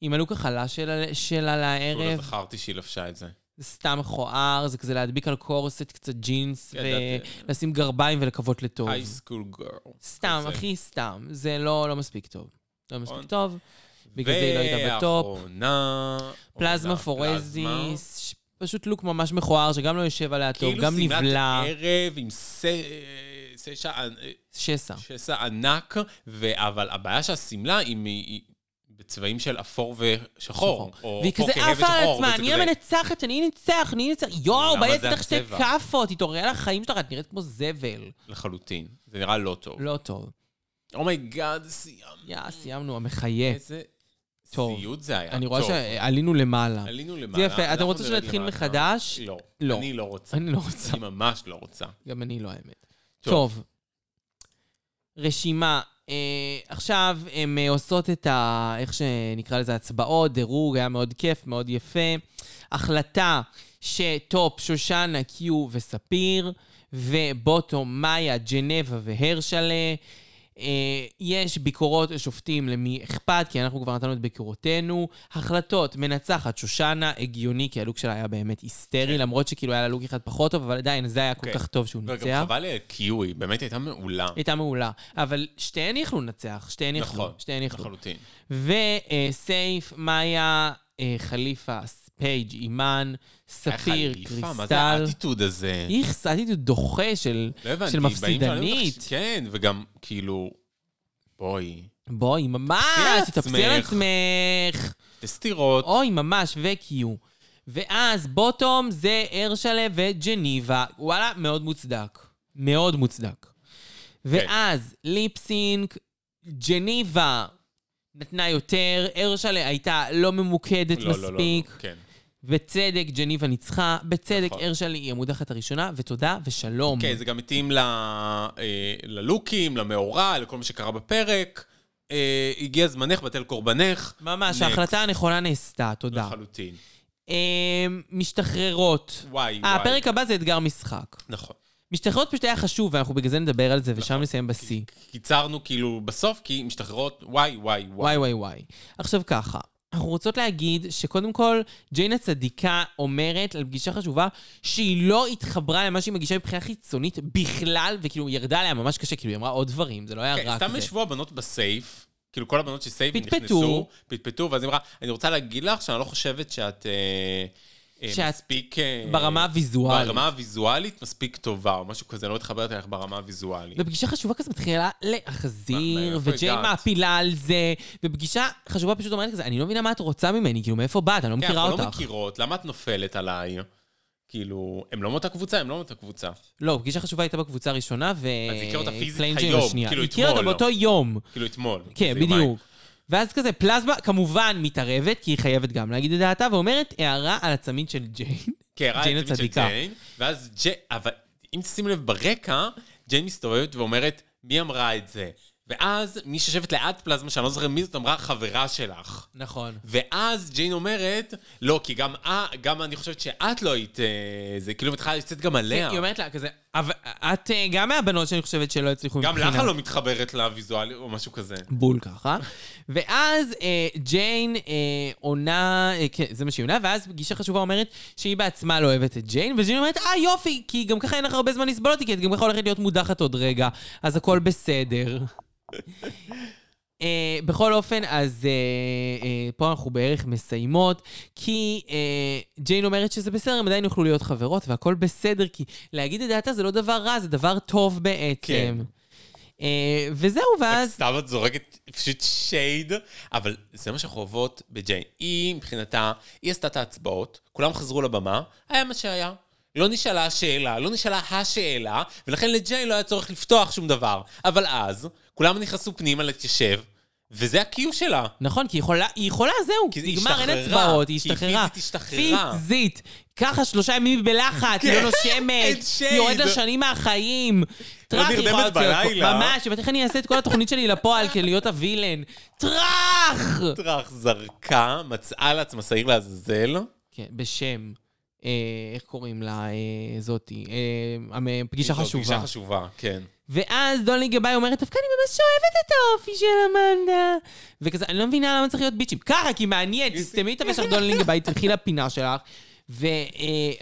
עם הלוק החלש שלה, שלה
אפילו לא
לערב.
זכרתי שהיא לבשה את זה.
זה סתם מכוער, זה כזה להדביק על קורסט קצת ג'ינס,
ידעתי.
ולשים גרביים ולקוות לטוב.
הייסקול גרל.
סתם,
אוקיי.
הכי סתם. זה לא, לא מספיק טוב. לא מספיק
נכון.
טוב. בגלל זה היא לא הייתה בטופ.
ואחרונה...
פלזמה
עונה, פלזמה.
פורזיס, ש- פשוט לוק ממש מכוער, שגם לא יושב עליה טוב, גם
כאילו
נבלע.
שמלת ערב עם ס- אה, סשע אה,
שסע.
שסע ענק, ו- אבל הבעיה שהשמלה היא מ- היא בצבעים של אפור ושחור. או
והיא
אפור
כזה
כהה
עפה על
ושחור,
עצמה,
וזה
אני
כזה-
המנצחת, אני אנצח, אני אנצח. יואו,
למה
בעצם
זה
לך שתי
הצבע?
כאפות, התעוררי על החיים שלך, את נראית כמו זבל.
לחלוטין. זה נראה לא טוב.
לא טוב.
אומייגאד, סיימנו.
יא, סיימנו, המחיה.
איזה
אה, טוב.
סיוט זה היה.
אני רואה
טוב,
שעלינו למעלה.
עלינו למעלה.
זה יפה, אתם
אנחנו
רוצים
נרד
שנתחיל
למטה.
מחדש?
לא.
לא.
אני לא רוצה.
אני לא רוצה.
אני ממש לא רוצה.
גם אני לא האמת.
טוב.
טוב. רשימה. אה, עכשיו הן אה, עושות את ה... איך שנקרא לזה, הצבעות, דירוג, היה מאוד כיף, מאוד יפה. החלטה שטופ, שושנה, קיו וספיר, ובוטום, מאיה, ג'נבה והרשלה. אה, יש ביקורות שופטים למי אכפת, כי אנחנו כבר נתנו את ביקורותינו. החלטות, מנצחת, שושנה, הגיוני, כי הלוק שלה היה באמת היסטרי, למרות שכאילו היה לה לוק אחד פחות טוב, אבל עדיין זה היה כל
כן.
כך טוב שהוא
וגם
ניצח.
חבל לי על קיו, היא באמת הייתה מעולה.
הייתה מעולה. אבל שתיהן יכלו לנצח, שתיהן יכלו,
נכון.
שתיהן יכלו.
לחלוטין.
וסייף, מאיה, אה, חליפה, פייג', אימן, ספיר,
איך העליפה? מה זה
קריסטל.
האטיטוד הזה?
איכס, אטיטוד דוחה של
לא הבנתי.
של
באים שואלים אותך-
מפסידנית.
כן, וגם כאילו... בואי.
בואי, ממש,
תתפסי על
תתפסי על
עצמך.
עצמך.
בסתירות.
אוי, ממש, וקיו. ואז בוטום זה הרשלה וג'ניבה. וואלה, מאוד מוצדק. מאוד
כן.
מוצדק. ואז ליפסינק, ג'ניבה, נתנה יותר, הרשלה הייתה לא ממוקדת
לא, לא, לא, לא,
מספיק.
כן.
בצדק, ג'ניבה ניצחה, בצדק,
נכון.
הרשלה היא המודחת הראשונה, ותודה ושלום.
כן, זה גם התאים ל... אה, ללוקים, למאורע, לכל מה שקרה בפרק. אה, הגיע זמנך, בטל קורבנך.
ממש,
Next.
ההחלטה הנכונה נעשתה, תודה.
לחלוטין.
אה, משתחררות.
וואי,
אה,
וואי.
הפרק הבא זה אתגר משחק.
נכון.
משתחררות פשוט היה חשוב, ואנחנו בגלל זה נדבר על זה, ושם נסיים בשיא.
קיצרנו כאילו בסוף, כי משתחררות, וואי, וואי,
וואי
וואי.
וואי וואי. עכשיו ככה, אנחנו רוצות להגיד שקודם כל, ג'יין הצדיקה אומרת על פגישה חשובה שהיא לא התחברה למה שהיא מגישה מבחינה חיצונית בכלל, וכאילו ירדה עליה ממש קשה, כאילו היא אמרה עוד דברים, זה לא היה
כן,
רק
סתם
זה.
ישבו הבנות בסייף, כאילו כל הבנות של סייף
פטפטו.
נכנסו, פטפטו, ואז היא אמרה, אני רוצה להגיד לך שאני לא חושבת שאת... אה, אה,
שאת
מספיק... אה,
ברמה הוויזואלית.
ברמה הוויזואלית מספיק טובה, או משהו כזה, אני לא מתחברת אליך ברמה הוויזואלית.
ופגישה חשובה כזה מתחילה להחזיר,
מה, מאיפה
וג'יין
הגעת?
מעפילה על זה, ופגישה חשובה פשוט אומרת כזה, אני לא מבינה מה את רוצה ממני, כאילו מאיפה באת, אני לא
כן,
מכירה
אנחנו לא
אותך.
מכירות, למה את נופלת עליי? כאילו, הם לא מאותה קבוצה, הם לא מאותה קבוצה.
לא, פגישה חשובה הייתה בקבוצה הראשונה, ו...
אז היא הכירה אותה פיזית
פליין
היום,
ג'יין השנייה.
כאילו
היא הכירה אותה
אתמול, לא?
באותו יום.
כאילו אתמול.
כן,
זה יומיים.
בדיוק. ואז כזה, פלזמה כמובן מתערבת, כי היא חייבת גם להגיד את דעתה, ואומרת הערה על הצמיד של ג'יין.
כן, ראה
ג'יין
את הצמיד של
הצדיקה.
ג'יין, ואז ג'יין, אבל אם תשים לב ברקע, ג'יין מסתובבת ואומרת, מי אמרה את זה? ואז מי שיושבת ליד פלזמה, שאני לא זוכר מי זאת, אמרה, חברה שלך.
נכון.
ואז ג'יין אומרת, לא, כי גם, אה, גם אני חושבת שאת לא היית... אה, זה כאילו מתחילה לצאת גם עליה.
היא אומרת לה כזה, "אבל את אה, גם מהבנות שאני חושבת שלא הצליחו
גם לך לא מתחברת לוויזואלי או משהו כזה.
בול ככה. ואז אה, ג'יין אה, עונה, אה, כן, זה מה שהיא עונה, ואז פגישה חשובה אומרת שהיא בעצמה לא אוהבת את ג'יין, וג'יין אומרת, אה יופי, כי גם ככה אין לך הרבה זמן לסבול אותי, כי את גם ככה הולכת להיות מודחת עוד רגע, אז הכל בסדר. אה, בכל אופן, אז אה, אה, פה אנחנו בערך מסיימות, כי אה, ג'יין אומרת שזה בסדר, הם עדיין יוכלו להיות חברות, והכל בסדר, כי להגיד את דעתה זה לא דבר רע, זה דבר טוב בעצם.
כן.
אה, וזהו, ואז...
סתם את זורקת פשוט שייד, אבל זה מה שאנחנו אוהבות בג'יין. היא מבחינתה, היא עשתה את ההצבעות, כולם חזרו לבמה, היה מה שהיה. לא נשאלה השאלה, לא נשאלה השאלה, ולכן לג'יין לא היה צורך לפתוח שום דבר. אבל אז, כולם נכנסו פנימה להתיישב, וזה ה-Q שלה.
נכון, כי היא יכולה, היא יכולה, זהו.
כי
כי
היא
נגמר, אין
השתחררה,
הצבעות, היא
כי היא
השתחררה.
פיזית השתחררה. כן,
פיזית. ככה שלושה ימים בלחץ, היא לא
אין
נושמת,
shade. לא
היא יורדת לשנים מהחיים. טראח, היא
נרדמת
יכולה להוציא הכל.
בלילה.
ממש, ובטח אני אעשה את כל התוכנית שלי לפועל כדי להיות הווילן. טראח!
טראח זרקה, מצאה לעצמה שעיר לעזאזל.
כן, בשם, אה, איך קוראים לה, אה, זאתי, אה, המ- פגישה
זו פגישה
חשובה.
חשובה, כן.
ואז דולי גבאי אומרת, דווקא אני ממש אוהבת את האופי של אמנדה. וכזה, אני לא מבינה למה צריך להיות ביצ'ים. ככה, כי מעניין, תסתמי את המשך דולי גבאי, תלכי לפינה שלך. ו, אה,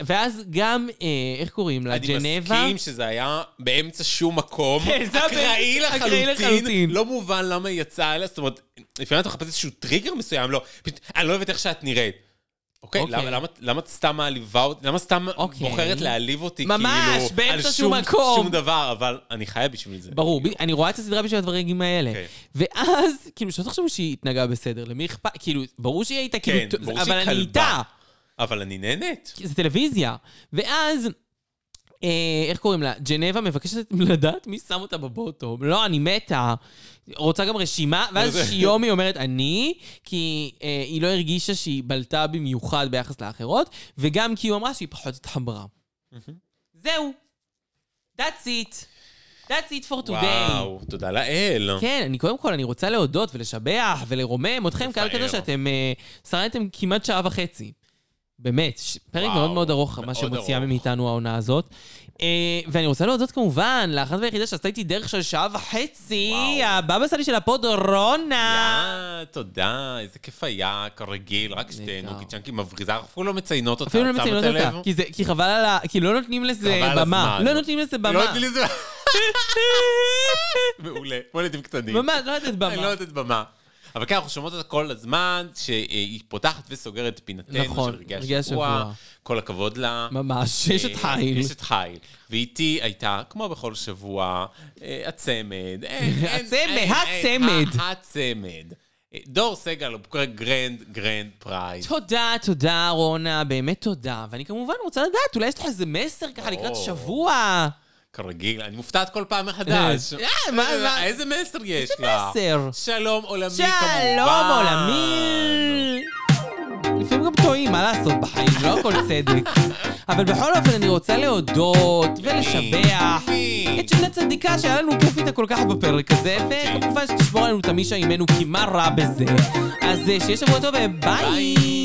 ואז גם, אה, איך קוראים לה?
אני
ג'נבה?
מסכים שזה היה באמצע שום מקום.
כן, זה היה
אקראי
באמצע- אקראי
לחלוטין.
לחלוטין.
לא מובן למה היא יצאה אליה, זאת אומרת, לפעמים אתה מחפש איזשהו טריגר מסוים, לא, פשוט, אני לא אוהבת איך שאת נראית. אוקיי,
אוקיי.
למה- למה- למה את סתם מעליבה אותי, למה סתם
אוקיי.
בוחרת להעליב אותי,
ממש,
כאילו,
באמצע
על
שום
שום-
מקום.
שום דבר, אבל אני חיה בשביל זה.
ברור, ב- אני רואה את הסדרה בשביל הדברים האלה.
כן.
ואז, כאילו, שלא תחשבו שהיא התנהגה בסדר, למי אכפת? כאילו, ברור שהיא הייתה כאילו...
כן,
טוב,
ברור
אבל
שהיא
אני
כלבה.
איתה.
אבל אני נהנית.
כי זה טלוויזיה. ואז, אה, איך קוראים לה? ג'נבה מבקשת לדעת מי שם אותה בבוטום. לא, אני מתה. רוצה גם רשימה,
זה-
ואז שיומי אומרת אני, כי אה, היא לא הרגישה שהיא בלטה במיוחד ביחס לאחרות, וגם כי היא אמרה שהיא פחות התחברה. זהו. That's it. That's it for today.
וואו, תודה לאל.
כן, אני קודם כל, אני רוצה להודות ולשבח ולרומם אתכם, קהל
לפאר.
כזה שאתם אה, שרדתם כמעט שעה וחצי. באמת, ש- פרק
וואו,
מאוד מאוד ארוך,
מאוד
מה שמוציאה
ארוך.
מאיתנו העונה הזאת. אה, ואני רוצה להודות כמובן לאחת והיחידה שעשתה איתי דרך של שעה וחצי,
וואו.
הבבא סאלי של הפוד, רונה.
יא, תודה, איזה כיף היה, כרגיל, רק שתינו,
נהדר.
כי צ'אנקי מבריזה, אנחנו אפילו לא מציינות אותה,
אפילו לא
שמת
מציינות
לב?
אותה, כי זה- כי חבל על ה... כי לא נותנים לזה
חבל על
במה.
הזמן.
לא נותנים לזה
לא
במה.
נותנים לזה... מעולה, כמו ילדים קטנים.
ממש, לא נותנת
אני לא
במה.
נותנת במה. אבל כן, אנחנו שומעות אותה כל הזמן, שהיא פותחת וסוגרת את פינתנו
נכון,
של רגעי
רגעי
השבוע.
השבוע.
כל הכבוד לה. אה,
ממש, יש את חיל.
יש את חיל. ואיתי הייתה, כמו בכל שבוע, אה, הצמד. אה, אין-
הצמד,
אין- אין-
הצמד.
ה- הצמד. אה, דור סגל, גרנד, גרנד פרייז.
תודה, תודה, רונה, באמת תודה. ואני כמובן רוצה לדעת, אולי יש לך איזה מסר ככה לקראת
או.
שבוע.
כרגיל, אני מופתעת כל פעם מחדש.
אה, מה- מה-
איזה מסר יש
איזה
לה?
מסר?
שלום עולמי, כמובן.
שלום עולמי! לפעמים גם טועים, מה לעשות בחיים, לא הכל צדק. אבל בכל אופן אני רוצה להודות ולשבח
מי?
את שני צדיקה שהיה לנו כיף איתה כל כך בפרק הזה, וכמובן שתשמור עלינו את המישה עימנו, כי מה רע בזה? אז אה, שיהיה שבוע טוב, וביי!